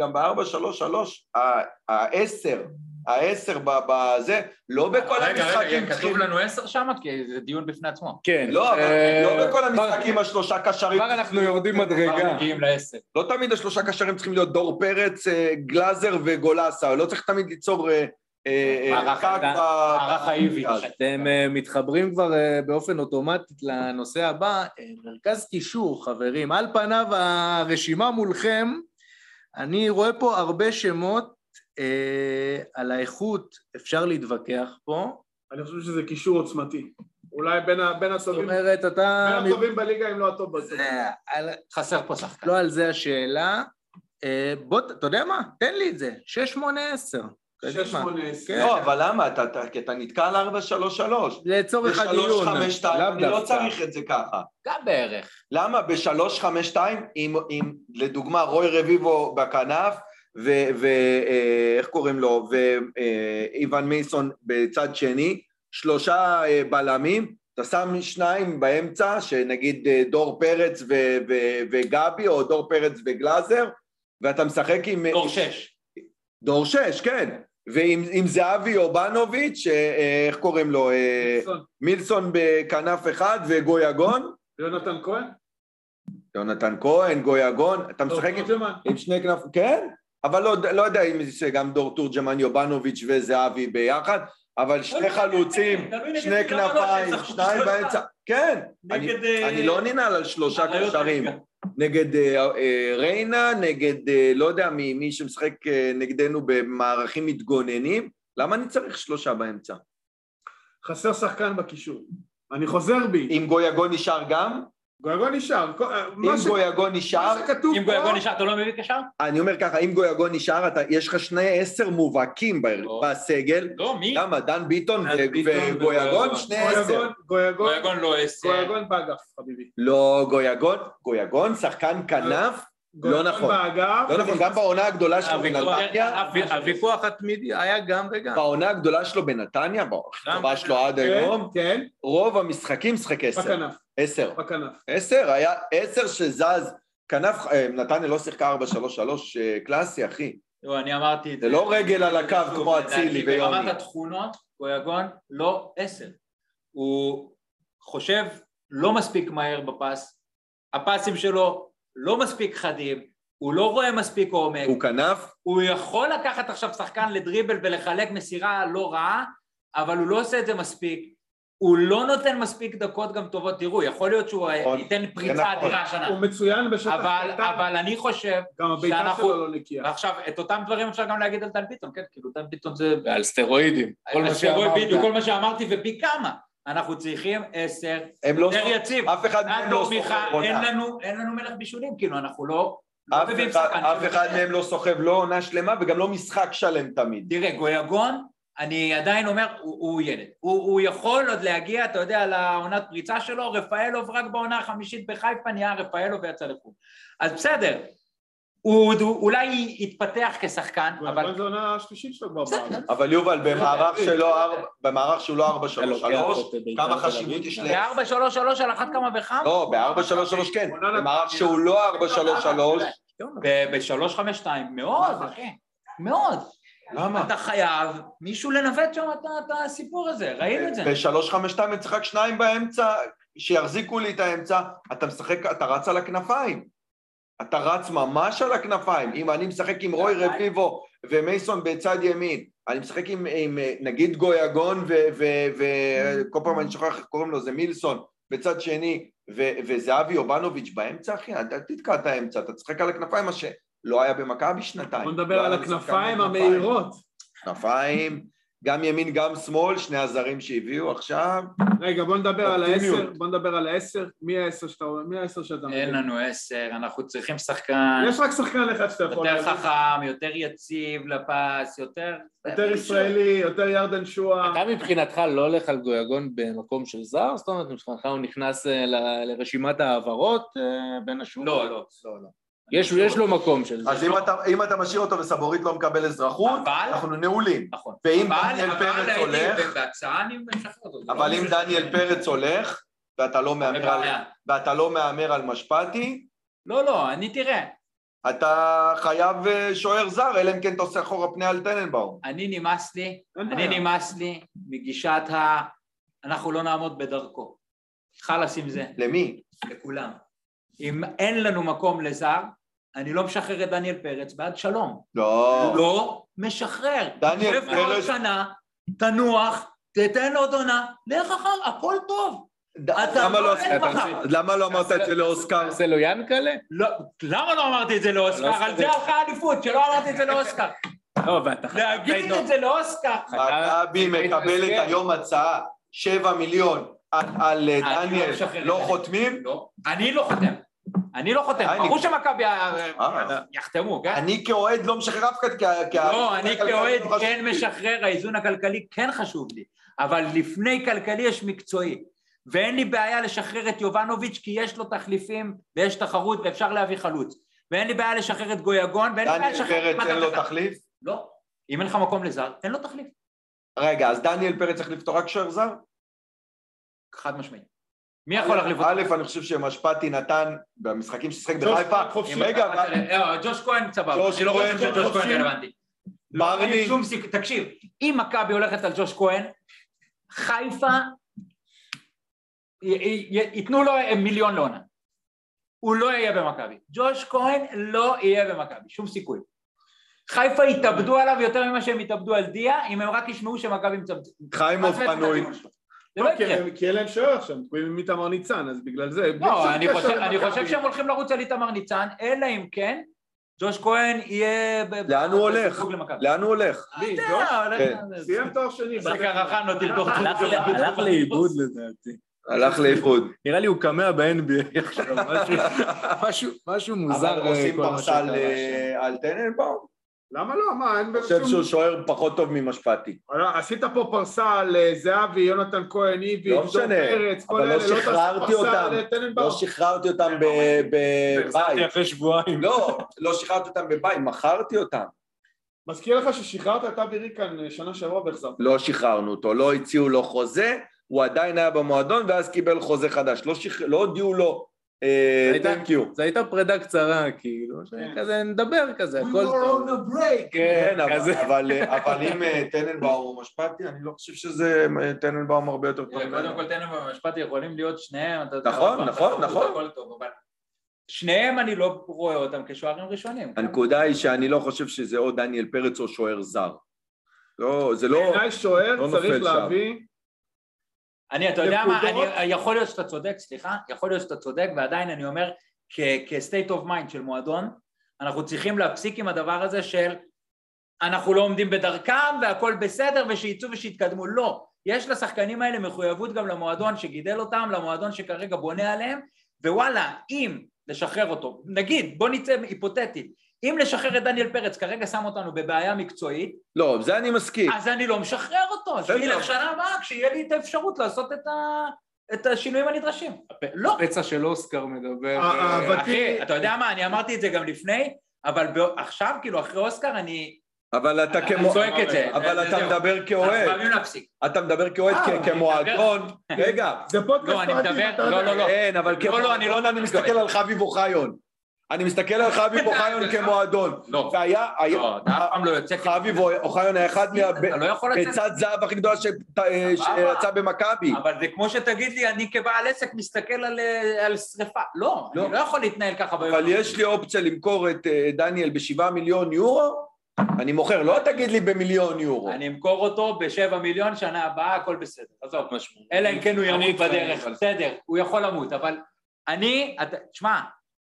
Speaker 2: גם ב-433, העשר, העשר ב- בזה, לא בכל המשחקים צריכים...
Speaker 3: לנו עשר שם? כי זה דיון בפני עצמו.
Speaker 6: כן,
Speaker 2: לא, אבל
Speaker 6: אה,
Speaker 2: לא בכל
Speaker 6: כבר-
Speaker 2: המשחקים השלושה קשרים,
Speaker 6: כבר אנחנו יורדים
Speaker 3: כבר
Speaker 1: כן,
Speaker 6: מדרגה,
Speaker 3: מגיעים לעשר.
Speaker 2: לא תמיד השלושה קשרים צריכים להיות דור פרץ, אה, גלאזר וגולסה, לא צריך תמיד ליצור אה, אה, אה,
Speaker 3: מערך
Speaker 2: חג
Speaker 3: ה-
Speaker 2: ב-
Speaker 3: מערך האיביץ'.
Speaker 1: אתם אה, מתחברים כבר אה, באופן אוטומטית לנושא הבא, אה, מרכז קישור, חברים. על פניו הרשימה מולכם, אני רואה פה הרבה שמות, אה, על האיכות אפשר להתווכח פה.
Speaker 4: אני חושב שזה קישור עוצמתי. אולי בין ה- בין
Speaker 1: זאת
Speaker 4: הטובים
Speaker 1: אומרת,
Speaker 4: בין
Speaker 1: אתה...
Speaker 4: הטובים בליגה אם לא הטוב בטוב.
Speaker 1: זה- על-
Speaker 3: חסר פה שחקן.
Speaker 1: לא על זה השאלה. אה, בוא, ת- אתה יודע מה? תן לי את זה. 6, 8, 10.
Speaker 3: אה,
Speaker 4: שש, שמונה,
Speaker 3: כן,
Speaker 4: עשר.
Speaker 2: לא, אבל למה? אתה- אתה- כי אתה נתקע על 433.
Speaker 1: לצורך הדיון.
Speaker 2: ב-352,
Speaker 1: לאו
Speaker 2: אני לא
Speaker 1: דווקא.
Speaker 2: צריך את זה ככה.
Speaker 3: גם בערך.
Speaker 2: למה ב-352, אם, אם לדוגמה רוי רביבו בכנף, ואיך אה, איך קוראים לו, ואיוון אה, איוון מייסון בצד שני, שלושה אה, בלמים, אתה אתה שם שניים באמצע, שנגיד אה, דור פרץ ו- ו- וגבי, או דור פרץ וגלאזר, ואתה משחק עם... אה,
Speaker 3: דור שש.
Speaker 2: דור שש, כן. ועם עם זהבי אובנוביץ', אה, אה, איך קוראים לו? אה,
Speaker 4: נילסון,
Speaker 2: מילסון בכנף אחד וגויגון.
Speaker 4: יונתן כהן?
Speaker 2: יונתן כהן, גויגון. אתה משחק עם-
Speaker 4: לא, תורג'מן.
Speaker 2: עם שני כנף... כן, אבל לא, לא יודע אם זה גם דור תורג'מן, יובנוביץ' וזהבי ביחד, אבל שני חלוצים,
Speaker 6: תלוי נגד
Speaker 2: שני
Speaker 6: מי, למה לא?
Speaker 2: כנפיים,
Speaker 6: שהם שחקו
Speaker 2: שניים
Speaker 6: בשלושה.
Speaker 2: באמצע. כן, אני-
Speaker 6: נגד... אה,
Speaker 2: אני לא ננעל על שלושה
Speaker 3: הבעיות
Speaker 2: קשרים.
Speaker 3: הליגה.
Speaker 2: נגד אה, אה, ריינה, נגד אה, לא יודע מי, מי שמשחק אה, נגדנו במערכים מתגוננים, למה אני צריך שלושה באמצע?
Speaker 4: חסר שחקן בקישור. אני חוזר בי.
Speaker 2: אם גויגון נשאר גם?
Speaker 4: גויגון נשאר. כל- אה, מה
Speaker 2: אם
Speaker 4: ש-
Speaker 2: גויגון
Speaker 4: מה
Speaker 2: נשאר,
Speaker 4: שכתוב
Speaker 3: אם גויגון
Speaker 4: פה,
Speaker 3: נשאר, אתה לא מביא קשר?
Speaker 2: אני אומר ככה, אם גויגון נשאר, אתה- יש לך שני עשר מובהקים ב-
Speaker 3: לא.
Speaker 2: בסגל,
Speaker 3: לא, מי?
Speaker 2: למה? דן ביטון
Speaker 1: דן
Speaker 2: ו-
Speaker 1: ביטון
Speaker 2: וגויגון?
Speaker 3: וגויגון.
Speaker 2: שני עשר.
Speaker 4: גויגון, גויגון,
Speaker 3: גויגון לא עשר.
Speaker 4: גויגון באגף, חביבי.
Speaker 2: לא, גויגון, גויגון, שחקן כנף,
Speaker 4: גויגון
Speaker 2: נכון.
Speaker 4: באגף. כן,
Speaker 2: לא נכון, גם בעונה הגדולה
Speaker 3: אה,
Speaker 2: שלו
Speaker 1: הוויכוח-
Speaker 2: בנתניה,
Speaker 1: הוו- הוויכוח התמידי היה גם וגם.
Speaker 2: בעונה הגדולה שלו בנתניה, בעונה שלו עד
Speaker 4: כן,
Speaker 2: היום,
Speaker 4: כן,
Speaker 2: רוב המשחקים משחק עשר.
Speaker 4: בכנף,
Speaker 2: עשר.
Speaker 4: בכנף.
Speaker 2: עשר, היה עשר שזז. כנף, אה, נתניה לא שיחקה 4-3-3 אה, קלאסי, אחי.
Speaker 3: לא, אני אמרתי את
Speaker 2: זה לא רגל על הקו
Speaker 3: שוב,
Speaker 2: כמו
Speaker 3: לדעתי,
Speaker 2: אצילי ויוני.
Speaker 3: ברמת התכונות, גויגון לא עשר. הוא חושב לא מספיק מהר בפס, הפסים שלו לא מספיק חדים, הוא לא רואה מספיק עומק,
Speaker 2: הוא כנף,
Speaker 3: הוא יכול לקחת עכשיו שחקן לדריבל ולחלק מסירה לא רעה, אבל הוא לא עושה את זה מספיק. הוא לא נותן מספיק דקות גם טובות, תראו, יכול להיות שהוא
Speaker 2: נכון,
Speaker 3: ייתן
Speaker 2: זה
Speaker 3: פריצה
Speaker 2: נכון.
Speaker 3: אדירה השנה,
Speaker 4: הוא מצוין בשטח
Speaker 3: אבל-
Speaker 4: קטן,
Speaker 3: אבל אני חושב
Speaker 4: גם הביתה
Speaker 3: שאנחנו-
Speaker 4: שלו לא נקייה.
Speaker 3: ועכשיו, את אותם דברים אפשר גם להגיד על דן ביטון, כן? כאילו, דן ביטון זה...
Speaker 6: ועל סטרואידים. כל מה
Speaker 3: אז תראו,
Speaker 6: שאמרת.
Speaker 3: בדיוק, כל מה שאמרתי, ופי כמה. אנחנו צריכים עשר,
Speaker 2: הם לא...
Speaker 3: יותר יציב.
Speaker 2: אף אחד מהם לא
Speaker 3: נטו, מיכה,
Speaker 2: סוחב עונה.
Speaker 3: אין לנו- אין לנו מלך בישולים, כאילו, אנחנו לא... לא
Speaker 2: אף
Speaker 3: מביאים
Speaker 2: אחד-
Speaker 3: שחקן.
Speaker 2: אף אחד מהם לא סוחב לא עונה שלמה וגם לא משחק שלם תמיד.
Speaker 3: תראה, גויגון, אני עדיין אומר, הוא, הוא ילד. הוא, הוא יכול עוד להגיע, אתה יודע, לעונת פריצה שלו, רפאלוב רק בעונה החמישית בחיפה נהיה רפאלוב ויצא לחו"ל. אז בסדר, הוא, הוא אולי יתפתח כשחקן, אבל
Speaker 4: גויגון זו עונה השלישית שלו כבר בארץ.
Speaker 2: אבל יובל, במערך
Speaker 3: לא,
Speaker 2: שלו
Speaker 3: לא,
Speaker 2: ארבע- במערך שהוא לא ארבע
Speaker 1: אתה
Speaker 2: שלוש
Speaker 1: לוקח
Speaker 2: שלוש,
Speaker 1: אותו בית"ר
Speaker 2: כמה
Speaker 1: תל אביב?
Speaker 2: חשיבות יש ל...
Speaker 3: ב-4-3-3 על אחת כמה וכמה,
Speaker 2: לא, בארבע שלוש שלוש כן.
Speaker 4: עונה
Speaker 2: במערך
Speaker 4: נתניה.
Speaker 2: שהוא לא ארבע שלוש שלוש.
Speaker 3: ב-3-5-2, מאוד, אחי, נכון. מאוד.
Speaker 2: למה?
Speaker 3: אתה חייב מישהו לנווט שם את- את הסיפור הזה, ראינו את זה.
Speaker 2: בשלוש חמש שתיים אני משחק שניים באמצע, שיחזיקו לי את האמצע, אתה משחק, אתה רץ על הכנפיים. אתה רץ ממש על הכנפיים. אם אני משחק עם רוי
Speaker 4: נכון.
Speaker 2: רביבו ומייסון בצד ימין, אני משחק עם, עם אה, נגיד גויגון
Speaker 4: Mm-hmm.
Speaker 2: וכל פעם אני שוכח איך קוראים לו, זה מילסון, בצד שני, ו- וזהבי אובנוביץ' באמצע, אחי, אל אל תתקע את האמצע, אתה תשחק על הכנפיים, מה שלא היה במכבי שנתיים.
Speaker 4: בוא
Speaker 2: לא
Speaker 4: נדבר על
Speaker 2: היה משחקן
Speaker 4: הכנפיים
Speaker 2: בכנפיים.
Speaker 4: המהירות.
Speaker 2: כנפיים, גם ימין, גם שמאל, שני הזרים שהביאו עכשיו.
Speaker 4: רגע, בוא נדבר על
Speaker 2: אופטימיות.
Speaker 4: העשר, בוא נדבר על העשר. מי העשר שאתה מי העשר שאתה
Speaker 3: אין
Speaker 4: מבין?
Speaker 3: לנו עשר, אנחנו צריכים שחקן.
Speaker 4: יש רק שחקן אחד שאתה יכול...
Speaker 3: יותר
Speaker 4: להגיד.
Speaker 3: חכם, יותר יציב לפס, יותר...
Speaker 4: יותר ישראלי, יותר ירדן שואה.
Speaker 1: אתה מבחינתך לא הולך על גויגון במקום של זר? זאת אומרת, מבחינתך הוא נכנס אה, ל- לרשימת ההעברות אה, בין השורות?
Speaker 3: לא, לא, לא.
Speaker 1: יש יש לו מקום של זה.
Speaker 2: אז אם אתה, אם אתה משאיר אותו וסבורית לא מקבל אזרחות,
Speaker 3: אבל-
Speaker 2: אנחנו נעולים.
Speaker 3: נכון.
Speaker 2: ואם
Speaker 3: אבל-
Speaker 2: דניאל
Speaker 3: אבל
Speaker 2: פרץ
Speaker 3: הייתי
Speaker 2: הולך,
Speaker 3: בהצעה אני משחרר אותו.
Speaker 2: אבל
Speaker 3: לא
Speaker 2: אם
Speaker 3: משנה.
Speaker 2: דניאל פרץ הולך, ואתה לא מהמר על,
Speaker 3: בבעיה.
Speaker 2: ואתה לא מהמר על משפטי,
Speaker 3: לא, לא, אני תראה,
Speaker 2: אתה חייב אה, שוער זר, אלא אם כן אתה עושה אחורה פני על טננבאום.
Speaker 3: אני נמאס לי,
Speaker 4: אין בעיה.
Speaker 3: אני נמאס לי מגישת ה... אנחנו לא נעמוד בדרכו. חלאס עם זה,
Speaker 2: למי?
Speaker 3: לכולם. אם אין לנו מקום לזר, אני לא משחרר את דניאל פרץ, בעד שלום.
Speaker 2: לא.
Speaker 3: לא משחרר.
Speaker 2: דניאל
Speaker 3: שב עוד
Speaker 2: פרץ-
Speaker 3: שנה, תנוח, תתן עוד עונה, לך אחר, הכל טוב.
Speaker 2: ד-
Speaker 3: אתה
Speaker 2: למה לא
Speaker 3: לא
Speaker 2: עשית-
Speaker 3: עומד
Speaker 1: מחר.
Speaker 2: למה לא אמרת את זה לאוסקר?
Speaker 1: עושה לו ינקלה?
Speaker 3: לא, למה לא אמרתי את זה
Speaker 1: לא
Speaker 3: לאוסקר? על זה
Speaker 1: סביר.
Speaker 3: הלכה האליפות, שלא אמרתי את זה לאוסקר.
Speaker 1: לא, ואתה חייב
Speaker 3: להגיד
Speaker 1: להגיד-
Speaker 3: את זה לאוסקר.
Speaker 2: מכבי מקבלת היום הצעה, שבע מיליון על- על אה,
Speaker 3: לא
Speaker 2: דניאל,
Speaker 3: משחרר.
Speaker 2: לא חותמים?
Speaker 3: לא, אני לא חותם. אני לא חותם.
Speaker 2: אני-
Speaker 3: ברור שמכבי אה,
Speaker 2: אה.
Speaker 3: יחתמו, כן?
Speaker 2: אני כאוהד לא משחרר אף אחד, כי ה- כי ה-
Speaker 3: לא, אני כאוהד
Speaker 2: חשוב.
Speaker 3: כן משחרר, האיזון הכלכלי כן חשוב לי, אבל לפני כלכלי יש מקצועי. ואין לי בעיה לשחרר את יובנוביץ' כי יש לו תחליפים ויש תחרות ואפשר להביא חלוץ. ואין לי בעיה לשחרר את גויגון, ואין לי בעיה
Speaker 2: דניאל
Speaker 3: לשחרר את...
Speaker 2: פרץ אין
Speaker 3: מתן
Speaker 2: לו
Speaker 3: קטן.
Speaker 2: תחליף?
Speaker 3: לא. אם אין לך מקום לזר, אין לו תחליף.
Speaker 2: רגע, אז דניאל פרץ צריך לפתור רק שוער זר?
Speaker 3: חד משמעית. מי יכול להחליף אותו?
Speaker 2: א', אני חושב שמשפטי נתן במשחקים ששיחק
Speaker 4: ג'וש
Speaker 2: בחיפה,
Speaker 4: כהן חופשי.
Speaker 3: אם-
Speaker 2: רגע,
Speaker 3: אבל- אה, ג'וש כהן סבבה,
Speaker 2: ג'וש
Speaker 3: אני לא
Speaker 2: כהן,
Speaker 3: חושב שג'וש
Speaker 4: חופשי.
Speaker 3: כהן רלוונטי. לא, אין
Speaker 2: ברני,
Speaker 3: שום סיכוי, תקשיב, אם מכבי הולכת על ג'וש כהן, חיפה, י- י- י- ייתנו לו מיליון לעונה. הוא לא יהיה במכבי. ג'וש כהן לא יהיה במכבי, שום סיכוי. חיפה יתאבדו עליו יותר ממה שהם יתאבדו על דיה, אם הם רק ישמעו שמכבי מצמצמת.
Speaker 2: חיימוב
Speaker 3: מצמצמת את
Speaker 2: פנוי.
Speaker 3: הדיון שלו. זה לא
Speaker 2: אוקיי,
Speaker 4: כי
Speaker 3: יקרה.
Speaker 4: הם- כי אין להם שוער עכשיו, הם תקועים עם איתמר ניצן, אז בגלל זה... בלי שום
Speaker 3: לא, אני
Speaker 4: קשר
Speaker 3: חושב-
Speaker 4: למכבי.
Speaker 3: אני חושב שהם הולכים לרוץ על איתמר ניצן, אלא אם כן ג'וש כהן יהיה... ב-
Speaker 2: לאן הוא הולך?
Speaker 3: בסיפוק למכבי.
Speaker 2: לאן כן. הוא הולך?
Speaker 4: מי,
Speaker 3: אתה
Speaker 4: ג'וש?
Speaker 3: יודע, הולך-
Speaker 4: סיים תואר שני.
Speaker 3: זה
Speaker 4: בסדר.
Speaker 3: קרחן לא תרדוף.
Speaker 1: הלך ל- הלך לאיבוד לדעתי.
Speaker 2: הלך לאיחוד.
Speaker 1: נראה לי הוא קמע ב-NBA עכשיו, משהו- משהו- משהו מוזר.
Speaker 3: אה,
Speaker 1: אה,
Speaker 2: אבל עושים
Speaker 1: כל מה
Speaker 2: פרסה
Speaker 1: שקרה
Speaker 2: על,
Speaker 1: שם.
Speaker 2: אה, על טננבאום?
Speaker 4: למה לא? מה, אין
Speaker 2: אני חושב
Speaker 4: בשום...
Speaker 2: שהוא שוער פחות טוב ממשפטי.
Speaker 4: אה, עשית פה פרסה על אה, זהבי, יונתן כהן, איבי,
Speaker 2: לא
Speaker 4: דור
Speaker 2: משנה,
Speaker 4: פרץ, כל
Speaker 2: אבל
Speaker 4: אלה,
Speaker 2: לא
Speaker 4: תעשה
Speaker 2: שחררתי
Speaker 4: פרסה
Speaker 2: אותם.
Speaker 4: על אה, טננבאום.
Speaker 2: לא שחררתי אותם ב-
Speaker 1: הפסדתי
Speaker 2: בבית.
Speaker 1: אחרי שבועיים.
Speaker 2: לא, לא שחררתי אותם בבית, מכרתי אותם.
Speaker 4: מזכיר לך ששחררת את אבי ריקן אה, שנה שעברה והחזרת.
Speaker 2: לא שחררנו אותו, לא הציעו לו חוזה, הוא עדיין היה במועדון ואז קיבל חוזה חדש. לא שחר- לא הודיעו לו,
Speaker 1: הייתה-
Speaker 2: תן קיו.
Speaker 1: זו הייתה פרידה קצרה, כאילו, שכזה נדבר
Speaker 4: לא,
Speaker 1: כזה, הכל טוב.
Speaker 2: כן, אבל-
Speaker 1: כזה.
Speaker 2: אבל אה, אבל אם אה, טננבאום הוא משפטי, אני לא חושב שזה אה, טננבאום הרבה יותר טוב.
Speaker 3: קודם כל תן לנו במשפט, יכולים להיות שניהם. אתה-
Speaker 2: נכון,
Speaker 3: אתה-
Speaker 2: נכון,
Speaker 3: אתה-
Speaker 2: נכון.
Speaker 3: הכל טוב, אבל שניהם אני לא רואה אותם כשוערים ראשונים.
Speaker 2: הנקודה היא שאני לא חושב שזה או דניאל פרץ או שוער זר. לא, זה לא...
Speaker 4: בעיניי
Speaker 2: לא
Speaker 4: שוער
Speaker 2: נופל
Speaker 4: צריך
Speaker 2: שם.
Speaker 4: להביא...
Speaker 3: אני, אתה יודע מה,
Speaker 4: נקודות.
Speaker 3: אני- יכול להיות שאתה צודק, סליחה, יכול להיות שאתה צודק, ועדיין אני אומר, כ-state of mind של מועדון, אנחנו צריכים להפסיק עם הדבר הזה של אנחנו לא עומדים בדרכם והכל בסדר ושיצאו ושיתקדמו, לא. יש לשחקנים האלה מחויבות גם למועדון שגידל אותם, למועדון שכרגע בונה עליהם, ווואלה, אם לשחרר אותו, נגיד, בוא נצא היפותטית, אם לשחרר את דניאל פרץ כרגע שם אותנו בבעיה מקצועית,
Speaker 2: לא, בזה אני מסכים.
Speaker 3: אז אני לא משחרר אותו, שילך שנה הבאה כשיהיה לי את האפשרות לעשות את, ה... את השינויים הנדרשים. לא.
Speaker 7: הפצע של אוסקר מדבר.
Speaker 4: אה, אה, אבל-
Speaker 3: אחי, אתה יודע מה, אני אמרתי את זה גם לפני, אבל ב... עכשיו, כאילו, אחרי אוסקר, אני,
Speaker 2: אבל אתה
Speaker 3: אני
Speaker 2: כמו...
Speaker 3: צועק את זה.
Speaker 2: אבל
Speaker 3: זה-
Speaker 2: אתה
Speaker 3: זהו.
Speaker 2: מדבר
Speaker 3: אנחנו
Speaker 2: כאוהד,
Speaker 3: חייבים להפסיק.
Speaker 2: אתה מדבר כאוהד
Speaker 4: אה,
Speaker 2: כ-
Speaker 4: אני
Speaker 2: כמועדון, רגע,
Speaker 4: זה פודקאסט
Speaker 3: לא, אני
Speaker 4: אוהדים,
Speaker 3: מדבר,
Speaker 4: אתה
Speaker 3: לא,
Speaker 4: יודע.
Speaker 3: לא, לא.
Speaker 2: אין, אבל
Speaker 3: לא, לא, אני לא
Speaker 2: כמועדון אני מסתכל על חביב אוחיון, אני מסתכל על חביב אוחיון כמועדון,
Speaker 3: לא,
Speaker 2: והיה, היה-
Speaker 3: לא, אתה אף פעם לא יוצא כזה.
Speaker 2: אה, חביב אוחיון היה אחד
Speaker 3: אתה לא יכול לצאת.
Speaker 2: מהביצת זהב הכי גדולה שת-
Speaker 3: סבבה.
Speaker 2: שיצא אה, במכבי,
Speaker 3: אבל זה כמו שתגיד לי, אני כבעל עסק מסתכל על, אה, על שריפה. לא,
Speaker 2: לא.
Speaker 3: אני לא יכול להתנהל ככה ביום.
Speaker 2: אבל יש לי אופציה למכור את אה, דניאל בשבעה מיליון יורו, אני מוכר, לא תגיד לי במיליון יורו,
Speaker 3: אני אמכור אותו בשבע מיליון, שנה הבאה הכל בסדר. עזוב, אלא אם כן הוא ימות בדרך, בסדר, הוא יכול למות, אבל אני, אתה- תשמע,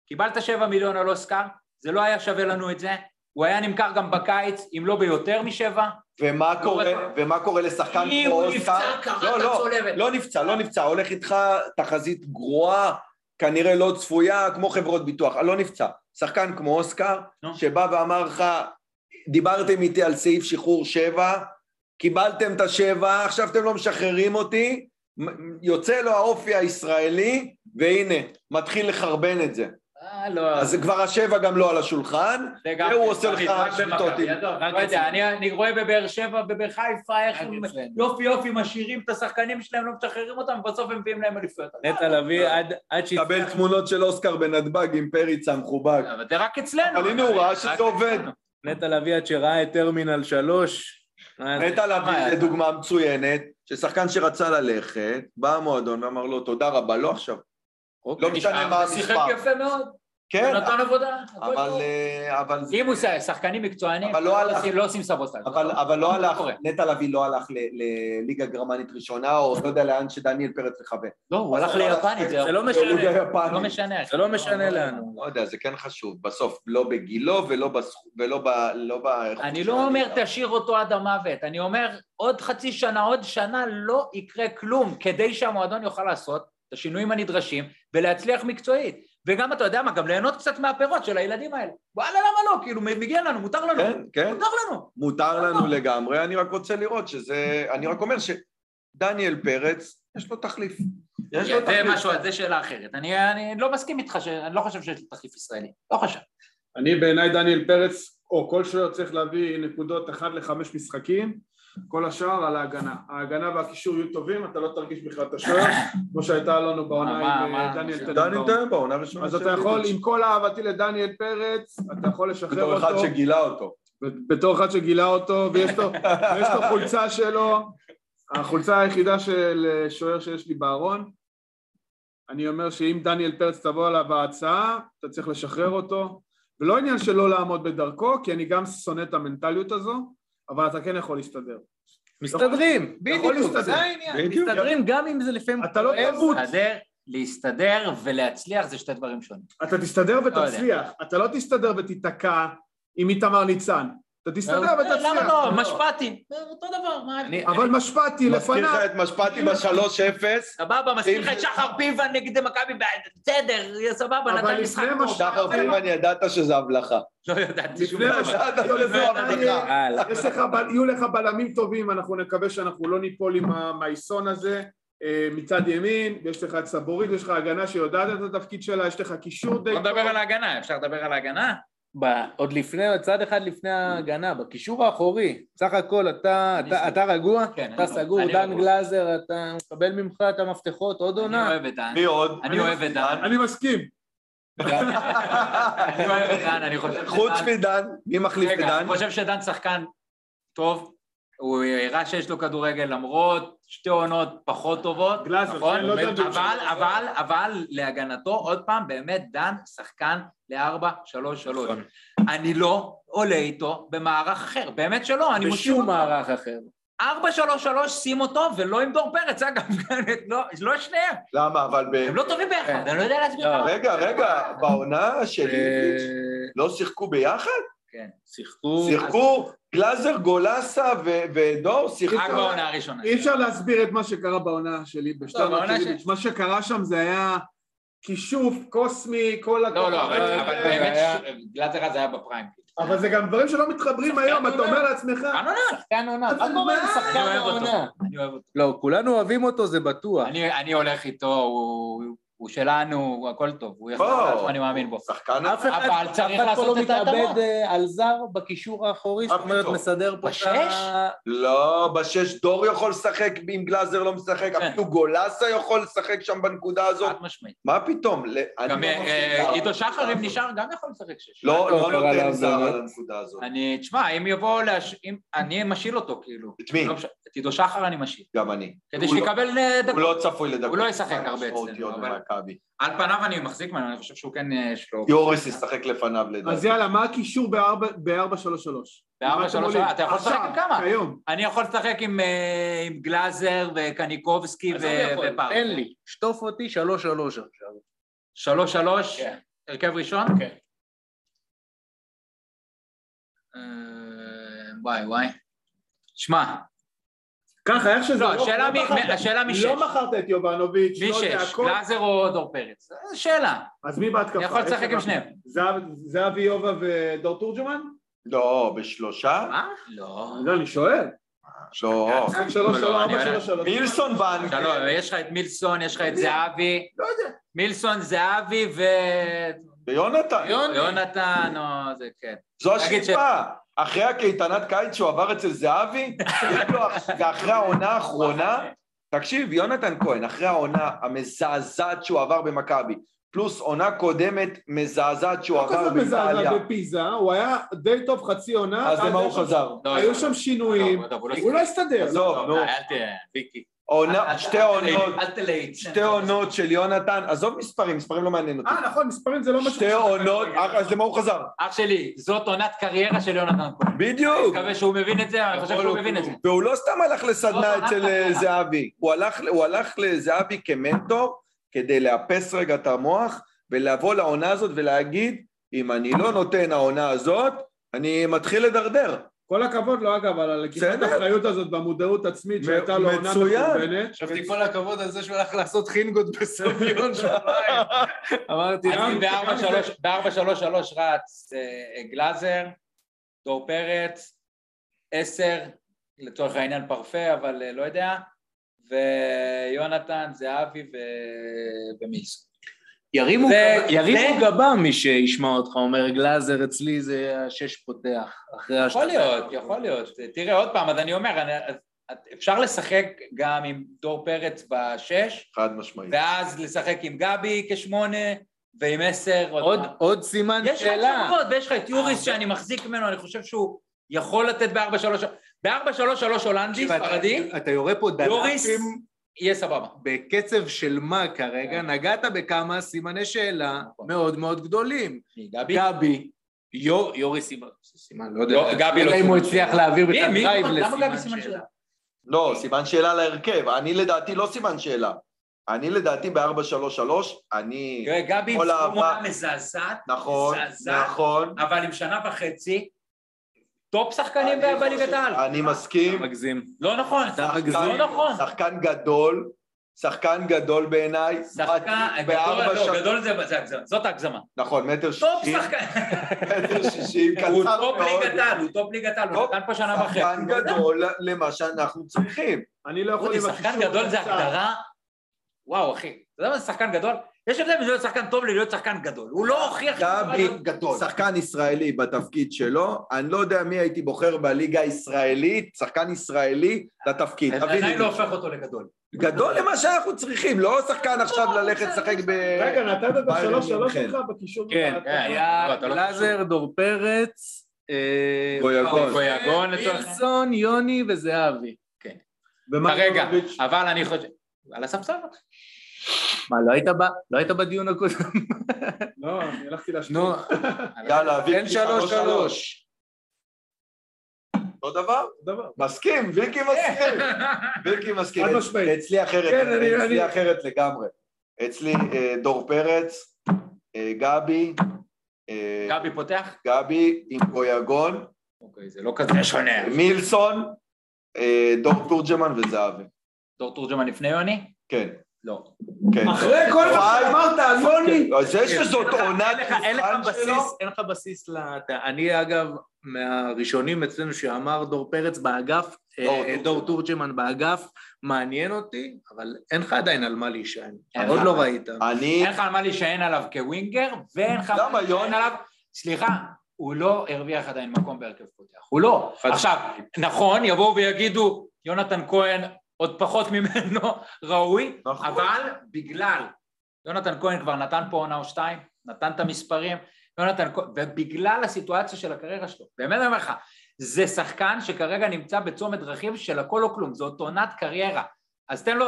Speaker 3: קיבלת שבע מיליון על אוסקר, זה לא היה שווה לנו את זה, הוא היה נמכר גם בקיץ, אם לא ביותר משבע,
Speaker 2: ומה קורה- ומה קורה לשחקן
Speaker 3: לא אם
Speaker 2: כמו
Speaker 3: הוא
Speaker 2: אוסקר,
Speaker 3: נפצע, קראת
Speaker 2: לא, לא,
Speaker 3: צולבת.
Speaker 2: לא נפצע, לא נפצע, הולך איתך תחזית גרועה, כנראה לא צפויה, כמו חברות ביטוח, לא נפצע. שחקן כמו אוסקר,
Speaker 3: נו.
Speaker 2: שבא ואמר לך, דיברתם איתי על סעיף שחרור שבע, קיבלתם את השבע, עכשיו אתם לא משחררים אותי, מ- יוצא לו האופי הישראלי, והנה, מתחיל לחרבן את זה.
Speaker 3: אה, לא,
Speaker 2: אז כבר השבע גם לא על השולחן,
Speaker 3: זה גם...
Speaker 2: והוא עושה לך
Speaker 3: רק
Speaker 2: שביתות
Speaker 3: במכבי,
Speaker 2: עם-
Speaker 3: עזוב,
Speaker 1: רק
Speaker 3: לא יודע,
Speaker 1: אצלנו.
Speaker 3: אני- אני רואה בבאר שבע ובבאר חיפה איך הם
Speaker 1: אצלנו.
Speaker 3: יופי יופי משאירים את השחקנים שלהם, לא משחררים אותם, ובסוף הם מביאים להם אליפויות.
Speaker 1: נטע לביא עד- עד
Speaker 2: קבל
Speaker 1: שהצליח,
Speaker 2: תמונות של אוסקר בנתב"ג עם פריצה מחובק.
Speaker 3: לא, אבל זה רק אצלנו.
Speaker 2: אבל הנה הוא ראה
Speaker 3: רק
Speaker 2: שזה עובד.
Speaker 3: אצלנו.
Speaker 1: נטע לביא עד שראה את טרמינל שלוש. מה זה?
Speaker 2: נטע לביא
Speaker 3: היה
Speaker 2: זה
Speaker 3: זה?
Speaker 2: דוגמה מצוינת, ששחקן שרצה ללכת, בא המועדון ואמר לו תודה רבה, לא עכשיו.
Speaker 1: אוקיי.
Speaker 2: לא משנה מה
Speaker 3: שיחק
Speaker 2: המספר.
Speaker 3: יפה מאוד,
Speaker 2: כן,
Speaker 3: הוא נתן עבודה. הכל
Speaker 2: אבל,
Speaker 3: טוב.
Speaker 2: אה, אבל זה-
Speaker 3: אם הוא ש- שחקנים מקצוענים,
Speaker 2: אבל לא
Speaker 3: לא
Speaker 2: הלך.
Speaker 3: עושים- לא עושים סבוסה.
Speaker 2: אבל- אבל לא הלך,
Speaker 3: קורה.
Speaker 2: נטע לביא לא הלך ל- לליגה גרמנית ראשונה, או לא יודע לאן שדניאל פרץ מכוון.
Speaker 3: לא, הוא הלך
Speaker 2: אבל-
Speaker 3: ליפנית,
Speaker 1: זה לא
Speaker 2: ליגה
Speaker 1: משנה,
Speaker 2: יפנית.
Speaker 3: לא משנה.
Speaker 1: זה לא משנה לנו.
Speaker 2: לא יודע, זה כן חשוב. בסוף, לא בגילו ולא בסכום, ולא ב... לא באיכות
Speaker 3: אני
Speaker 2: של
Speaker 3: לא אומר
Speaker 2: הליגה.
Speaker 3: תשאיר אותו עד המוות, אני אומר עוד חצי שנה, עוד שנה לא יקרה כלום כדי שהמועדון יוכל לעשות את השינויים הנדרשים ולהצליח מקצועית. וגם, אתה יודע מה, גם ליהנות קצת מהפירות של הילדים האלה. וואלה, למה לא? כאילו, מגיע לנו, מותר לנו.
Speaker 2: כן, כן.
Speaker 3: מותר לנו.
Speaker 2: מותר לנו לגמרי, אני רק רוצה לראות שזה... אני רק אומר שדניאל פרץ, יש לו תחליף. יש לו
Speaker 3: זה
Speaker 2: תחליף.
Speaker 3: משהו, זה שאלה אחרת. אני, אני לא מסכים איתך, ש... אני לא חושב שיש לי תחליף ישראלי. לא חושב.
Speaker 4: אני בעיניי דניאל פרץ, או כל שוער צריך להביא נקודות אחת לחמש משחקים, כל השאר על ההגנה. ההגנה והקישור יהיו טובים, אתה לא תרגיש בכלל את השוער, כמו שהייתה לנו בעונה
Speaker 3: מה,
Speaker 4: עם
Speaker 3: מה,
Speaker 4: אה, דניאל
Speaker 3: מה,
Speaker 8: דני
Speaker 4: טננבאום.
Speaker 8: טועה בעונה הראשונה
Speaker 4: אז אתה
Speaker 8: של
Speaker 4: יכול,
Speaker 8: ליביץ'.
Speaker 4: עם כל אהבתי לדניאל פרץ, אתה יכול לשחרר
Speaker 8: בתור אחד
Speaker 4: אותו,
Speaker 8: שגילה אותו.
Speaker 4: בתור אחד שגילה אותו, ויש לו- ויש לו חולצה שלו, החולצה היחידה של אה, שוער שיש לי בארון. אני אומר שאם דניאל פרץ תבוא עליו ההצעה, אתה צריך לשחרר אותו. ולא עניין שלא לעמוד בדרכו, כי אני גם שונא את המנטליות הזו, אבל אתה כן יכול להסתדר.
Speaker 1: מסתדרים,
Speaker 4: יכול
Speaker 1: בדיוק,
Speaker 4: להסתדר.
Speaker 1: זה העניין,
Speaker 8: בדיוק.
Speaker 1: מסתדרים גם אם זה לפעמים
Speaker 4: אתה לא
Speaker 1: כואב.
Speaker 4: תרוץ,
Speaker 3: להסתדר, להסתדר ולהצליח זה שתי דברים שונים.
Speaker 4: אתה תסתדר ותצליח, אתה לא תסתדר ותיתקע עם איתמר ניצן, אתה תסתדר
Speaker 3: למה
Speaker 4: ותצליח.
Speaker 3: לא? משפטי. אותו דבר, מה...
Speaker 1: אני-
Speaker 4: אבל משפטי
Speaker 2: מזכיר לך
Speaker 4: לפניו,
Speaker 2: את משפטי ב-3-0,
Speaker 3: סבבה, מזכיר לך את שחר פיבן נגד מכבי, בעד- בסדר, יהיה סבבה,
Speaker 4: אבל
Speaker 3: נתן
Speaker 4: לפני
Speaker 3: משחק
Speaker 4: מה
Speaker 3: טוב.
Speaker 2: שחר פיבן ידעת שזה הבלחה.
Speaker 3: לא ידעתי שום
Speaker 4: לפני
Speaker 3: דבר.
Speaker 2: ידעת שזה
Speaker 4: לפני-
Speaker 2: הבלחה.
Speaker 1: יאללה.
Speaker 4: יש לך, בל- יהיו לך בלמים טובים, אנחנו נקווה שאנחנו לא ניפול עם המאיסון הזה אה, מצד ימין, יש לך את סבורית, יש לך הגנה שיודעת את התפקיד שלה, יש לך קישור די
Speaker 3: בוא
Speaker 4: טוב.
Speaker 3: נדבר על ההגנה, אפשר לדבר על ההגנה?
Speaker 1: ב- עוד לפני, צעד אחד לפני ההגנה, בקישור האחורי, סך הכל אתה, אתה, אתה רגוע,
Speaker 3: כן,
Speaker 1: אתה
Speaker 3: אני-
Speaker 1: סגור,
Speaker 3: אני
Speaker 1: דן
Speaker 3: רגוע.
Speaker 1: גלאזר, אתה מקבל ממך את המפתחות, עוד
Speaker 3: אני
Speaker 1: עונה.
Speaker 3: אוהב את דן.
Speaker 2: מי עוד?
Speaker 3: אני אוהב את דן.
Speaker 4: אני מסכים,
Speaker 3: אני אוהב את דן, אני חושב...
Speaker 2: חוץ
Speaker 3: שדן-
Speaker 2: מדן, מי מחליף את
Speaker 3: רגע,
Speaker 2: דן?
Speaker 3: אני חושב שדן שחקן טוב. הוא הראה שיש לו כדורגל למרות שתי עונות פחות טובות,
Speaker 4: גלאזר,
Speaker 3: נכון?
Speaker 4: כן, לא דדו.
Speaker 3: אבל, אבל, אבל להגנתו, עוד פעם, באמת דן שחקן לארבע, שלוש, שלוש.
Speaker 1: נכון.
Speaker 3: אני לא עולה איתו במערך אחר, באמת שלא, אני מושיב
Speaker 1: בשום
Speaker 3: אותו.
Speaker 1: מערך אחר.
Speaker 3: ארבע, שלוש, שלוש, שים אותו, ולא עם דור פרץ, אגב, לא, לא שניהם,
Speaker 2: למה? אבל ב...
Speaker 3: הם לא טובים ביחד, אני לא יודע להסביר
Speaker 1: לא.
Speaker 3: למה.
Speaker 2: רגע, רגע, בעונה של איביץ'
Speaker 1: אה,
Speaker 2: לא שיחקו ביחד?
Speaker 3: כן.
Speaker 1: שיחקו,
Speaker 2: שיחקו גלאזר, גולסה ו- ודור, שיחקו...
Speaker 3: רק בעונה הראשונה.
Speaker 4: אי אפשר להסביר את מה שקרה בעונה שלי בשתי
Speaker 3: לא, בעונה
Speaker 4: המקרים,
Speaker 3: ש-
Speaker 4: מה שקרה שם זה היה כישוף קוסמי, כל
Speaker 3: לא, לא, אבל
Speaker 1: אה,
Speaker 3: אבל
Speaker 1: אה,
Speaker 3: באמת,
Speaker 1: היה-
Speaker 3: ש- גלאזר אז היה בפריים.
Speaker 4: אבל זה גם דברים שלא מתחברים היום, אתה אומר לעצמך,
Speaker 3: שחקן עונה,
Speaker 1: שחקן עונה, מה קורה עם
Speaker 3: אני
Speaker 1: שחקן
Speaker 3: אוהב
Speaker 1: העונה?
Speaker 3: אותו, אני אוהב אותו.
Speaker 1: לא, כולנו אוהבים אותו, זה בטוח.
Speaker 3: אני- אני הולך איתו, הוא- הוא שלנו, הוא הכל טוב, הוא יחזור
Speaker 2: בוא.
Speaker 3: לעצמו, אני מאמין בו.
Speaker 2: שחקן...
Speaker 1: אף אחד
Speaker 3: אבל
Speaker 1: אף
Speaker 3: צריך
Speaker 1: אחד פה לא
Speaker 3: לעשות את ההתאמה.
Speaker 1: מתאבד אה, על זר בקישור האחורי, זאת אומרת,
Speaker 2: פתאום.
Speaker 1: מסדר פה את
Speaker 3: בשש?
Speaker 1: ה...
Speaker 2: לא, בשש דור יכול לשחק, אם גלאזר לא משחק,
Speaker 3: כן.
Speaker 2: אפילו גולסה יכול לשחק שם בנקודה הזאת.
Speaker 3: חד משמעית.
Speaker 2: מה פתאום? ל- אני
Speaker 3: גם
Speaker 2: לא
Speaker 3: אה,
Speaker 2: מפסיק
Speaker 3: אה,
Speaker 2: לה-
Speaker 3: עידו שחר, אם נשאר, גם יכול לשחק שש.
Speaker 2: לא,
Speaker 1: לא
Speaker 2: לא
Speaker 1: קרה
Speaker 2: נותן
Speaker 1: לה
Speaker 2: זר
Speaker 1: באמת.
Speaker 2: על הנקודה הזאת.
Speaker 3: אני, תשמע, אם יבוא להש... אם... אני משאיל אותו, כאילו.
Speaker 2: את מי?
Speaker 3: לא משנה, את עידו שחר אני משאיל.
Speaker 2: גם אני.
Speaker 3: כדי
Speaker 2: הוא לא-
Speaker 3: שיקבל אה,
Speaker 2: הוא
Speaker 3: דקות.
Speaker 2: לא צפוי לדקות.
Speaker 3: הוא לא ישחק הרבה
Speaker 2: משמעותיות
Speaker 3: אצלנו, אבל-
Speaker 2: במכבי.
Speaker 3: על פניו אני מחזיק ממנו, אני חושב שהוא כן אה, יש לו...
Speaker 2: יוריס ישחק לפניו
Speaker 4: אז
Speaker 2: לדעתי.
Speaker 3: לא.
Speaker 4: יאללה, מה הקישור ב-4-3-3?
Speaker 3: ב-4-3-3, אתה יכול לשחק עם כמה?
Speaker 4: היום.
Speaker 3: אני יכול לשחק עם, אה, עם גלאזר וקניקובסקי
Speaker 1: אז אני יכול,
Speaker 3: ופארק.
Speaker 1: תן לי, שטוף אותי שלוש שלוש עכשיו.
Speaker 3: שלוש שלוש,
Speaker 1: כן.
Speaker 3: הרכב ראשון?
Speaker 1: כן.
Speaker 3: אה, וואי וואי. שמע,
Speaker 4: ככה, איך שזה...
Speaker 3: לא, השאלה מי- השאלה מי שש.
Speaker 4: לא מכרת את יובנוביץ',
Speaker 3: מי
Speaker 4: לא יודע,
Speaker 3: שש,
Speaker 4: הכל.
Speaker 3: גלאזר או דור פרץ? אה, שאלה.
Speaker 4: אז מי בהתקפה?
Speaker 3: אני יכול לשחק
Speaker 4: איך
Speaker 3: עם
Speaker 4: זה?
Speaker 3: שניהם.
Speaker 4: זהב- זהבי יובה ודור תורג'מן?
Speaker 2: לא, בשלושה?
Speaker 3: מה? לא.
Speaker 4: לא, אני שואל.
Speaker 2: לא.
Speaker 4: רק שלוש,
Speaker 3: לא,
Speaker 4: שלוש,
Speaker 3: אני
Speaker 4: ארבע,
Speaker 3: יודע.
Speaker 4: שלוש, שלוש.
Speaker 2: מילסון ואנקל.
Speaker 3: שלום, יש לך את מילסון, יש לך את זהבי.
Speaker 4: לא יודע.
Speaker 3: מילסון, זהבי ו...
Speaker 2: ויונתן.
Speaker 3: אה, יונתן, או זה כן.
Speaker 2: זו
Speaker 3: תגיד ש-
Speaker 2: השאיפה. אחרי הקייטנת קיץ שהוא עבר אצל זהבי, יש לו אח- זה אחרי העונה האחרונה. תקשיב, יונתן כהן, אחרי העונה המזעזעת שהוא עבר במכבי, פלוס עונה קודמת מזעזעת שהוא
Speaker 4: לא
Speaker 2: עבר
Speaker 4: כזאת מזעזע
Speaker 2: באיטליה,
Speaker 4: בפיזה, הוא היה די טוב חצי עונה.
Speaker 2: אז
Speaker 4: עד
Speaker 2: למה הוא
Speaker 4: איפה-
Speaker 2: חזר?
Speaker 3: לא,
Speaker 4: היו
Speaker 3: לא,
Speaker 4: שם
Speaker 3: לא,
Speaker 4: שינויים.
Speaker 3: לא, הוא לא
Speaker 4: הוא לא הסתדר.
Speaker 2: עזוב, נו.
Speaker 3: די, אל תהיה, ויקי. אל-
Speaker 2: עונה-
Speaker 3: אל-
Speaker 2: שתי
Speaker 3: אל
Speaker 2: עונות,
Speaker 3: תלהיט, אל תלהיט.
Speaker 2: שתי עונות של יונתן, עזוב מספרים, מספרים לא מעניין אותי.
Speaker 4: אה, נכון, מספרים זה לא משהו.
Speaker 2: שתי עונות, אה, אז למה הוא חזר?
Speaker 3: אח שלי, זאת עונת קריירה של יונתן כהן.
Speaker 2: בדיוק.
Speaker 3: מקווה שהוא מבין את זה, אני חושב שהוא מבין את זה.
Speaker 2: והוא לא סתם הלך
Speaker 3: לא,
Speaker 2: לסדנה
Speaker 3: לא,
Speaker 2: אצל
Speaker 3: לא,
Speaker 2: אה,
Speaker 3: לא.
Speaker 2: זהבי, הוא הלך- הוא הלך לזהבי כמנטור כדי לאפס רגע את המוח ולבוא לעונה הזאת ולהגיד, אם אני לא נותן העונה הזאת, אני מתחיל לדרדר.
Speaker 4: כל הכבוד לו, אגב, על הלקיחת
Speaker 2: בסדר.
Speaker 4: האחריות הזאת והמודעות העצמית שהייתה לו עונה
Speaker 2: מצוין.
Speaker 4: מחורבנת.
Speaker 1: חשבתי כל הכבוד על זה שהוא הלך לעשות חינגות בסביון שבועיים. אמרתי,
Speaker 3: אז
Speaker 1: "אה,
Speaker 3: אם ב-4-3-3 רץ אה, גלאזר, דור פרץ, 10, לצורך העניין פרפה, אבל אה, לא יודע, ויונתן, זהבי ו- ומילסון.
Speaker 1: ירימו
Speaker 3: זה-
Speaker 1: גב- ירימו
Speaker 3: זה-
Speaker 1: גבה מי שישמע אותך אומר גלאזר אצלי זה השש פותח אחרי
Speaker 3: יכול
Speaker 1: השנתיים".
Speaker 3: להיות, יכול להיות. תראה, עוד פעם, אז אני אומר, אני, אז- אפשר לשחק גם עם דור פרץ בשש,
Speaker 2: חד משמעית.
Speaker 3: ואז לשחק עם גבי כשמונה, ועם עשר. עוד
Speaker 1: עוד-
Speaker 3: פעם.
Speaker 1: עוד סימן
Speaker 3: יש לך
Speaker 1: שאלה.
Speaker 3: אפשרויות, ויש לך את יוריס שאני מחזיק ממנו, אני חושב שהוא יכול לתת בארבע שלוש... בארבע שלוש שלוש הולנדי,
Speaker 1: תקשיב, אתה-
Speaker 3: ספרדי,
Speaker 1: אתה יורה פה
Speaker 3: יוריס
Speaker 1: דלפים
Speaker 3: יהיה סבבה.
Speaker 1: בקצב של מה כרגע,
Speaker 3: כן.
Speaker 1: נגעת בכמה סימני שאלה
Speaker 3: נכון.
Speaker 1: מאוד מאוד גדולים.
Speaker 3: גבי?
Speaker 1: גבי, יור- יורי סימן, סימן, לא יודע.
Speaker 3: לא, גבי לא
Speaker 1: אם הוא
Speaker 3: סימן
Speaker 1: הצליח
Speaker 3: שאלה.
Speaker 1: להעביר
Speaker 3: מי-
Speaker 1: בכלל
Speaker 3: מי-
Speaker 1: דרייב
Speaker 3: למה גבי
Speaker 1: לסימן
Speaker 3: סימן
Speaker 1: שאלה.
Speaker 3: שאלה?
Speaker 2: לא, סימן שאלה להרכב. אני לדעתי לא סימן שאלה. אני לדעתי ב-4-3-3, אני...
Speaker 3: תראה, גבי עם
Speaker 2: כל
Speaker 3: סמונה
Speaker 2: האהבה.
Speaker 3: מזעזעת,
Speaker 2: נכון,
Speaker 3: מזעזעת,
Speaker 2: נכון.
Speaker 3: אבל עם שנה וחצי, טופ שחקנים
Speaker 2: אני חושב-
Speaker 3: ב- בליגת העל.
Speaker 2: אני מסכים.
Speaker 1: מגזים.
Speaker 3: לא נכון,
Speaker 1: אתה
Speaker 2: שחקן-
Speaker 1: מגזים.
Speaker 3: לא נכון.
Speaker 2: שחקן גדול, שחקן גדול בעיניי.
Speaker 3: שחקן,
Speaker 2: מת-
Speaker 3: גדול,
Speaker 2: בארבע
Speaker 3: לא,
Speaker 2: שנים-
Speaker 3: גדול זה זה הגזמה, זאת הגזמה.
Speaker 2: נכון, מטר
Speaker 3: טופ
Speaker 2: שישים,
Speaker 3: שחקן,
Speaker 2: מטר שישים, קצר
Speaker 3: הוא
Speaker 2: מאוד.
Speaker 3: טופ ליגת העל, הוא טופ ליגת העל, הוא
Speaker 2: טופ,
Speaker 3: נתן פה שנה וחצי.
Speaker 2: שחקן גדול למה שאנחנו צריכים.
Speaker 4: אני לא יכול
Speaker 3: דודי,
Speaker 4: עם
Speaker 3: שחקן
Speaker 4: הקישור
Speaker 3: גדול זה
Speaker 4: הקצר.
Speaker 3: הגדרה... וואו, אחי, אתה יודע מה זה שחקן גדול? יש הבדל בין להיות שחקן טוב ללהיות שחקן גדול. הוא לא הוכיח... שהוא יכול
Speaker 2: גבי,
Speaker 3: להיות גדול.
Speaker 2: שחקן ישראלי בתפקיד שלו, אני לא יודע מי הייתי בוחר בליגה הישראלית, שחקן ישראלי לתפקיד.
Speaker 3: זה
Speaker 2: תבין,
Speaker 3: עדיין לא הופך אותו לגדול.
Speaker 2: גדול למה שאנחנו צריכים, לא שחקן עכשיו ללכת לשחק ב...
Speaker 4: רגע, נתת את
Speaker 2: ביירן
Speaker 4: השלוש שלוש
Speaker 2: מינכן.
Speaker 4: שלך בקישור.
Speaker 1: כן,
Speaker 4: בהתקפה.
Speaker 3: היה- אתה לא
Speaker 1: גלאזר, דור פרץ, אה,
Speaker 2: גויגון.
Speaker 3: גויגון לצורך העניין.
Speaker 1: וילסון, יוני וזהבי.
Speaker 4: ומה-
Speaker 3: כרגע,
Speaker 4: יוביץ'?
Speaker 3: אבל אני חושב... על הספסל?
Speaker 1: מה, לא היית ב- לא היית בדיון הקודם?
Speaker 4: לא, אני הלכתי להשתות.
Speaker 1: נו,
Speaker 2: יאללה,
Speaker 1: תן
Speaker 2: ויקי
Speaker 1: שלוש
Speaker 2: שלוש שלוש.
Speaker 1: שלוש.
Speaker 2: אותו דבר?
Speaker 4: דבר.
Speaker 2: מסכים, ויקי מסכים. ויקי מסכים.
Speaker 4: חד משמעית.
Speaker 2: אצלי אחרת,
Speaker 4: כן, אני-
Speaker 2: אצלי
Speaker 4: אני-
Speaker 2: אחרת לגמרי. אצלי אה, דור פרץ, אה, גבי, אה,
Speaker 3: גבי פותח?
Speaker 2: גבי עם גויגון,
Speaker 3: אוקיי, זה לא כזה שונה.
Speaker 2: מילסון, אה, דור תורג'מן וזהבי.
Speaker 3: דור תורג'מן לפני יוני?
Speaker 2: כן,
Speaker 3: לא.
Speaker 2: כן.
Speaker 4: אחרי כל מה
Speaker 2: וואי.
Speaker 4: שאמרת על יוני,
Speaker 2: אז זה שזאת עונת
Speaker 1: אין לך- אין לך
Speaker 2: מבחן שלו,
Speaker 1: בסיס, אין לך בסיס לטע- אני אגב מהראשונים אצלנו שאמר דור פרץ באגף,
Speaker 2: דור
Speaker 1: אה,
Speaker 2: תורג'מן.
Speaker 1: דור תורג'מן באגף, מעניין אותי, אבל אין לך עדיין על מה להישען,
Speaker 3: אין
Speaker 1: עוד
Speaker 3: לך.
Speaker 1: לא ראית.
Speaker 2: אני...
Speaker 3: אין לך על מה להישען עליו כווינגר, ואין לך על
Speaker 2: למה,
Speaker 3: מה להישען
Speaker 2: יוני?
Speaker 3: עליו... סליחה, הוא לא הרוויח עדיין מקום בהרכב פותח. הוא לא. עכשיו, נכון, יבואו ויגידו, יונתן כהן עוד פחות ממנו ראוי,
Speaker 2: נכון.
Speaker 3: אבל בגלל, יונתן כהן כבר נתן פה עונה או שתיים, נתן את המספרים, יונתן כהן, ובגלל הסיטואציה של הקריירה שלו, באמת אני אומר לך, זה שחקן שכרגע נמצא בצומת דרכים של הכל או כלום, זאת עונת קריירה. אז תן לו,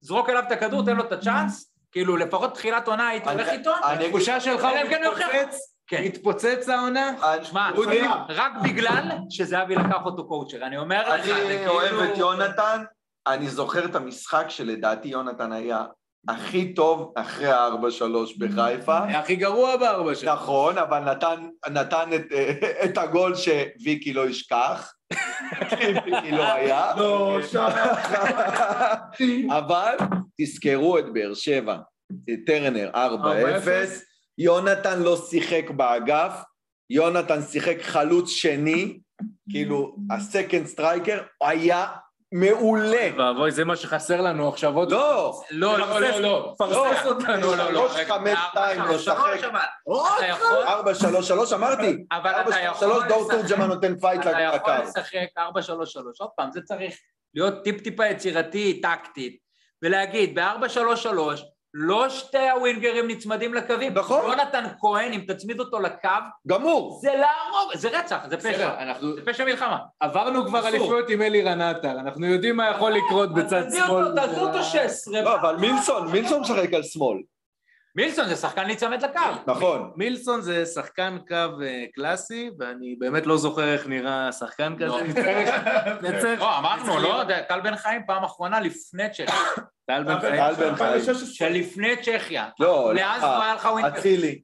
Speaker 3: זרוק אליו את הכדור, תן לו את הצ'אנס, כאילו לפחות תחילת עונה הייתי
Speaker 2: אני-
Speaker 3: הולך איתו,
Speaker 2: אני-
Speaker 1: התחושה שלך
Speaker 3: אלא אם כן הוא
Speaker 1: הוא
Speaker 3: יוכיח.
Speaker 1: מתפוצץ?
Speaker 3: כן.
Speaker 1: מתפוצץ העונה?
Speaker 2: אני-
Speaker 3: שמע,
Speaker 2: דודי,
Speaker 3: רק בגלל שזהבי לקח אותו קואוצ'ר, אני אומר לך, זה
Speaker 2: אני
Speaker 3: כאילו-
Speaker 2: אוהב את יונתן, אני זוכר את המשחק שלדעתי יונתן היה הכי טוב אחרי הארבע שלוש בחיפה.
Speaker 3: Mm.
Speaker 1: היה הכי גרוע בארבע שנים.
Speaker 2: נכון, אבל נתן, נתן את, אה, את הגול שוויקי לא ישכח, כי ויקי לא היה.
Speaker 4: לא, שאלתי.
Speaker 2: אבל תזכרו את באר שבע, את טרנר 4-0,
Speaker 4: 4-0.
Speaker 2: יונתן לא שיחק באגף, יונתן שיחק חלוץ שני, כאילו הסקנד סטרייקר היה מעולה.
Speaker 1: ואבוי, זה מה שחסר לנו עכשיו עוד...
Speaker 2: לא,
Speaker 3: לא, לא, לא, לא.
Speaker 2: פרסס
Speaker 3: אותנו, לא, לא.
Speaker 2: שלוש, חמש, שתיים,
Speaker 3: ארבע, שלוש,
Speaker 2: לשחק.
Speaker 3: אבל אתה יכול-
Speaker 2: ארבע, שלוש, שלוש, אמרתי. ארבע,
Speaker 3: אבל אתה
Speaker 2: שלוש,
Speaker 3: יכול
Speaker 2: שלוש, דור
Speaker 3: לשחק-
Speaker 2: תורג'מן נותן פייט
Speaker 3: אתה יכול
Speaker 2: לקו.
Speaker 3: לשחק 4-3-3, עוד פעם, זה צריך להיות טיפ-טיפה יצירתי, טקטית, ולהגיד, ב-4-3-3, לא שתי הווינגרים נצמדים לקווים.
Speaker 2: נכון.
Speaker 3: יונתן כהן, אם תצמיד אותו לקו,
Speaker 2: גמור.
Speaker 3: זה להרוג, זה רצח, זה פשע.
Speaker 1: בסדר, אנחנו
Speaker 3: זה פשע מלחמה.
Speaker 1: עברנו כבר אליפויות עם אלי רנטר, אנחנו יודעים מה יכול לקרות בצד
Speaker 3: תעזבי
Speaker 1: שמאל.
Speaker 3: אה, אותו, תעזבו אותו 16.
Speaker 2: לא, אבל מילסון, מילסון משחק על שמאל.
Speaker 3: מילסון זה שחקן להיצמד לקו.
Speaker 2: נכון.
Speaker 1: מילסון זה שחקן קו אה, קלאסי, ואני באמת לא זוכר איך נראה שחקן
Speaker 3: לא.
Speaker 1: כזה. נצטרך, נצטרך,
Speaker 3: לא, אמרנו, לא, זה טל בן חיים פעם אחרונה לפני צ'כיה.
Speaker 1: טל בן
Speaker 4: נכון.
Speaker 1: חיים.
Speaker 4: אה,
Speaker 2: טל בן חיים.
Speaker 4: 2016.
Speaker 3: שלפני צ'כיה.
Speaker 2: לא,
Speaker 3: מאז
Speaker 2: אה,
Speaker 3: לא היה לך ווינגר.
Speaker 2: אצילי.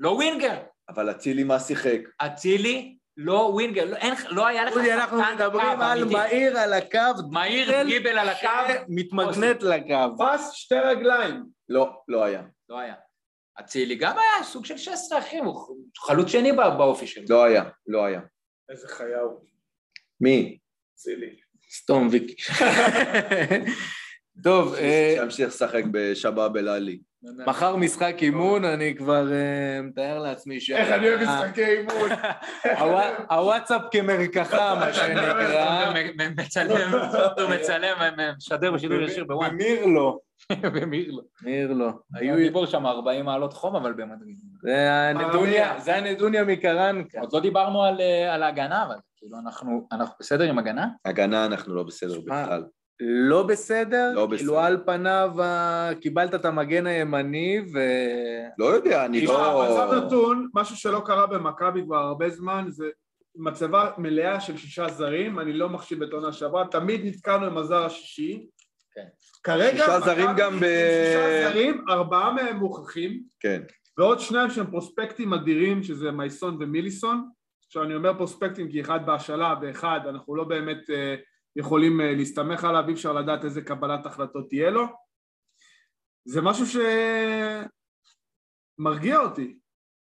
Speaker 3: לא ווינגר.
Speaker 2: אבל אצילי מה שיחק?
Speaker 3: אצילי, לא ווינגר. לא- אין לך- לא היה לך
Speaker 1: דודי, אנחנו
Speaker 3: שחקן
Speaker 1: מדברים
Speaker 3: קו
Speaker 1: על
Speaker 3: אמיתי.
Speaker 1: מהיר על הקו,
Speaker 3: מהיר
Speaker 1: גיבל
Speaker 3: גיבל על הקו.
Speaker 1: מתמגנט לקו.
Speaker 4: פס שתי רגליים.
Speaker 2: לא, לא היה.
Speaker 3: לא היה. אצילי גם היה סוג של 16 אחים, הוא חלוץ שני בא- באופי שלו.
Speaker 2: לא היה, לא היה.
Speaker 4: איזה חיה הוא,
Speaker 2: מי?
Speaker 4: צילי.
Speaker 1: סתום ויקי. טוב, אה,
Speaker 2: שימשיך לשחק בשבא בלעלי.
Speaker 1: מחר משחק אימון, אני כבר אה, מתאר לעצמי ש...
Speaker 4: איך אני אוהב
Speaker 3: אה.
Speaker 4: משחקי אימון.
Speaker 1: הווא- הוואטסאפ כמרקחה, מה שנקרא.
Speaker 3: מ- מ- מצלם, הוא מצלם, מ- משדר בשידור ישיר בוואן.
Speaker 1: במיר לא.
Speaker 3: במהיר לו.
Speaker 1: במיר לא. היו...
Speaker 3: היו דיבור שם 40 מעלות חום, אבל במדריד.
Speaker 1: זה הנדוניה,
Speaker 4: אה,
Speaker 1: זה הנדוניה מקרנקה.
Speaker 3: עוד לא דיברנו על, אה, על ההגנה, אבל כאילו אנחנו, אנחנו בסדר עם הגנה?
Speaker 2: הגנה אנחנו לא בסדר
Speaker 1: שמע,
Speaker 2: בכלל.
Speaker 1: לא בסדר?
Speaker 2: לא
Speaker 1: כאילו
Speaker 2: בסדר.
Speaker 1: על פניו ה- קיבלת את המגן הימני ו...
Speaker 2: לא יודע, אני
Speaker 4: תשמע, מצב
Speaker 2: לא...
Speaker 4: נתון, משהו שלא קרה במכבי כבר הרבה זמן, זה מצבה מלאה של שישה זרים, אני לא מחשיב את עונה שעברה, תמיד נתקענו עם הזר השישי.
Speaker 3: כן.
Speaker 4: כרגע,
Speaker 2: שישה
Speaker 4: מכבי
Speaker 2: זרים גם
Speaker 4: עם
Speaker 2: ב-
Speaker 4: שישה זרים, ארבעה מהם מוכחים,
Speaker 2: כן.
Speaker 4: ועוד שניים שהם פרוספקטים אדירים, שזה מייסון ומיליסון. עכשיו אני אומר פרוספקטים כי אחד בהשאלה ואחד, אנחנו לא באמת אה, יכולים אה, להסתמך עליו, אי אפשר לדעת איזה קבלת החלטות תהיה לו. זה משהו שמרגיע אותי,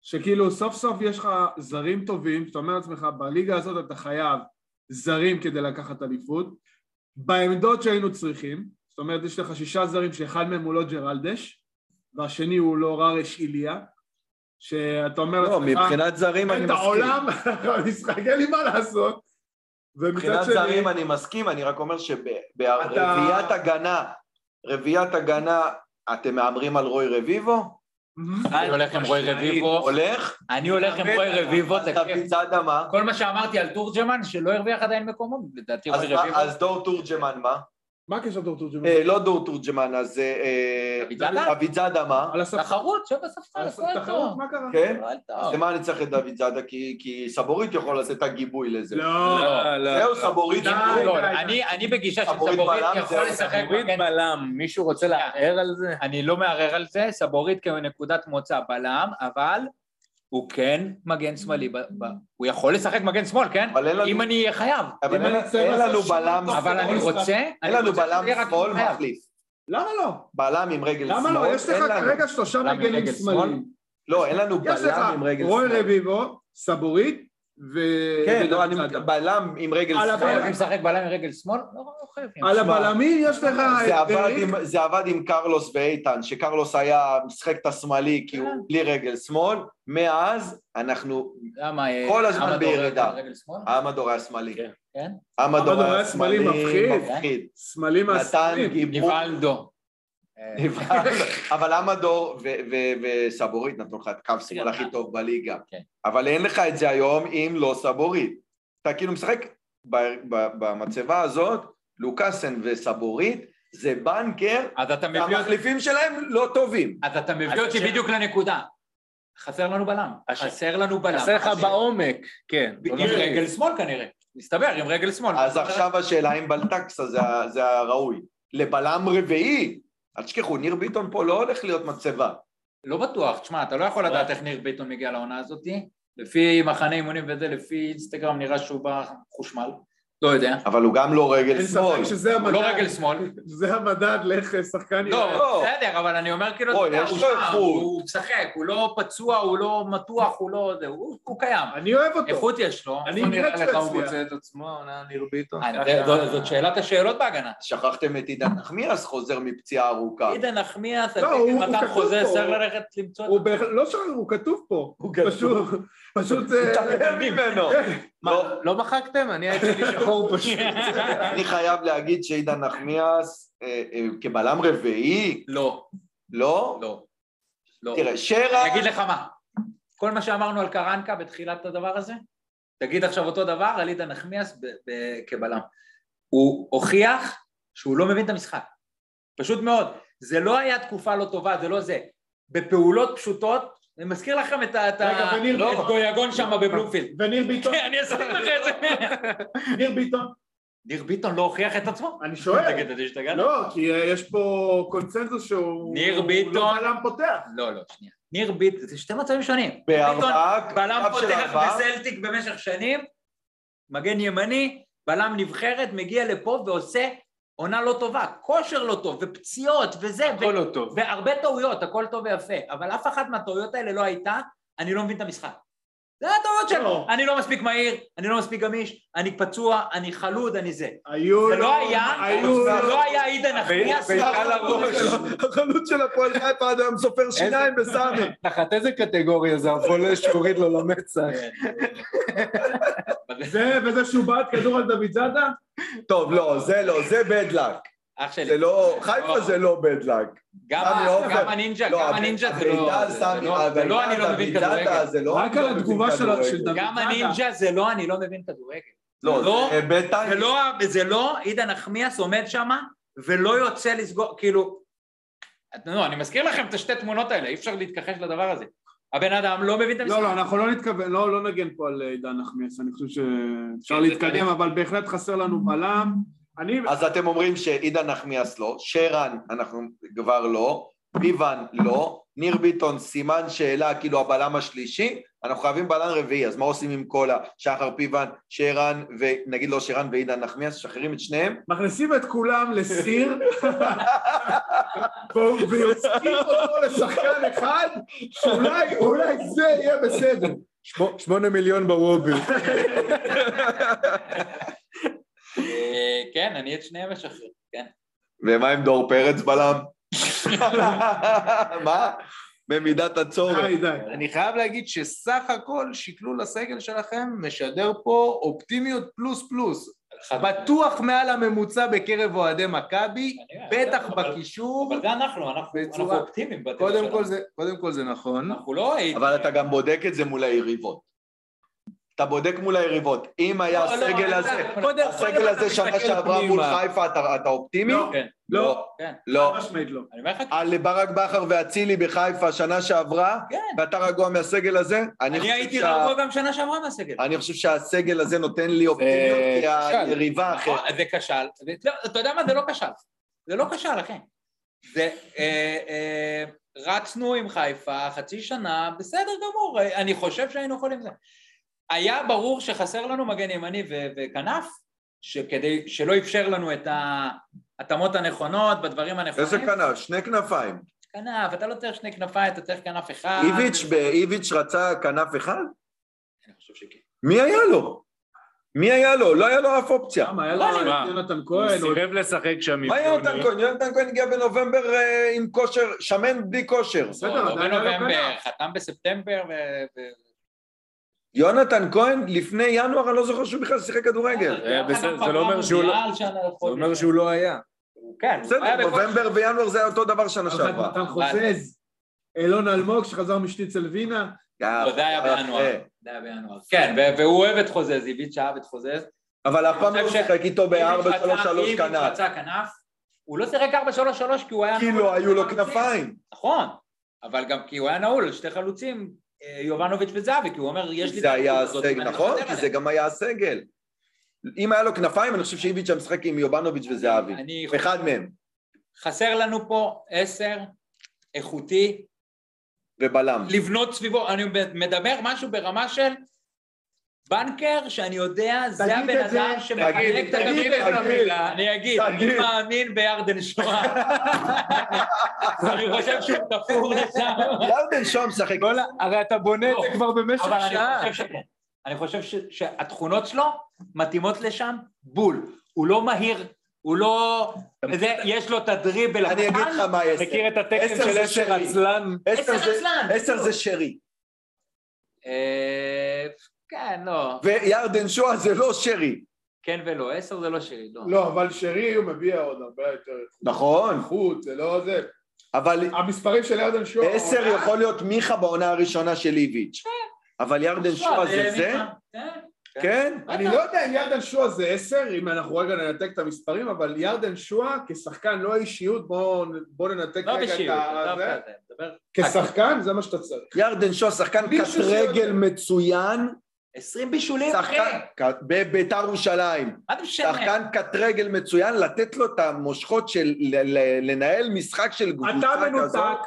Speaker 4: שכאילו סוף סוף יש לך זרים טובים, שאתה אומר לעצמך, בליגה הזאת אתה חייב זרים כדי לקחת אליפות, בעמדות שהיינו צריכים, זאת אומרת יש לך שישה זרים שאחד מהם הוא לא ג'רלדש, והשני הוא לא ררש איליה, שאתה אומר
Speaker 2: לא,
Speaker 4: לעצמך,
Speaker 2: מבחינת זרים אני
Speaker 4: את
Speaker 2: מסכים.
Speaker 4: העולם, המשחק, אין לי מה לעשות. ומצד
Speaker 2: מבחינת
Speaker 4: שני,
Speaker 2: זרים אני מסכים, אני רק אומר
Speaker 4: אתה-
Speaker 2: שברביעיית הגנה, רביעיית הגנה, אתם מהמרים על רוי רביבו?
Speaker 4: מהמם.
Speaker 3: אני הולך עם רוי רביבו,
Speaker 2: הולך?
Speaker 3: אני הולך עם רוי רביבו,
Speaker 2: אז
Speaker 3: תקשיב.
Speaker 2: דוד צדה מה?
Speaker 3: כל מה שאמרתי על תורג'מן, שלא הרוויח עדיין מקומו, לדעתי
Speaker 2: אז
Speaker 3: רוי
Speaker 2: מה-
Speaker 3: רביבו.
Speaker 2: אז דור תורג'מן מה?
Speaker 4: מה הקשר דור תורג'מן?
Speaker 2: אה, לא דור תורג'מן, אז אה,
Speaker 3: דוד זאדה?
Speaker 2: דוד זאדה מה?
Speaker 4: על הספ-
Speaker 3: תחרות, שב
Speaker 4: על
Speaker 3: בספסל,
Speaker 4: הספ-
Speaker 3: הכל
Speaker 4: תחרות,
Speaker 3: טוב.
Speaker 4: מה קרה?
Speaker 2: נכון. כן?
Speaker 3: הכל טוב. לא,
Speaker 2: למה אני צריך את דוד זאדה? כי כי סבורית יכול לתת את הגיבוי לזה.
Speaker 4: לא.
Speaker 2: זהו, סבורית.
Speaker 4: די,
Speaker 2: יכול.
Speaker 3: לא,
Speaker 4: די, די.
Speaker 3: אני- אני בגישה
Speaker 2: סבורית
Speaker 3: שסבורית
Speaker 2: בלם,
Speaker 3: יכול
Speaker 2: זה-
Speaker 3: לשחק
Speaker 1: סבורית
Speaker 3: מגן.
Speaker 1: בלם, מישהו רוצה לערער על זה?
Speaker 3: אני לא מערער על זה, סבורית כנקודת מוצא בלם, אבל הוא כן מגן שמאלי. ב- ב- הוא יכול לשחק מגן שמאל, כן?
Speaker 2: אבל אין לנו-
Speaker 3: אם אני אהיה חייב.
Speaker 2: אבל
Speaker 4: אם
Speaker 2: אין-
Speaker 4: אני צריך
Speaker 2: אין לנו
Speaker 4: לעשות
Speaker 2: בלם
Speaker 4: שינוי,
Speaker 3: אבל
Speaker 2: שמאל.
Speaker 3: אני רוצה...
Speaker 2: אין
Speaker 3: אני
Speaker 2: לנו
Speaker 3: רוצה
Speaker 2: בלם
Speaker 3: שזה יהיה רק
Speaker 2: שמאל
Speaker 3: חייב.
Speaker 2: מחליף.
Speaker 4: למה לא?
Speaker 2: בלם עם רגל אה, שמאל.
Speaker 4: למה לא? יש
Speaker 2: אין
Speaker 4: לך
Speaker 2: לנו.
Speaker 4: כרגע שלושה
Speaker 3: בלם עם
Speaker 4: מגנים
Speaker 3: רגל
Speaker 4: שמאליים.
Speaker 2: לא, אין לנו
Speaker 4: יש
Speaker 2: בלם עם
Speaker 4: לך
Speaker 2: רגל
Speaker 4: רוי
Speaker 2: שמאל.
Speaker 4: רביבו, סבורית, ו...
Speaker 2: כן,
Speaker 4: ודוד
Speaker 2: לא, אני
Speaker 4: זאדה.
Speaker 2: בלם עם רגל
Speaker 4: על
Speaker 2: שמאל.
Speaker 3: חייבים לשחק בלם עם רגל שמאל? לא לא חייבים.
Speaker 4: על
Speaker 2: שמע,
Speaker 4: הבלמים יש לך
Speaker 2: זה
Speaker 4: את
Speaker 2: עבד,
Speaker 4: דריק.
Speaker 2: עם, זה עבד עם קרלוס ואיתן, שקרלוס היה משחק את השמאלי כי הוא
Speaker 3: כן.
Speaker 2: בלי רגל שמאל, מאז אנחנו,
Speaker 3: למה? אה,
Speaker 2: כל הזמן
Speaker 3: עמדו
Speaker 2: בירידה. אה,
Speaker 3: על רגל שמאל?
Speaker 2: המדור היה שמאלי.
Speaker 1: כן.
Speaker 3: כן.
Speaker 2: המדור
Speaker 4: המדור
Speaker 2: היה
Speaker 4: היה שמאלי,
Speaker 2: שמאלי,
Speaker 4: מפחיד.
Speaker 2: מפחיד.
Speaker 4: שמאלי
Speaker 2: נתן
Speaker 4: מהספרים.
Speaker 2: גיבור.
Speaker 3: ניבלדו. אה,
Speaker 2: נבהל. אבל המדור ו- ו- וסבורית נתנו לך את קו שמאל הכי טוב בליגה.
Speaker 3: כן.
Speaker 2: אבל אין לך את זה היום אם לא סבורית. אתה כאילו משחק ב- ב- במצבה הזאת, לוקאסן וסבורית, זה בנקר,
Speaker 3: אז אתה מביא אותי-
Speaker 2: המחליפים שלהם לא טובים.
Speaker 3: אז אתה מביא
Speaker 1: אז
Speaker 3: אותי
Speaker 1: השאלה-
Speaker 3: בדיוק לנקודה. חסר לנו בלם.
Speaker 1: השאלה-
Speaker 3: חסר לנו בלם.
Speaker 1: חסר לך בעומק, כן.
Speaker 3: עם רגל שמאל כנראה. מסתבר, עם רגל שמאל.
Speaker 2: אז עכשיו השאלה אם בלטקסה זה ה- זה הראוי. לבלם רביעי, אל תשכחו, ניר ביטון פה לא הולך להיות מצבה.
Speaker 3: לא בטוח, תשמע, אתה לא יכול לדעת איך ניר ביטון מגיע לעונה הזאתי. לפי מחנה אימונים וזה, לפי אינסטגרם נראה שהוא בא חושמל. לא יודע.
Speaker 2: אבל הוא גם לא
Speaker 4: אין
Speaker 2: רגל שמאל.
Speaker 4: ספק שזה
Speaker 3: הוא לא
Speaker 4: המדד.
Speaker 3: רגל שמאל.
Speaker 4: זה המדד לאיך שחקן... יראה.
Speaker 3: לא, בסדר, אבל אני אומר כאילו,
Speaker 2: אוי,
Speaker 3: אתה יודע,
Speaker 2: יש
Speaker 3: הוא
Speaker 2: לו
Speaker 3: שם,
Speaker 2: איכות.
Speaker 3: הוא משחק, הוא לא פצוע, הוא לא מתוח, הוא לא... זה, הוא הוא קיים.
Speaker 4: אני אוהב אותו.
Speaker 3: איכות יש לו.
Speaker 4: אני נראה
Speaker 1: לך הוא
Speaker 4: שהוא יצליח.
Speaker 1: מוצא את עצמו, עונה ניר ביטון.
Speaker 3: אה, זה- זו- זאת שאלת השאלות בהגנה.
Speaker 2: שכחתם את עידן נחמיאס חוזר מפציעה ארוכה.
Speaker 3: עידן נחמיאס, על
Speaker 4: לא, הוא-
Speaker 3: תקן
Speaker 4: הוא
Speaker 3: מתן
Speaker 4: כתוב
Speaker 3: חוזה,
Speaker 4: פה.
Speaker 3: צריך ללכת למצוא... את
Speaker 4: הוא בהחלט, לא שחרר, הוא כתוב פה.
Speaker 2: הוא כתוב.
Speaker 4: פשוט, פשוט... אה,
Speaker 2: תתעלם ממנו.
Speaker 1: מה,
Speaker 2: לא,
Speaker 1: לא מחקתם? אני הייתי לי שחור פשוט.
Speaker 2: אני חייב להגיד שעידן נחמיאס אה, אה, כבלם רביעי,
Speaker 3: לא,
Speaker 2: לא?
Speaker 3: לא. לא.
Speaker 2: תראה, שרה,
Speaker 3: אני אגיד לך מה, כל מה שאמרנו על קרנקה בתחילת הדבר הזה, תגיד עכשיו אותו דבר על עידן נחמיאס ב- ב- כבלם. הוא הוכיח שהוא לא מבין את המשחק. פשוט מאוד. זה לא היה תקופה לא טובה, זה לא זה. בפעולות פשוטות, אני מזכיר לכם את ה... את ה-
Speaker 4: רגע, וניר-
Speaker 3: לא, את גויגון שם בבלומפילד. לא,
Speaker 4: וניר ביטון,
Speaker 3: כן, אני אספר לך את זה.
Speaker 4: ניר ביטון.
Speaker 3: ניר ביטון לא הוכיח את עצמו?
Speaker 4: אני שואל.
Speaker 3: תגיד, אתה השתגעת?
Speaker 4: לא, כי אה, יש פה קונצנזוס שהוא...
Speaker 3: ניר
Speaker 4: הוא
Speaker 3: ביטון.
Speaker 4: לא בלם פותח.
Speaker 3: לא, לא, שנייה. ניר ביטון, זה שתי מצבים שונים. ביטון
Speaker 2: בארבעה,
Speaker 3: בלם
Speaker 2: קו של
Speaker 3: פותח
Speaker 2: ארבעה,
Speaker 3: בסלטיק במשך שנים, מגן ימני, בלם נבחרת, מגיע לפה ועושה עונה לא טובה, כושר לא טוב, ופציעות, וזה, ו-
Speaker 1: הכל לא טוב.
Speaker 3: והרבה טעויות, הכל טוב ויפה, אבל אף אחת מהטעויות האלה לא הייתה, אני לא מבין את המשחק. זה הטעויות
Speaker 4: לא.
Speaker 3: של אני לא מספיק מהיר, אני לא מספיק גמיש, אני פצוע, אני חלוד, אני זה.
Speaker 4: היו...
Speaker 3: זה לא
Speaker 4: לו-
Speaker 3: היה,
Speaker 4: היו...
Speaker 3: זה
Speaker 4: לו-
Speaker 3: לא היה עידן נחמיאס,
Speaker 9: בעיטה לראש.
Speaker 2: החלוץ של הפועל חיפה עד היום סופר שיניים בסמי.
Speaker 9: תחת איזה קטגוריה זה הפולש שהוריד לו למצח?
Speaker 4: זה וזה שהוא בעט כדור על דוד זאדה?
Speaker 2: טוב, לא, זה לא, זה bad luck.
Speaker 3: אח שלי.
Speaker 2: זה לא, חיפה זה לא bad luck.
Speaker 3: גם
Speaker 2: סמי
Speaker 3: ה-
Speaker 2: עופר.
Speaker 3: גם הנינג'ה,
Speaker 2: לא,
Speaker 3: גם הנינג'ה זה לא...
Speaker 2: הבעיטה על
Speaker 3: זה
Speaker 2: סמי,
Speaker 3: לא- זה לא אני לא
Speaker 2: הבעיטה
Speaker 3: מבין
Speaker 2: על דוד
Speaker 3: כדורגל.
Speaker 2: זאדה זה לא
Speaker 6: רק
Speaker 2: אני לא
Speaker 6: על
Speaker 2: מבין
Speaker 6: התגובה של-
Speaker 2: כדורגל.
Speaker 6: של דוד.
Speaker 3: גם
Speaker 6: זאדה.
Speaker 3: הנינג'ה זה לא אני לא מבין כדורגל.
Speaker 2: לא, זה בטיימס.
Speaker 3: זה לא, זה לא עידן נחמיאס עומד שם ולא יוצא לסגור, כאילו, את- נו, אני מזכיר לכם את השתי תמונות האלה, אי אפשר להתכחש לדבר הזה. הבן אדם לא מבין את המשחק.
Speaker 4: לא, לא, אנחנו לא נתכוון, לא לא נגן פה על עידן נחמיאס, אני חושב שאפשר
Speaker 3: כן, זה
Speaker 4: להתקדם, אבל בהחלט חסר לנו בלם. אני...
Speaker 2: אז אתם אומרים שעידן נחמיאס לא, שרן אנחנו כבר לא, ביבן לא, ניר ביטון סימן שאלה כאילו הבלם השלישי, אנחנו חייבים בלם רביעי, אז מה עושים עם כל השחר פיבן, שרן ונגיד לא שרן ועידן נחמיאס, שחררים את שניהם?
Speaker 4: מכניסים את כולם לסיר, והוא- ויוצאים אותו לשחקן אחד, שאולי אולי זה יהיה בסדר.
Speaker 9: שמו- שמונה מיליון בוובי.
Speaker 3: אה, כן, אני את שניהם משחרר.
Speaker 2: ומה עם דור פרץ בלם? מה? במידת הצורך.
Speaker 4: די, די.
Speaker 6: אני חייב להגיד שסך הכל שקלול הסגל שלכם משדר פה אופטימיות פלוס פלוס. בטוח מעל הממוצע בקרב אוהדי מכבי, בטח בקישור.
Speaker 3: אבל זה אנחנו, אנחנו אנחנו
Speaker 6: בצורה-
Speaker 3: אופטימיים. בטבע
Speaker 6: קודם
Speaker 3: שלנו.
Speaker 6: כל זה- קודם כל זה נכון.
Speaker 3: אנחנו לא...
Speaker 2: אבל אתה גם בודק את זה מול היריבות. אתה בודק מול היריבות. אם היה
Speaker 3: לא, לא,
Speaker 2: הסגל
Speaker 3: אתה-
Speaker 2: הזה,
Speaker 3: קודם-
Speaker 2: הסגל
Speaker 3: קודם
Speaker 2: הזה
Speaker 3: אתה
Speaker 2: שנה
Speaker 3: מסתכל
Speaker 2: שעברה מול
Speaker 3: פנימה.
Speaker 2: חיפה, אתה אתה אופטימי?
Speaker 4: לא,
Speaker 3: כן,
Speaker 4: לא,
Speaker 3: כן.
Speaker 2: לא.
Speaker 4: חד משמעית לא.
Speaker 3: אני אומר לך,
Speaker 2: על ברק בכר ואצילי בחיפה שנה שעברה,
Speaker 3: כן.
Speaker 2: ואתה רגוע מהסגל הזה? אני
Speaker 3: אני
Speaker 2: חושב
Speaker 3: הייתי
Speaker 2: שה-
Speaker 3: רגוע גם שנה שעברה מהסגל.
Speaker 2: אני חושב שהסגל הזה נותן לי אופטימיות, כי היריבה אחרת.
Speaker 3: נכון, זה כשל. זה- לא, אתה יודע מה? זה לא כשל. זה לא כשל, אחי. זה... אה, אה, רצנו עם חיפה חצי שנה, בסדר גמור, אה, אני חושב שהיינו יכולים זה. היה ברור שחסר לנו מגן ימני ו- וכנף, שכדי, שלא אפשר לנו את ההתאמות הנכונות בדברים הנכונים.
Speaker 2: איזה כנף? שני כנפיים.
Speaker 3: כנף, אתה לא צריך שני כנפיים, אתה צריך כנף אחד.
Speaker 2: איביץ' ב- איביץ' רצה כנף אחד?
Speaker 3: אני חושב שכן.
Speaker 2: מי היה לו? מי היה לו? לא היה לו אף אופציה.
Speaker 4: למה, היה לו את
Speaker 1: מה?
Speaker 4: יונתן
Speaker 1: הוא
Speaker 4: כהן, הוא-
Speaker 1: סירב לשחק שם עם
Speaker 2: מה יונתן
Speaker 1: פלוני.
Speaker 2: כהן? יונתן כהן הגיע בנובמבר אה, עם כושר, שמן בלי כושר.
Speaker 4: בסדר,
Speaker 3: לא, לא
Speaker 4: עדיין לא
Speaker 3: בנובמבר,
Speaker 4: כנף.
Speaker 3: חתם בספטמבר ו- ו-
Speaker 2: יונתן כהן, לפני ינואר, אני לא זוכר שהוא בכלל שיחק כדורגל.
Speaker 3: היה לך
Speaker 1: בסדר,
Speaker 3: גם
Speaker 1: זה לא אומר שהוא לא-
Speaker 3: במונדיאל שנה
Speaker 1: זה
Speaker 3: לחודש.
Speaker 1: אומר שהוא לא היה.
Speaker 3: כן, הוא היה
Speaker 2: בסדר,
Speaker 3: בכל-
Speaker 2: נובמבר וינואר זה היה אותו דבר שנה
Speaker 4: אחד
Speaker 2: שעברה.
Speaker 4: מתן חוזז, אלון אלמוג שחזר משניצל וינה,
Speaker 2: אה,
Speaker 3: לא, זה היה
Speaker 2: אה,
Speaker 3: בינואר.
Speaker 2: אה.
Speaker 3: זה היה בינואר. כן, ו- והוא אוהב את חוזז, איביץ' אהב את חוזז.
Speaker 2: אבל אף פעם
Speaker 3: אני
Speaker 2: לא
Speaker 3: חושב ש-
Speaker 2: שיחק איתו
Speaker 3: איביץ' רצה-
Speaker 2: ב-4-3-3
Speaker 3: איביץ'
Speaker 2: כנף.
Speaker 3: רצה כנף. הוא לא שיחק 4-3-3 כי הוא היה...
Speaker 2: כי
Speaker 3: נעול
Speaker 2: לא
Speaker 3: על
Speaker 2: היו לו
Speaker 3: שני חלוצים.
Speaker 2: כנפיים.
Speaker 3: נכון, אבל גם כי הוא היה נעול על שתי חלוצים, אה, יובנוביץ' וזהבי, כי הוא אומר, יש לי... את
Speaker 2: זה היה
Speaker 3: החלוץ הזאת,
Speaker 2: הסגל,
Speaker 3: ואני
Speaker 2: נכון?
Speaker 3: מוותר
Speaker 2: כי זה
Speaker 3: עליה.
Speaker 2: גם היה הסגל. אם היה לו כנפיים, אני חושב שאיביץ' היה משחק עם יובנוביץ' וזהבי.
Speaker 3: אני
Speaker 2: אחד מהם,
Speaker 3: חסר לנו פה עשר, איכותי,
Speaker 2: ובלם.
Speaker 3: לבנות סביבו, אני מדבר משהו ברמה של בנקר שאני יודע, זה
Speaker 4: תגיד
Speaker 3: הבן
Speaker 4: את זה,
Speaker 3: אדם שמחלק את הכדורים.
Speaker 4: תגיד את המילה.
Speaker 3: אני אגיד, אני
Speaker 2: תגיד.
Speaker 3: מאמין בירדן שואה. אני חושב שהוא תפור לשם.
Speaker 2: ירדן שוהם משחק.
Speaker 3: לא,
Speaker 9: כל ה- הרי אתה בונה את זה כבר במשך
Speaker 3: אבל אני
Speaker 9: שעה.
Speaker 3: חושב שכן. אני חושב ש- שהתכונות שלו מתאימות לשם בול. הוא לא מהיר, הוא לא... זה- יש לו את הדריבל.
Speaker 2: אני אגיד לך מה עשר.
Speaker 9: מכיר את התקן
Speaker 2: עשר
Speaker 9: של
Speaker 2: זה
Speaker 9: עשר
Speaker 2: שלי.
Speaker 9: עצלן?
Speaker 2: עשר זה-
Speaker 3: עצלן.
Speaker 2: עשר זה שרי.
Speaker 3: אה, כן, לא.
Speaker 2: וירדן שואה זה לא שרי.
Speaker 3: כן ולא. עשר זה לא שלי, לא.
Speaker 4: לא, אבל שרי הוא מביע עוד הרבה יותר
Speaker 2: נכון,
Speaker 4: איכות, זה לא זה.
Speaker 2: אבל
Speaker 4: המספרים של ירדן
Speaker 3: לא,
Speaker 4: שואה...
Speaker 2: עשר
Speaker 3: אה?
Speaker 2: יכול להיות מיכה בעונה הראשונה של איביץ'. אבל ירדן שואה זה זה?
Speaker 3: כן.
Speaker 2: כן?
Speaker 4: אני לא יודע אם ירדן שואה זה עשר, אם אנחנו רגע ננתק את המספרים, אבל ירדן שואה כשחקן, לא אישיות, בואו בוא ננתק
Speaker 3: לא
Speaker 4: רגע
Speaker 3: בשיעור,
Speaker 4: את
Speaker 3: דווקא
Speaker 4: זה.
Speaker 3: זה, מדבר-
Speaker 4: כשחקן זה מה שאתה צריך.
Speaker 2: ירדן שואה שחקן
Speaker 4: מישהו
Speaker 2: קט
Speaker 4: שיודע.
Speaker 2: רגל מצוין.
Speaker 3: 20 בישולים, אחי!
Speaker 2: שחקן ק- בביתר ירושלים.
Speaker 3: מה אתה משנה?
Speaker 2: שחקן קט רגל מצוין, לתת לו את המושכות של ל- ל- לנהל משחק של
Speaker 4: אתה
Speaker 2: קבוצה כזאת.
Speaker 4: מנותק,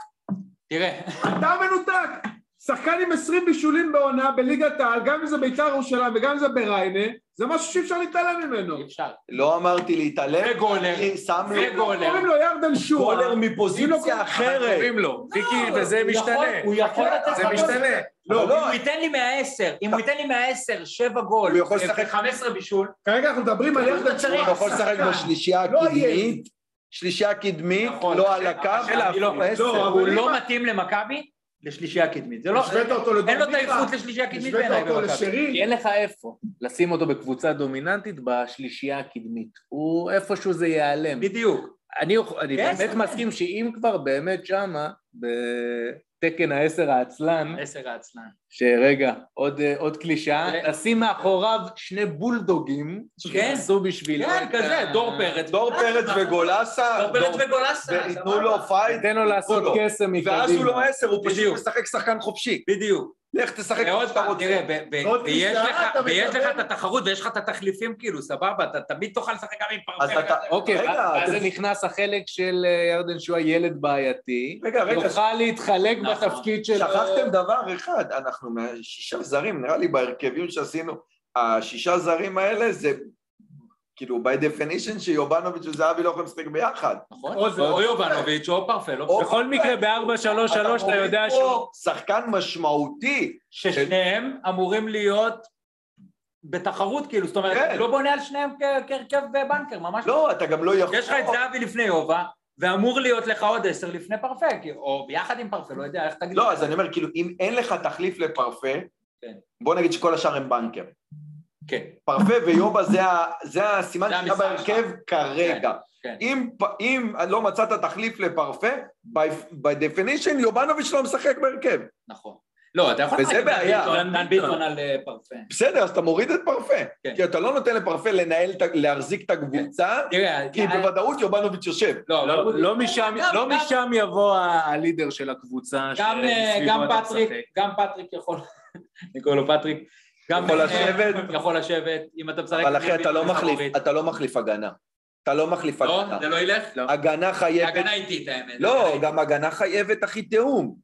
Speaker 3: תראה,
Speaker 4: אתה מנותק! שחקן עם 20 בישולים בעונה בליגת העל, גם אם זה בית"ר ירושלים וגם אם זה בריינה, זה משהו שאי אפשר להתעלם ממנו.
Speaker 3: אי אפשר.
Speaker 2: לא אמרתי להתעלם,
Speaker 3: זה גולר.
Speaker 2: אני שם
Speaker 3: זה
Speaker 2: אה, לו
Speaker 3: גולר.
Speaker 4: קוראים לו ירדן שועה.
Speaker 2: גולר
Speaker 4: לא
Speaker 2: מפוזיציה אחרת.
Speaker 6: קוראים לו, מיקי, וזה
Speaker 3: הוא יכול-
Speaker 6: משתנה.
Speaker 3: הוא יכול לתת...
Speaker 6: זה
Speaker 3: לך גול.
Speaker 6: משתנה.
Speaker 2: לא,
Speaker 3: אם הוא ייתן לי מהעשר, אם הוא ייתן לי מהעשר, שבע גול,
Speaker 2: הוא יכול לשחק-
Speaker 3: ו-15 בישול,
Speaker 4: כרגע אנחנו מדברים על ירדן
Speaker 3: צריך-
Speaker 4: שועה.
Speaker 2: אתה לא יכול לשחק
Speaker 4: שחקן.
Speaker 2: בשלישייה
Speaker 4: לא יהיה.
Speaker 2: הקדמית, שלישייה קדמית,
Speaker 3: נכון,
Speaker 2: לא
Speaker 3: קשה-
Speaker 2: על הקו,
Speaker 3: קשה להפריד.
Speaker 2: לא, עשר.
Speaker 4: לא,
Speaker 3: הוא
Speaker 4: אבל
Speaker 3: לא
Speaker 4: אם-
Speaker 3: מתאים למכבי, לשלישייה קדמית. זה לא...
Speaker 4: השווית אותו לדור
Speaker 3: אין לו את
Speaker 4: מיכה?
Speaker 3: האיכות לשלישייה קדמית
Speaker 4: השווית
Speaker 3: בעיניי
Speaker 4: אותו
Speaker 3: במכבי.
Speaker 1: כי
Speaker 4: לשרי?
Speaker 1: אין לך איפה לשים אותו בקבוצה דומיננטית בשלישייה הקדמית. הוא איפשהו זה ייעלם.
Speaker 3: בדיוק.
Speaker 1: אני, יכול- אני
Speaker 3: כן,
Speaker 1: באמת
Speaker 3: כן.
Speaker 1: מסכים שאם כבר באמת שמה, בתקן העשר העצלן,
Speaker 3: עשר העצלן.
Speaker 1: שרגע, עוד, אה, עוד קלישאה,
Speaker 3: כן.
Speaker 1: לשים מאחוריו שני בולדוגים,
Speaker 3: כן.
Speaker 1: שעשו בשבילו.
Speaker 3: כן,
Speaker 1: את
Speaker 3: כזה,
Speaker 1: ה-
Speaker 3: דור פרץ.
Speaker 2: דור פרץ וגולסה,
Speaker 3: דור פרץ
Speaker 2: דור-
Speaker 3: וגולסה.
Speaker 2: וייתנו
Speaker 3: סבבה.
Speaker 2: לו פייט,
Speaker 1: תן לו לעשות
Speaker 2: לו.
Speaker 1: קסם מקדימה.
Speaker 2: ואז הוא לא עשר, הוא
Speaker 3: בדיוק.
Speaker 2: פשוט משחק שחקן חופשי.
Speaker 3: בדיוק.
Speaker 2: לך תשחק
Speaker 3: ועוד
Speaker 2: כמו שאתה
Speaker 3: פעם,
Speaker 2: רוצה. לא
Speaker 3: תראה, ו- ו-
Speaker 4: עוד
Speaker 3: ויש
Speaker 4: קלישאה,
Speaker 3: לך-
Speaker 4: אתה
Speaker 3: ויש לך את
Speaker 4: מקבל.
Speaker 3: התחרות ויש לך את התחליפים, כאילו, סבבה, אתה תמיד תוכל לשחק גם עם
Speaker 2: אז
Speaker 3: פרפר.
Speaker 2: אתה-
Speaker 1: אוקיי,
Speaker 2: רגע,
Speaker 1: ואז ואז
Speaker 2: אתם-
Speaker 1: זה נכנס החלק של אה, ירדן שועה, ילד בעייתי.
Speaker 2: רגע, רגע,
Speaker 1: יוכל להתחלק
Speaker 3: נכון.
Speaker 1: בתפקיד שלו.
Speaker 2: שכחתם דבר אחד, אנחנו מהשישה זרים, נראה לי בהרכבים שעשינו, השישה זרים האלה זה כאילו by definition שיובנוביץ' וזהבי לא יכולים לשחק ביחד.
Speaker 3: נכון?
Speaker 4: או זה-
Speaker 2: לא.
Speaker 3: או יובנוביץ' או לא פרפל. או-
Speaker 2: או-
Speaker 1: בכל מקרה, ב-4-3-3 אתה יודע
Speaker 2: לא. אתה
Speaker 1: שהוא...
Speaker 2: מוריד פה שחקן משמעותי,
Speaker 3: ששניהם אמורים להיות בתחרות, כאילו, זאת אומרת,
Speaker 2: כן.
Speaker 3: לא בונה על שניהם כ- כהרכב בבנקר, ממש
Speaker 2: לא, אתה גם לא יכול...
Speaker 3: יש לך את זהבי לפני יובה, ואמור להיות לך עוד עשר לפני פרפה, כי- או ביחד עם פרפה, לא יודע, איך תגיד?
Speaker 2: לא, אז אני אומר, כאילו, אם אין לך תחליף לפרפה,
Speaker 3: כן.
Speaker 2: בוא נגיד שכל השאר הם בנקר.
Speaker 3: כן,
Speaker 2: פרפה ויובה זה, ה- זה הסימן
Speaker 3: זה
Speaker 2: שלך
Speaker 3: המשחק
Speaker 2: בהרכב כרגע.
Speaker 3: כן.
Speaker 2: אם, פ- אם לא מצאת תחליף לפרפה, by, by definition יובנוביץ' לא משחק בהרכב.
Speaker 3: נכון. לא, אתה יכול...
Speaker 2: וזה
Speaker 3: להגיד דן
Speaker 2: בעיה.
Speaker 3: ביטון, דן ביטון על אה, פרפה.
Speaker 2: בסדר, אז אתה מוריד את פרפה.
Speaker 3: כן.
Speaker 2: כי אתה לא נותן לפרפה לנהל, את ה- להחזיק את הקבוצה,
Speaker 3: תראה,
Speaker 2: כי בוודאות יובנוביץ' יושב.
Speaker 3: לא,
Speaker 1: לא-
Speaker 3: לא,
Speaker 1: לא משם-
Speaker 3: גם-
Speaker 1: לא
Speaker 3: גם-
Speaker 1: משם יבוא ה- הלידר של הקבוצה
Speaker 3: גם, אה,
Speaker 1: שסביבו
Speaker 3: גם
Speaker 1: אתה
Speaker 3: פטריק,
Speaker 1: משחק.
Speaker 3: גם פטריק יכול, אני קורא לו פטריק, גם
Speaker 2: יכול
Speaker 3: אה,
Speaker 2: לשבת.
Speaker 3: יכול לשבת, אם אתה משחק,
Speaker 2: אבל
Speaker 3: עם
Speaker 2: אחי, אתה לא
Speaker 3: ביטון,
Speaker 2: מחליף,
Speaker 3: מוריד.
Speaker 2: אתה לא מחליף הגנה. אתה לא מחליף
Speaker 3: לא,
Speaker 2: הגנה.
Speaker 3: זה לא ילך,
Speaker 2: הגנה חייבת...
Speaker 3: הגנה איטית האמת,
Speaker 2: לא,
Speaker 3: הגנה
Speaker 2: גם הגנה חייבת, אחי, תיאום.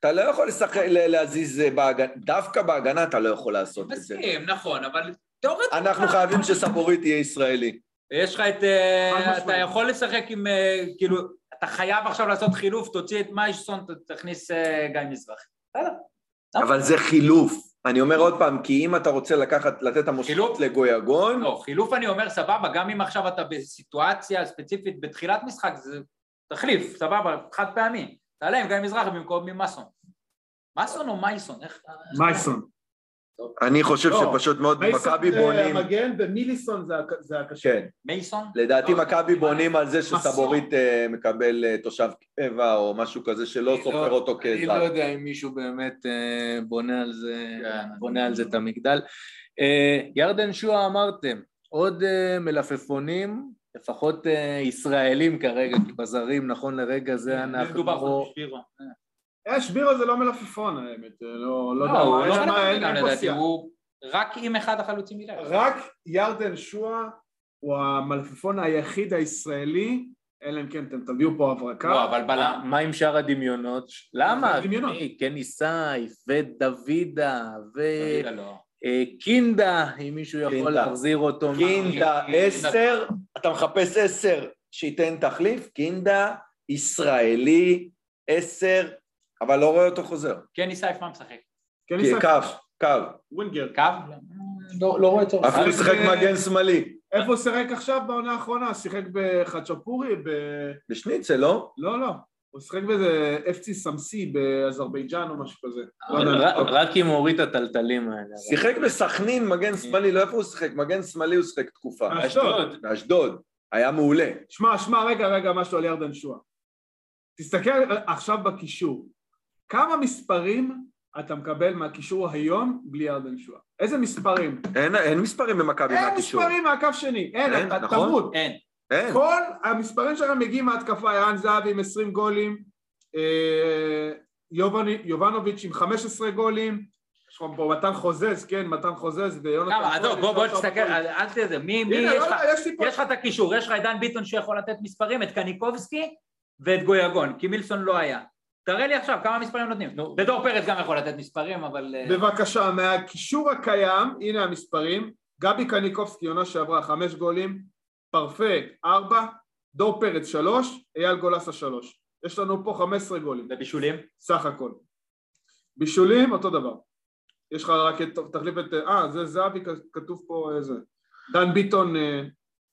Speaker 2: אתה לא יכול לשחק, ל- להזיז אה, בהגנה, דווקא בהגנה אתה לא יכול לעשות את זה.
Speaker 3: מסכים, נכון, אבל תיאורטית...
Speaker 2: אנחנו חייבים שסבורית יהיה ישראלי.
Speaker 3: יש לך את... אה,
Speaker 4: חד משמעית.
Speaker 3: אתה יכול לשחק עם... אה, כאילו, אתה חייב עכשיו לעשות חילוף, תוציא את מיישסון, ת- תכניס אה, גיא מזרחי. בסדר.
Speaker 2: אבל זה חילוף. אני אומר עוד פעם, כי אם אתה רוצה לקחת, לתת את
Speaker 3: חילוף?
Speaker 2: המושכות לגויגון,
Speaker 3: לא, חילוף אני אומר סבבה, גם אם עכשיו אתה בסיטואציה ספציפית בתחילת משחק, זה תחליף, סבבה, חד פעמי. תעלה עם גיא מזרחי במקום עם מסון. מסון או מייסון? איך...
Speaker 4: מייסון.
Speaker 2: אני חושב
Speaker 4: לא.
Speaker 2: שפשוט מאוד
Speaker 4: מייסון
Speaker 2: מכבי
Speaker 4: זה
Speaker 2: בונים,
Speaker 4: אה, המגן ומיליסון זה הק- זה הקשר.
Speaker 2: כן,
Speaker 3: מייסון?
Speaker 2: לדעתי
Speaker 3: לא.
Speaker 2: מכבי בונים על זה שסבורית
Speaker 3: מסור.
Speaker 2: אה, מקבל אה, תושב קבע או משהו כזה שלא
Speaker 6: אני
Speaker 2: סופר
Speaker 6: לא-
Speaker 2: אותו
Speaker 1: אני לא
Speaker 2: כאזרח.
Speaker 1: יודע אם מישהו באמת אה, בונה על זה,
Speaker 3: כן.
Speaker 1: בונה על זה את המגדל. אה, ירדן שואה אמרתם, עוד אה, מלפפונים, לפחות אה, ישראלים כרגע, כי בזרים נכון לרגע זה
Speaker 3: מי
Speaker 1: אנחנו...
Speaker 3: כן, לא
Speaker 4: לא-
Speaker 3: מדובר פה? שבירו.
Speaker 4: אה, שבירו זה לא מלפפון האמת, זה לא לא
Speaker 3: לא,
Speaker 4: יודע
Speaker 3: הוא
Speaker 4: מה,
Speaker 3: לא
Speaker 4: אין שם-
Speaker 3: מנהל
Speaker 4: אין-
Speaker 3: גם
Speaker 4: אין פה
Speaker 3: לדעתי,
Speaker 4: סייג.
Speaker 3: הוא רק עם אחד החלוצים מילאי.
Speaker 4: רק ירדן שועה הוא המלפפון היחיד הישראלי, אלא אם כן אתם תביאו פה הברקה.
Speaker 3: לא, אבל בלם.
Speaker 1: מה- מה עם שאר הדמיונות? למה?
Speaker 4: הדמיונות.
Speaker 1: אה, כן ניסאי ודוידה
Speaker 4: אה,
Speaker 3: חלילה לא.
Speaker 1: וקינדה, אם מישהו יכול
Speaker 2: קינדה.
Speaker 1: להחזיר אותו.
Speaker 2: קינדה עשר, אתה מחפש עשר שייתן תחליף, קינדה ישראלי עשר, אבל לא רואה אותו חוזר.
Speaker 3: כן, ניסייף מה משחק?
Speaker 4: כן,
Speaker 2: כי-
Speaker 4: ניסן,
Speaker 2: קו, קו.
Speaker 4: ווינגר.
Speaker 3: קו? לא רואה צורך.
Speaker 2: אפילו שיחק מגן שמאלי.
Speaker 4: איפה הוא שיחק עכשיו בעונה האחרונה? שיחק בחצ'פורי? ב...
Speaker 2: בשניצל, לא?
Speaker 4: לא, לא. הוא שיחק באיזה FC סמסי באזרבייג'אן או משהו כזה. לא יודע.
Speaker 1: רק- רק אם הוריד את הטלטלים האלה. אבל-
Speaker 2: שיחק בסכנין מגן שמאלי, לא איפה הוא שיחק, מגן שמאלי הוא שיחק תקופה.
Speaker 4: אשדוד.
Speaker 2: באשדוד. היה מעולה.
Speaker 4: שמע, שמע, רגע, רגע, משהו על ירדן שועה. תסתכל עכשיו בקישור. כמה מספרים אתה מקבל מהקישור היום בלי ירדן שועה? איזה מספרים?
Speaker 2: אין- אין מספרים במכבי
Speaker 4: אין
Speaker 2: מהקישור.
Speaker 4: מספרים מהקו שני. אין,
Speaker 2: אין,
Speaker 4: אתה
Speaker 2: נכון.
Speaker 4: תמות.
Speaker 3: אין.
Speaker 2: אין.
Speaker 4: כל המספרים שלכם מגיעים מההתקפה, ערן זהבי עם 20 גולים, אה, יובני- יובנוביץ' עם 15 גולים, יש לך פה מתן חוזז, כן, מתן חוזז ויונתן...
Speaker 3: כמה?
Speaker 4: כהן
Speaker 3: עזוב,
Speaker 4: עם
Speaker 3: אה, בוא בוא
Speaker 4: 13
Speaker 3: תסתכל,
Speaker 4: גולים.
Speaker 3: אל אל תדע, מי מי
Speaker 4: הנה,
Speaker 3: יש
Speaker 4: לא,
Speaker 3: לך?
Speaker 4: לא, יש לי פה...
Speaker 3: יש לך את הקישור, יש לך את דן ביטון שיכול לתת מספרים, את קניקובסקי ואת גויגון, כי מילסון לא היה. תראה לי עכשיו כמה מספרים נותנים. ודור פרץ גם יכול לתת מספרים, אבל... אה,
Speaker 4: בבקשה, מהקישור הקיים, הנה המספרים, גבי קניקובסקי עונה שעברה חמש גולים, פרפקט ארבע, דור פרץ שלוש, אייל גולסה שלוש. יש לנו פה חמש עשרה גולים,
Speaker 3: לבישולים?
Speaker 4: סך הכל. בישולים אותו דבר. יש לך רק את, תחליף את, אה זה זהבי כ- כתוב פה אה, זה. דן ביטון אה,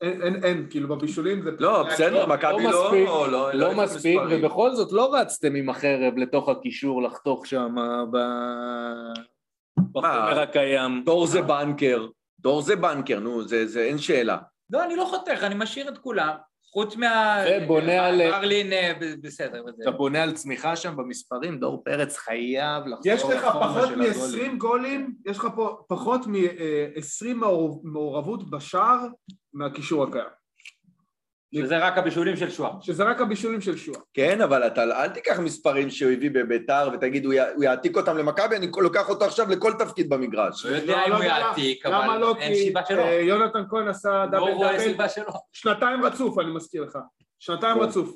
Speaker 4: אין, אין, אין, כאילו בבישולים זה...
Speaker 2: לא, בסדר, מכבי לא...
Speaker 1: מספיק,
Speaker 2: לא-
Speaker 1: לא
Speaker 2: יש
Speaker 1: מספיק,
Speaker 2: מספרים.
Speaker 1: ובכל זאת לא רצתם עם החרב לתוך הקישור לחתוך שם אה, ב... בחומר
Speaker 2: אה,
Speaker 1: הקיים.
Speaker 2: דור זה בנקר, דור זה בנקר, נו, זה, זה אין שאלה.
Speaker 3: לא, אני לא חותך, אני משאיר את כולם, חוץ מה...
Speaker 1: ובונה על-
Speaker 3: מרלין אה, ב- בסדר, וזה.
Speaker 6: אתה בונה על צמיחה שם במספרים, דור פרץ חייב לחזור
Speaker 4: יש לך
Speaker 6: לפורמה
Speaker 4: פחות
Speaker 6: של הגולים.
Speaker 4: מ-20 גולים, יש לך פה פחות מ-20 מעורבות בשער מהקישור הקיים,
Speaker 3: שזה רק הבישולים של שואה.
Speaker 4: שזה רק הבישולים של שועה.
Speaker 2: כן, אבל אתה אל תיקח מספרים שהוא הביא בביתר ותגיד, הוא, י, הוא יעתיק אותם למכבי, אני לוקח אותו עכשיו לכל תפקיד במגרש.
Speaker 3: לא יודע
Speaker 4: לא,
Speaker 3: אם
Speaker 4: לא
Speaker 3: הוא
Speaker 4: יודע למה.
Speaker 3: יעתיק,
Speaker 4: למה
Speaker 3: אבל
Speaker 4: לא?
Speaker 3: אין
Speaker 4: כי,
Speaker 3: סיבה שלא.
Speaker 4: אה, יונתן כהן עשה
Speaker 3: לא
Speaker 4: דאבל
Speaker 3: רואה
Speaker 4: דאבל,
Speaker 3: סיבה שלא.
Speaker 4: שנתיים רצוף, אני מזכיר לך. שנתיים
Speaker 2: נו.
Speaker 4: רצוף.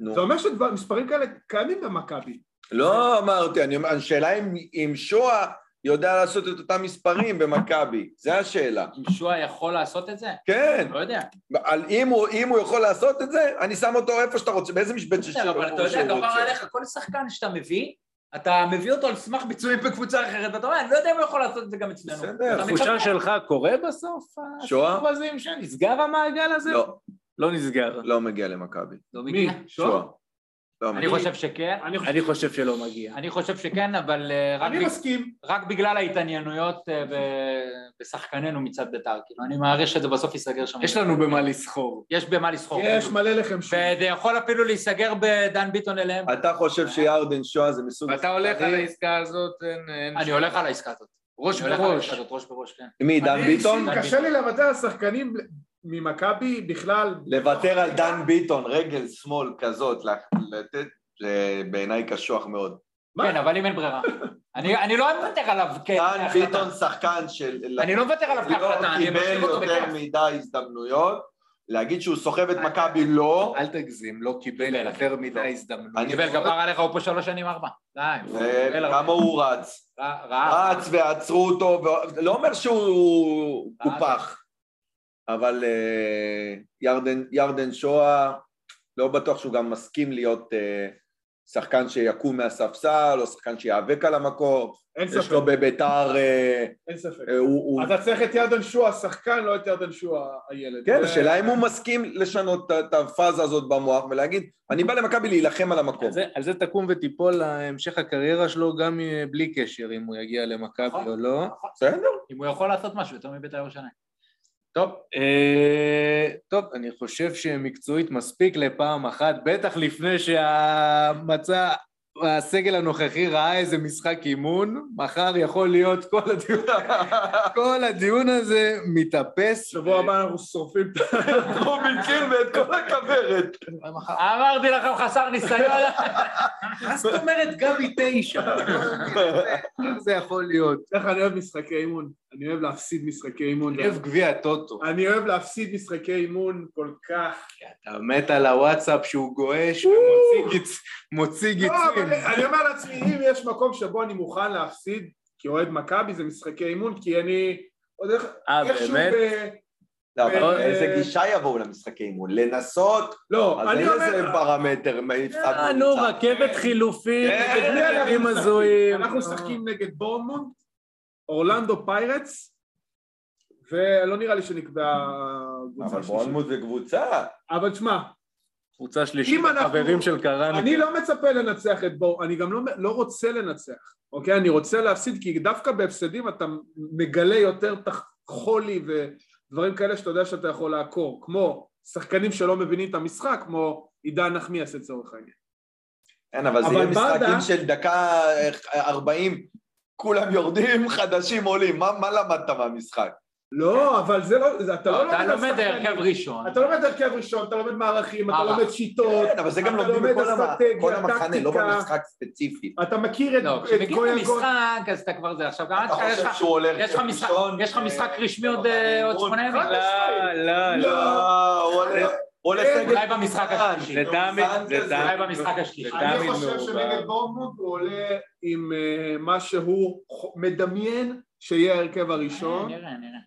Speaker 2: נו.
Speaker 4: זה אומר שמספרים כאלה קיימים במכבי.
Speaker 2: לא אמרתי, אני אומר, השאלה אם, אם שואה יודע לעשות את אותם מספרים במכבי, זה השאלה.
Speaker 3: אם שואה יכול לעשות את זה?
Speaker 2: כן,
Speaker 3: לא יודע.
Speaker 2: על, אם, הוא, אם הוא יכול לעשות את זה, אני שם אותו איפה שאתה רוצה, באיזה משבצת שהוא
Speaker 3: בסדר,
Speaker 2: שהוא
Speaker 3: אבל אתה
Speaker 2: רוצה.
Speaker 3: יודע, דבר עליך, כל שחקן שאתה מביא, אתה מביא אותו על סמך ביצועים בקבוצה אחרת, ואתה אומר, אני לא יודע אם הוא יכול לעשות את זה גם אצלנו.
Speaker 2: בסדר,
Speaker 3: אתה
Speaker 1: התחושה
Speaker 3: מתאפק.
Speaker 1: שלך קורה בסוף?
Speaker 2: שואה?
Speaker 1: הסיפור הזה עם ש- נסגר המעגל הזה?
Speaker 2: לא,
Speaker 1: לא נסגר.
Speaker 2: לא מגיע למכבי.
Speaker 3: לא
Speaker 4: מי?
Speaker 3: מגיע.
Speaker 2: שואה.
Speaker 4: שועה?
Speaker 2: לא
Speaker 3: אני
Speaker 2: מגיע.
Speaker 3: חושב שכן,
Speaker 4: אני חושב-
Speaker 1: אני חושב שלא מגיע.
Speaker 3: אני חושב שכן, אבל אה, רק
Speaker 4: אני
Speaker 3: בג-
Speaker 4: מסכים.
Speaker 3: רק בגלל ההתעניינויות אה, ב- בשחקנינו מצד בית"ר, כאילו, אני מעריך שזה בסוף ייסגר שם.
Speaker 6: יש לנו במה לסחור.
Speaker 3: יש במה לסחור.
Speaker 4: יש מלא לחם שועה.
Speaker 3: וזה יכול אפילו להיסגר בדן ביטון אליהם.
Speaker 2: אתה חושב שירדן שואה זה מסוג...
Speaker 6: ואתה הולך על העסקה הזאת, אין... אין-
Speaker 3: אני הולך על העסקה הזאת.
Speaker 6: ראש
Speaker 3: אני הולך על העסקה
Speaker 6: בראש.
Speaker 3: הזאת, ראש בראש, כן.
Speaker 2: מי, דן
Speaker 4: אני
Speaker 2: ביטון?
Speaker 4: אישית, קשה לי לוותר על שחקנים ממכבי בכלל.
Speaker 2: לוותר על דן ביטון, רגל שמאל כזאת, לה- לתת, זה בעיניי קשוח מאוד.
Speaker 4: מה?
Speaker 3: כן, אבל אם אין ברירה. אני אני לא מוותר עליו כ...
Speaker 2: דן
Speaker 3: כהחלטה.
Speaker 2: ביטון שחקן של...
Speaker 3: אה, אני לא מוותר עליו כהחלטה,
Speaker 2: לא
Speaker 3: אני
Speaker 2: קיבל
Speaker 3: משאיר אותו
Speaker 2: יותר
Speaker 3: בכיף. אה,
Speaker 2: מדי הזדמנויות, להגיד שהוא סוחב את מכבי לא,
Speaker 6: אל תגזים, לא קיבל
Speaker 3: קיבל.
Speaker 6: יותר מדי הזדמנות.
Speaker 2: אני-
Speaker 3: קיבל כפר עליך, הוא פה שלוש שנים ארבע. די. הוא קיבל הרבה.
Speaker 2: וכמה הוא רץ.
Speaker 3: רע- רע.
Speaker 2: רץ ועצרו אותו, ו- לא אומר שהוא קופח, אבל אה, ירדן- ירדן שואה, לא בטוח שהוא גם מסכים להיות אה, שחקן שיקום מהספסל, או שחקן שיאבק על המקור.
Speaker 4: אין
Speaker 2: יש
Speaker 4: ספק,
Speaker 2: לו בביתר, אה,
Speaker 4: אין ספק.
Speaker 2: אה, הוא... הוא-
Speaker 4: אתה צריך את ירדן שועה השחקן, לא את ירדן שועה הילד.
Speaker 2: כן,
Speaker 4: זה-
Speaker 2: השאלה אם הוא מסכים לשנות את- את הפאזה הזאת במוח ולהגיד, אני בא למכבי להילחם על המקום.
Speaker 1: על זה, על זה תקום ותיפול המשך הקריירה שלו גם אה, בלי קשר אם הוא יגיע למכבי
Speaker 3: נכון.
Speaker 1: או לא.
Speaker 2: בסדר?
Speaker 3: אם הוא יכול לעשות משהו יותר מבית"ר ירושלים.
Speaker 1: טוב, אה, טוב, אני חושב שמקצועית מספיק לפעם אחת, בטח לפני שהמצע, הסגל הנוכחי ראה איזה משחק אימון, מחר יכול להיות כל הדיון, כל הדיון הזה מתאפס.
Speaker 4: שבוע הבא אנחנו שורפים את
Speaker 2: רוביצ'ין ואת כל הכוורת.
Speaker 4: כן,
Speaker 3: אמרתי לכם, חסר ניסיון.
Speaker 6: מה זאת אומרת גבי תשע?
Speaker 4: כן.
Speaker 1: איך זה יכול להיות?
Speaker 4: איך אני אוהב משחקי אימון. אני אוהב להפסיד משחקי אימון.
Speaker 6: ערב גביע הטוטו.
Speaker 4: אני אוהב להפסיד משחקי אימון כל כך.
Speaker 6: אתה מת על הוואטסאפ שהוא גועש ומוציא גיצ... מוציא
Speaker 4: לא,
Speaker 6: גיצים.
Speaker 4: אבל אני אומר לעצמי, אם יש מקום שבו אני מוכן להפסיד כאוהד מכבי, זה משחקי אימון, כי אני עוד איך-
Speaker 1: אה,
Speaker 4: איכשהו
Speaker 1: באמת?
Speaker 4: ב...
Speaker 2: לא, אבל
Speaker 4: אה,
Speaker 2: איזה
Speaker 4: אה.
Speaker 2: גישה יבואו למשחקי אימון? לנסות?
Speaker 4: לא,
Speaker 2: אז
Speaker 4: אני
Speaker 2: אין איזה
Speaker 4: אומר...
Speaker 2: פרמטר, מה, יפתח
Speaker 1: אה, נו,
Speaker 2: קבוצה.
Speaker 1: רכבת חילופים,
Speaker 2: כן,
Speaker 1: נגד
Speaker 4: מי אנחנו
Speaker 1: נגדים
Speaker 4: משחקים?
Speaker 1: הזויים.
Speaker 4: אנחנו משחקים נגד בורמונט, אורלנדו פיירטס, ולא נראה לי שנקבעה קבוצה
Speaker 2: אבל
Speaker 4: שלישית.
Speaker 2: בורנמוט זה קבוצה.
Speaker 4: אבל תשמע,
Speaker 1: קבוצה שלישית,
Speaker 4: אם אנחנו-
Speaker 1: חברים של
Speaker 4: אני
Speaker 1: קראנקה.
Speaker 4: לא מצפה לנצח את בור, אני גם לא, לא רוצה לנצח, אוקיי? אני רוצה להפסיד, כי דווקא בהפסדים אתה מגלה יותר תח- חולי ודברים כאלה שאתה יודע שאתה יכול לעקור, כמו שחקנים שלא מבינים את המשחק, כמו עידן נחמיאס לצורך העניין.
Speaker 2: כן, אבל זה
Speaker 4: אבל
Speaker 2: יהיה
Speaker 4: ברדה-
Speaker 2: משחקים של דקה אה, 40, כולם יורדים, חדשים עולים. מה מה למדת מהמשחק?
Speaker 4: לא, אבל זה לא, זה- אתה לא
Speaker 3: אתה לומד
Speaker 4: על
Speaker 3: הרכב
Speaker 4: שחקנים.
Speaker 3: ראשון.
Speaker 4: אתה לומד הרכב ראשון, אתה לומד מערכים, אתה
Speaker 3: מערך.
Speaker 4: לומד שיטות,
Speaker 2: כן, אבל זה גם
Speaker 4: לא, אתה
Speaker 2: לומדים
Speaker 4: לומד
Speaker 2: בכל המ-
Speaker 4: אסטרטגיה,
Speaker 2: כל המחנה, לא
Speaker 4: טקטיקה.
Speaker 2: במשחק ספציפי.
Speaker 4: אתה מכיר את
Speaker 3: לא,
Speaker 4: את
Speaker 3: כשמגיעים
Speaker 4: גויה גויה.
Speaker 3: למשחק, אז אתה כבר זה. עכשיו, גם
Speaker 2: אתה
Speaker 3: אתה- יש
Speaker 2: חושב
Speaker 3: לך-
Speaker 2: שהוא הולך
Speaker 3: אה, יש לך משחק-
Speaker 2: ראשון,
Speaker 3: יש לך משחק
Speaker 2: אה,
Speaker 3: רשמי עוד
Speaker 2: במחנה
Speaker 3: אה, עוד
Speaker 2: אימון.
Speaker 3: שמונה ימים.
Speaker 1: לא, לא,
Speaker 2: לא,
Speaker 1: לא.
Speaker 2: הוא עולה- הוא עולה
Speaker 4: כן,
Speaker 2: סגל.
Speaker 3: אולי במשחק השלישי.
Speaker 4: לא,
Speaker 1: זה תמיד, זה
Speaker 2: כזה.
Speaker 3: אולי
Speaker 1: תמיד.
Speaker 3: במשחק השלישי.
Speaker 1: אתה
Speaker 4: אני
Speaker 1: מין
Speaker 4: חושב
Speaker 1: מעורבב.
Speaker 4: שנגד בורמוט הוא עולה עם אה, מה שהוא ח- מדמיין שיהיה ההרכב הראשון,
Speaker 3: נראה, נראה.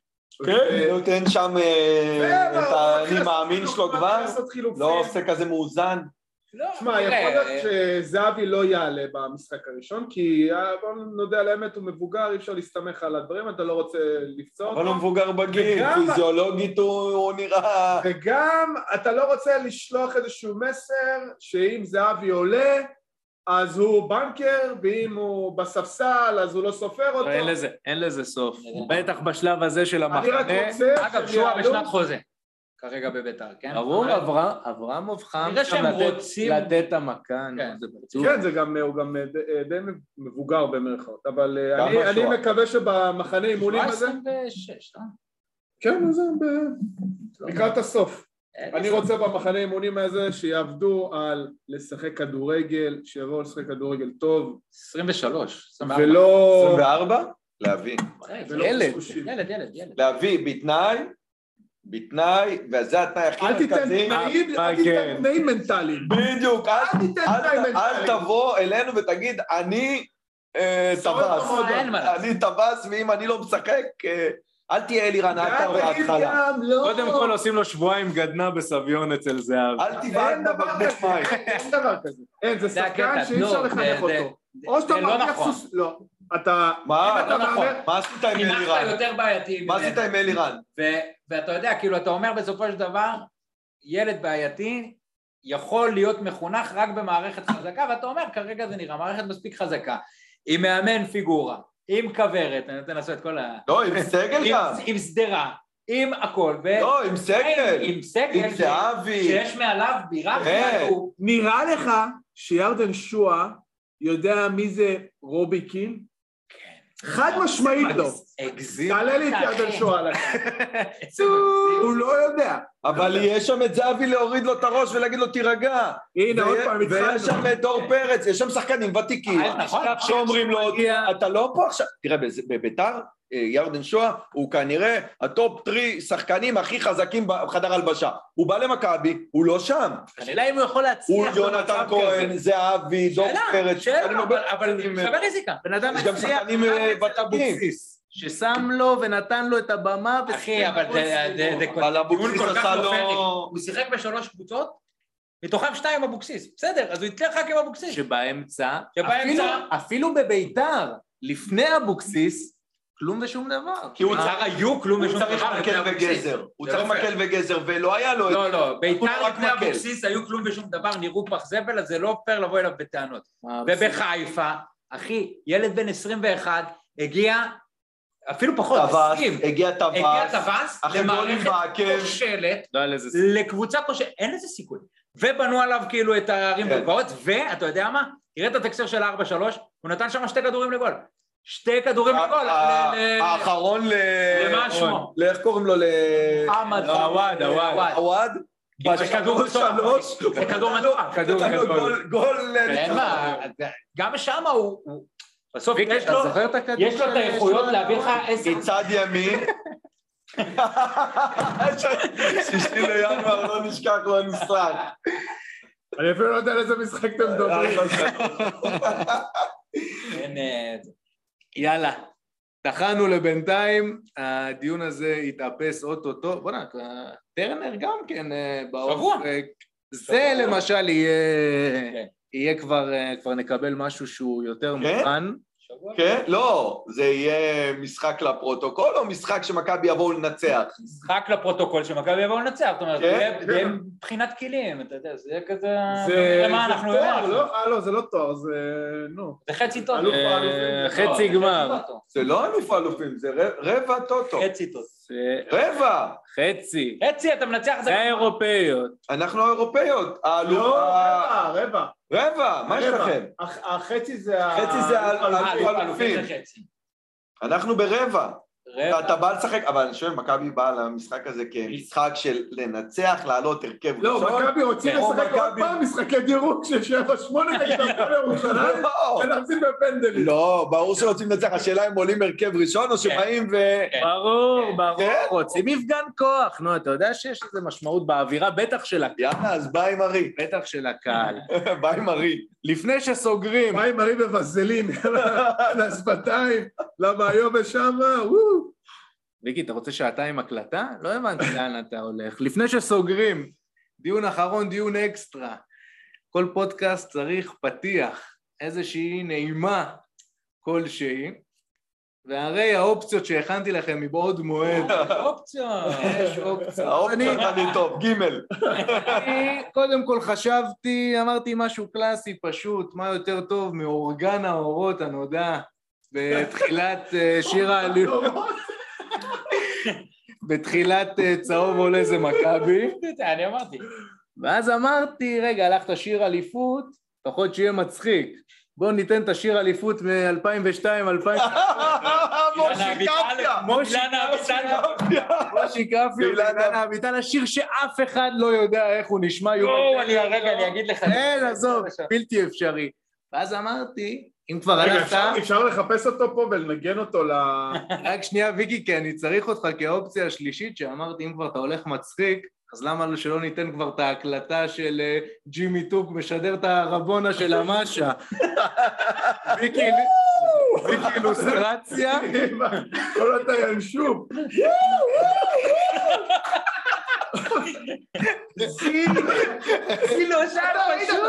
Speaker 2: כן, נותן שם אה,
Speaker 4: בסדר,
Speaker 2: את
Speaker 4: הוא
Speaker 2: האני
Speaker 4: מתחיל
Speaker 2: מאמין
Speaker 4: לעשות
Speaker 2: שלו
Speaker 4: חילופים,
Speaker 2: כבר,
Speaker 4: לעשות חילופים.
Speaker 2: לא עושה כזה מאוזן.
Speaker 3: לא,
Speaker 4: תשמע,
Speaker 3: תראה,
Speaker 4: יכול
Speaker 3: אה,
Speaker 4: להיות שזהבי לא יעלה במשחק הראשון, כי אה, בוא נודה על האמת, הוא מבוגר, אי אפשר להסתמך על הדברים, אתה לא רוצה לפצוע
Speaker 2: אבל הוא
Speaker 4: אותו,
Speaker 2: מבוגר בגיל,
Speaker 4: וגם-
Speaker 2: פיזיולוגית הוא הוא נראה...
Speaker 4: וגם אתה לא רוצה לשלוח איזשהו מסר שאם זהבי עולה, אז הוא בנקר, ואם הוא בספסל, אז הוא לא סופר אותו.
Speaker 1: אין לזה, אין לזה סוף, בטח בשלב הזה של
Speaker 4: אני
Speaker 1: המחנה.
Speaker 4: רק רוצה
Speaker 3: אגב,
Speaker 4: שהם
Speaker 3: שועה
Speaker 4: יעלו.
Speaker 3: בשנת חוזה, כרגע בביתר, כן?
Speaker 1: ברור,
Speaker 3: אבל-
Speaker 1: אברהם- אברמוב חם
Speaker 3: נראה
Speaker 1: שם
Speaker 3: שהם
Speaker 1: לתת-
Speaker 3: רוצים-
Speaker 1: לתת את המכה, נו,
Speaker 3: כן.
Speaker 1: זה בטוח.
Speaker 4: כן, זה גם, הוא גם אה, די- אה, די מבוגר במרכאות, אבל אה,
Speaker 2: כמה
Speaker 3: לא
Speaker 4: אני, אני
Speaker 2: שועה?
Speaker 4: מקווה שבמחנה אימונים הזה,
Speaker 3: 26, לא?
Speaker 4: כן, זה ב... לקראת הסוף.
Speaker 3: אה,
Speaker 4: אני רוצה במחנה אימונים הזה שיעבדו על לשחק כדורגל, שיבואו לשחק כדורגל טוב,
Speaker 3: 23, 24.
Speaker 4: ולא...
Speaker 2: 24? להביא. לא
Speaker 4: ולא
Speaker 1: ילד.
Speaker 4: קשקושים.
Speaker 3: ילד, ילד, ילד.
Speaker 2: להביא בתנאי, בתנאי, וזה התנאי הכי
Speaker 4: אל תיתן
Speaker 2: מרכזי.
Speaker 4: תנאים,
Speaker 1: אה,
Speaker 4: אל תיתן
Speaker 1: כן.
Speaker 4: תנאים מנטליים.
Speaker 2: בדיוק, אל
Speaker 4: אל תיתן
Speaker 2: אל-
Speaker 4: תנאים
Speaker 2: אל
Speaker 4: מנטליים.
Speaker 2: תבוא אלינו ותגיד, אני אה, טווס,
Speaker 3: אין מה לעשות.
Speaker 2: אני טווס, ואם אני לא משחק, אה, אל תהיה אלירן עטר
Speaker 4: תגיד
Speaker 2: בהתחלה.
Speaker 4: גם, לא.
Speaker 1: קודם כל עושים לו שבועיים גדנה בסביון אצל זהב.
Speaker 2: אל תבעט
Speaker 4: אין דבר
Speaker 2: בבקבוק
Speaker 4: כזה,
Speaker 2: מים.
Speaker 4: אין דבר כזה. אין, זה
Speaker 3: זה
Speaker 4: שחקן
Speaker 3: הקטע,
Speaker 4: שאי
Speaker 3: לא,
Speaker 4: אפשר
Speaker 3: זה-
Speaker 4: לחנך
Speaker 3: זה-
Speaker 4: אותו. או שאתה
Speaker 3: זה לא
Speaker 4: מרוויח
Speaker 3: נכון.
Speaker 4: סוס... לא. אתה...
Speaker 2: מה?
Speaker 4: אם
Speaker 3: לא
Speaker 4: אתה
Speaker 3: נכון.
Speaker 4: מהמר-
Speaker 2: מה עשית עם
Speaker 3: חינכת
Speaker 2: אלירן?
Speaker 3: יותר בעייתי.
Speaker 2: מה עשית עם אלירן?
Speaker 3: ו- ואתה יודע, כאילו, אתה אומר בסופו של דבר, ילד בעייתי יכול להיות מחונך רק במערכת חזקה, ואתה אומר, כרגע זה נראה מערכת מספיק חזקה, עם מאמן פיגורה, עם כוורת, אני נותן לעשות את כל ה...
Speaker 2: לא, עם סגל
Speaker 3: עם-
Speaker 2: גם.
Speaker 3: עם שדרה, עם הכל, ו...
Speaker 2: לא, עם סגל.
Speaker 3: עם סגל,
Speaker 2: עם
Speaker 3: ש-
Speaker 2: זהבי.
Speaker 3: שיש מעליו בירה,
Speaker 2: כן.
Speaker 3: כאילו,
Speaker 4: נראה לך שירדן שואה יודע מי זה רובי קין?
Speaker 3: כן.
Speaker 4: חד משמעית לא.
Speaker 3: הגזים.
Speaker 4: תעלה לי את ירדן שואה על הקו. הוא לא יודע.
Speaker 2: אבל יש שם את זהבי להוריד לו את הראש ולהגיד לו תירגע.
Speaker 4: הנה, עוד פעם
Speaker 2: ויש
Speaker 4: התחלנו.
Speaker 2: שם את דור פרץ, יש שם שחקנים ותיקים.
Speaker 3: אל תשכח
Speaker 2: שאומרים לו, אתה לא פה עכשיו. תראה, בז- בביתר, אה, ירדן שואה, הוא כנראה הטופ 3 שחקנים הכי חזקים בחדר הלבשה. הוא בא למכבי, הוא לא שם.
Speaker 1: השאלה אם הוא יכול
Speaker 2: הוא
Speaker 1: להצליח
Speaker 2: יונתן
Speaker 1: במצב
Speaker 2: כהן, לא
Speaker 1: כזה.
Speaker 2: זהבי, דור פרץ. שחקנים
Speaker 1: שאלה,
Speaker 2: הרבה-
Speaker 1: אבל- אבל
Speaker 2: שחקנים, אה,
Speaker 3: שווה נזיקה.
Speaker 1: בן אדם
Speaker 2: יש גם
Speaker 1: הצליח
Speaker 2: שחקנים,
Speaker 1: רק
Speaker 2: אה,
Speaker 1: אצל
Speaker 2: ותיקים.
Speaker 1: אבוקסיס, ששם לו ונתן לו את הבמה.
Speaker 3: אחי, אבל זה- זה... זה-
Speaker 2: אבל אבוקסיס
Speaker 3: כל כך
Speaker 2: עשה
Speaker 3: לא פרק.
Speaker 2: לו...
Speaker 3: הוא שיחק בשלוש קבוצות, מתוכם שתיים אבוקסיס. בסדר, אז הוא הצליח רק עם אבוקסיס.
Speaker 1: שבאמצע,
Speaker 3: שבאמצע-
Speaker 1: אפילו- אפילו בביתר, לפני אבוקסיס, כלום ושום דבר.
Speaker 2: כי הוא צריך-
Speaker 3: כבר היו כלום
Speaker 2: הוא צריך מקל וגזר. הוא צריך מקל וגזר, ולא היה לו את
Speaker 3: לא, לא, ביתר
Speaker 2: רק
Speaker 3: לפני
Speaker 2: מקל.
Speaker 3: אבוקסיס היו כלום ושום דבר, נראו פח זבל, אז זה לא פייר לבוא אליו בטענות.
Speaker 1: מה,
Speaker 3: ובחיפה, אחי, ילד בן 21 הגיע, אפילו פחות,
Speaker 2: טווס,
Speaker 3: 20,
Speaker 2: הגיע
Speaker 3: נכון, הגיע
Speaker 2: טווס,
Speaker 3: טווס
Speaker 2: אחרי גולים
Speaker 3: למערכת
Speaker 2: בעקב.
Speaker 3: כושלת,
Speaker 1: לא היה לזה סיכוי.
Speaker 3: לקבוצה כושלת, אין לזה סיכוי. ובנו עליו כאילו את הערים
Speaker 2: כן.
Speaker 3: והגבעות, ואתה יודע מה? תראה את התקציר של ה-4-3, הוא נתן שם שתי כדורים לגול. שתי כדורים
Speaker 2: ה-
Speaker 3: לגול.
Speaker 2: ה-
Speaker 3: ל- ל-
Speaker 2: האחרון ל...
Speaker 3: למה שמו?
Speaker 2: ל- איך קוראים לו? ל...
Speaker 3: מוחמד.
Speaker 1: עווד, עווד.
Speaker 2: עווד?
Speaker 3: זה כדור שלוש, זה כדור מטוח.
Speaker 1: כדור
Speaker 2: נתן לו
Speaker 1: גדול.
Speaker 2: לא, גול- גול...
Speaker 3: אין כן, מה, גם שם הוא, הוא- בסוף
Speaker 1: ויקי,
Speaker 3: יש
Speaker 1: אתה
Speaker 3: לו,
Speaker 1: זוכר את הכדור
Speaker 3: לא, יש לו את
Speaker 1: של-
Speaker 3: האיכויות
Speaker 1: של-
Speaker 3: להביא לך עשר.
Speaker 2: מצד ימין. שישי לינואר לא נשכח לא נשחק.
Speaker 4: אני אפילו לא יודע על איזה משחק אתם
Speaker 3: אה, לא.
Speaker 4: מדברים.
Speaker 3: אין, אה, זה.
Speaker 10: יאללה. טחנו לבינתיים, הדיון הזה התאפס אוטוטו. בוא'נה, אה, טרנר גם כן אה, באור.
Speaker 3: שבוע.
Speaker 10: אה, זה
Speaker 3: שבוע.
Speaker 10: למשל יהיה...
Speaker 3: כן.
Speaker 1: יהיה כבר, אה, כבר נקבל משהו שהוא יותר
Speaker 2: כן?
Speaker 1: מוכן.
Speaker 3: שבוע.
Speaker 2: כן? לא, זה יהיה משחק לפרוטוקול או משחק שמכבי יבואו לנצח?
Speaker 3: משחק לפרוטוקול שמכבי יבואו לנצח, זאת אומרת, זה
Speaker 2: כן,
Speaker 3: יהיה-
Speaker 4: כן.
Speaker 3: זה יהיה מבחינת כלים, אתה יודע, זה יהיה כזה,
Speaker 4: זה
Speaker 3: נראה מה
Speaker 4: זה
Speaker 3: אנחנו,
Speaker 4: תואר,
Speaker 3: אנחנו.
Speaker 4: לא? אה, לא, זה לא תואר, זה... נו.
Speaker 3: זה חצי טוטו.
Speaker 4: אלוף,
Speaker 3: לא,
Speaker 1: אה,
Speaker 3: זה
Speaker 1: חצי גמר.
Speaker 3: טוטו.
Speaker 2: זה לא אלוף אלופים, זה ר- רבע טוטו.
Speaker 3: חצי טוטו.
Speaker 1: זה-
Speaker 2: רבע!
Speaker 1: חצי.
Speaker 3: חצי, אתה מנצח זה
Speaker 1: זה האירופאיות.
Speaker 2: אנחנו האירופאיות. האלוף...
Speaker 4: לא,
Speaker 2: ה-
Speaker 4: רבע, רבע.
Speaker 2: רבע, אה, מה יש
Speaker 4: רבע.
Speaker 2: לכם?
Speaker 4: הח- החצי זה ה...
Speaker 2: חצי זה ה-
Speaker 4: אלוף-
Speaker 2: האלוף
Speaker 3: אה, אלופים
Speaker 2: אלופים.
Speaker 3: זה חצי.
Speaker 2: אנחנו ברבע.
Speaker 3: רבע.
Speaker 2: אתה בא לשחק, אבל אני שואל, מכבי באה למשחק הזה כמשחק של לנצח, לעלות הרכב
Speaker 4: לא, מכבי רוצים
Speaker 2: כן. או
Speaker 4: לשחק עוד
Speaker 2: מכבי.
Speaker 4: פעם משחקי דירוג של שבע שמונה נגד הפועל ירושלים
Speaker 2: לא,
Speaker 4: ולהחזיק בפנדלים.
Speaker 2: לא, ברור שרוצים לנצח, השאלה אם עולים הרכב ראשון או שבאים ו...
Speaker 3: כן.
Speaker 1: ברור, ברור.
Speaker 2: כן?
Speaker 1: רוצים מפגן כוח. נו, אתה יודע שיש לזה משמעות באווירה, בטח של הקהל.
Speaker 2: יאללה, אז בא עם ארי.
Speaker 1: בטח של הקהל.
Speaker 2: בא עם ארי.
Speaker 10: לפני
Speaker 2: לא.
Speaker 10: שסוגרים,
Speaker 4: מים מרים בבזלין על השפתיים, למה היום ושמה, אה, וואו.
Speaker 11: ריקי, אתה רוצה שעתיים הקלטה? לא הבנתי לאן אתה הולך. לפני
Speaker 1: שסוגרים, דיון אחרון, דיון אקסטרה. כל פודקאסט צריך פתיח, איזושהי נעימה כלשהי, והרי האופציות שהכנתי לכם מבעוד מועד,
Speaker 3: אופציה.
Speaker 1: יש אופציות.
Speaker 2: האופציות אני טוב, גימל.
Speaker 1: אני קודם כל חשבתי, אמרתי משהו קלאסי פשוט, מה יותר טוב מאורגן האורות הנודע בתחילת אה, שיר העלילות. בתחילת אה, צהוב עולה זה מכבי.
Speaker 3: אני אמרתי.
Speaker 1: ואז אמרתי, רגע, הלכת שיר אליפות, לפחות שיהיה מצחיק. בואו ניתן את השיר אליפות מ-2002, 2000...
Speaker 3: אילנה אביטל, אילנה אביטל,
Speaker 1: מושי כפי ואילנה אביטל, השיר שאף אחד לא יודע איך הוא נשמע. יובל
Speaker 3: יואו,
Speaker 1: טרנר
Speaker 3: אני רגע,
Speaker 1: לא.
Speaker 3: אני אגיד לך.
Speaker 1: אין, עזוב, בלתי אפשרי. ואז אמרתי, אם כבר
Speaker 4: רגע,
Speaker 1: הלכת,
Speaker 4: אפשר- אפשר לחפש אותו פה ולנגן אותו ל...
Speaker 1: רק שנייה ויקי, כי אני צריך אותך כאופציה השלישית, שאמרתי, אם כבר אתה הולך מצחיק, אז למה לא- שלא ניתן כבר את ההקלטה של אה, ג'ימי טוק משדר את הרבונה של המאשה? ויקי, ויקי אילוסטרציה,
Speaker 4: כל אותה ינשוף.
Speaker 3: זילוש על לא פשוט.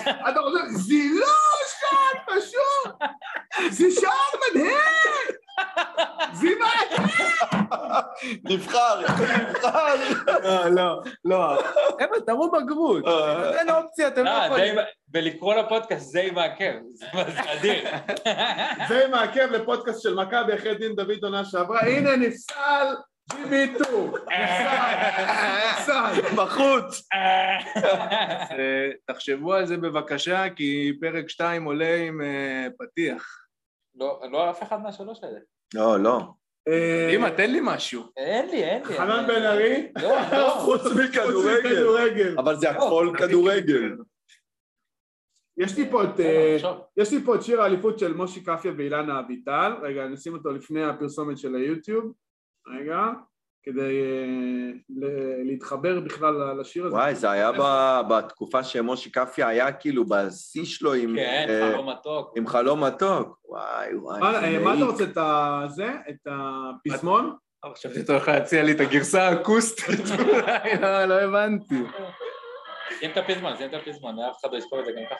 Speaker 4: אתה חושב, זה לא שער פשוט! זה שער מדהים! זה מה?
Speaker 2: נבחר, נבחר.
Speaker 1: לא, לא, לא, חבר'ה, תראו בגרות, אין אופציה, אתם לא
Speaker 3: לא,
Speaker 1: יכולים.
Speaker 3: זה עם- ולקרוא לפודקאסט זה עם העקב, זה אדיר.
Speaker 4: זה מעכב לפודקאסט של מכבי אחרי דין דוד עונה שעברה, הנה נפסל ג'ימי טו! נפסל! נפסל!
Speaker 2: בחוץ.
Speaker 1: אז, אה, תחשבו על זה בבקשה, כי פרק 2 עולה עם אה, פתיח.
Speaker 3: לא, לא אף אחד מהשלוש האלה.
Speaker 2: לא, לא.
Speaker 4: אה,
Speaker 1: אמא, תן לי משהו.
Speaker 3: אין לי, אין לי.
Speaker 4: חנן
Speaker 3: אני-
Speaker 4: בן ארי?
Speaker 3: לא, לא.
Speaker 2: חוץ מכדורגל.
Speaker 4: כדורגל.
Speaker 2: אבל זה הכל כדורגל.
Speaker 4: יש לי פה את... אה,
Speaker 3: לא,
Speaker 4: יש לי פה את שיר האליפות של מושי קפיה ואילנה אביטל, רגע, אני אשים אותו לפני הפרסומת של היוטיוב, רגע, כדי אה, ל- להתחבר בכלל לשיר הזה.
Speaker 2: וואי, זה היה ב- בתקופה שמשה כפיה היה כאילו בשיא שלו עם...
Speaker 3: כן,
Speaker 2: אה,
Speaker 3: חלום מתוק.
Speaker 2: עם חלום מתוק. וואי, וואי.
Speaker 4: מה אה, מה אתה
Speaker 2: מעיק.
Speaker 4: רוצה, את הזה? את הפזמון?
Speaker 3: אה,
Speaker 1: חשבתי שאתה הולך להציע לי את הגרסה האקוסטית אולי, לא, לא הבנתי.
Speaker 3: שים את הפזמון, שים את הפזמון, אף אחד לא יזכור את זה גם ככה.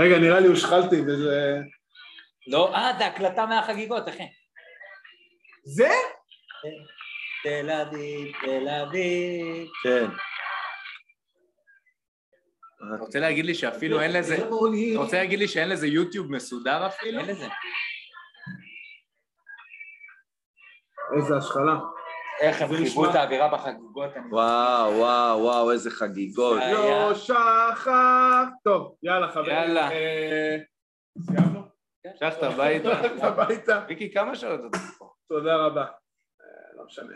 Speaker 4: רגע, נראה לי הושחלתי וזה...
Speaker 3: לא, אה, זה הקלטה מהחגיגות, אחי.
Speaker 4: זה?
Speaker 3: תל אביב, תל אביב.
Speaker 2: כן.
Speaker 1: אתה רוצה להגיד לי שאפילו אין לזה... אתה רוצה להגיד לי שאין לזה יוטיוב מסודר אפילו?
Speaker 3: אין לזה.
Speaker 4: איזה השחלה.
Speaker 3: איך הם
Speaker 4: זה
Speaker 3: חיברו
Speaker 4: נשמע-
Speaker 3: את האווירה בחגיגות. אני-
Speaker 2: וואו, וואו, וואו, איזה חגיגות.
Speaker 3: היה.
Speaker 4: לא שכח... טוב, יאללה חברים.
Speaker 1: יאללה.
Speaker 4: אה, סיימנו?
Speaker 1: שלח את הביתה.
Speaker 3: לא,
Speaker 4: הלכת הביתה.
Speaker 1: ויקי, כמה שעות אתה פה?
Speaker 4: תודה רבה. אה, לא משנה.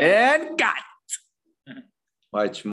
Speaker 1: אין קאט!
Speaker 2: וואי, תשמע.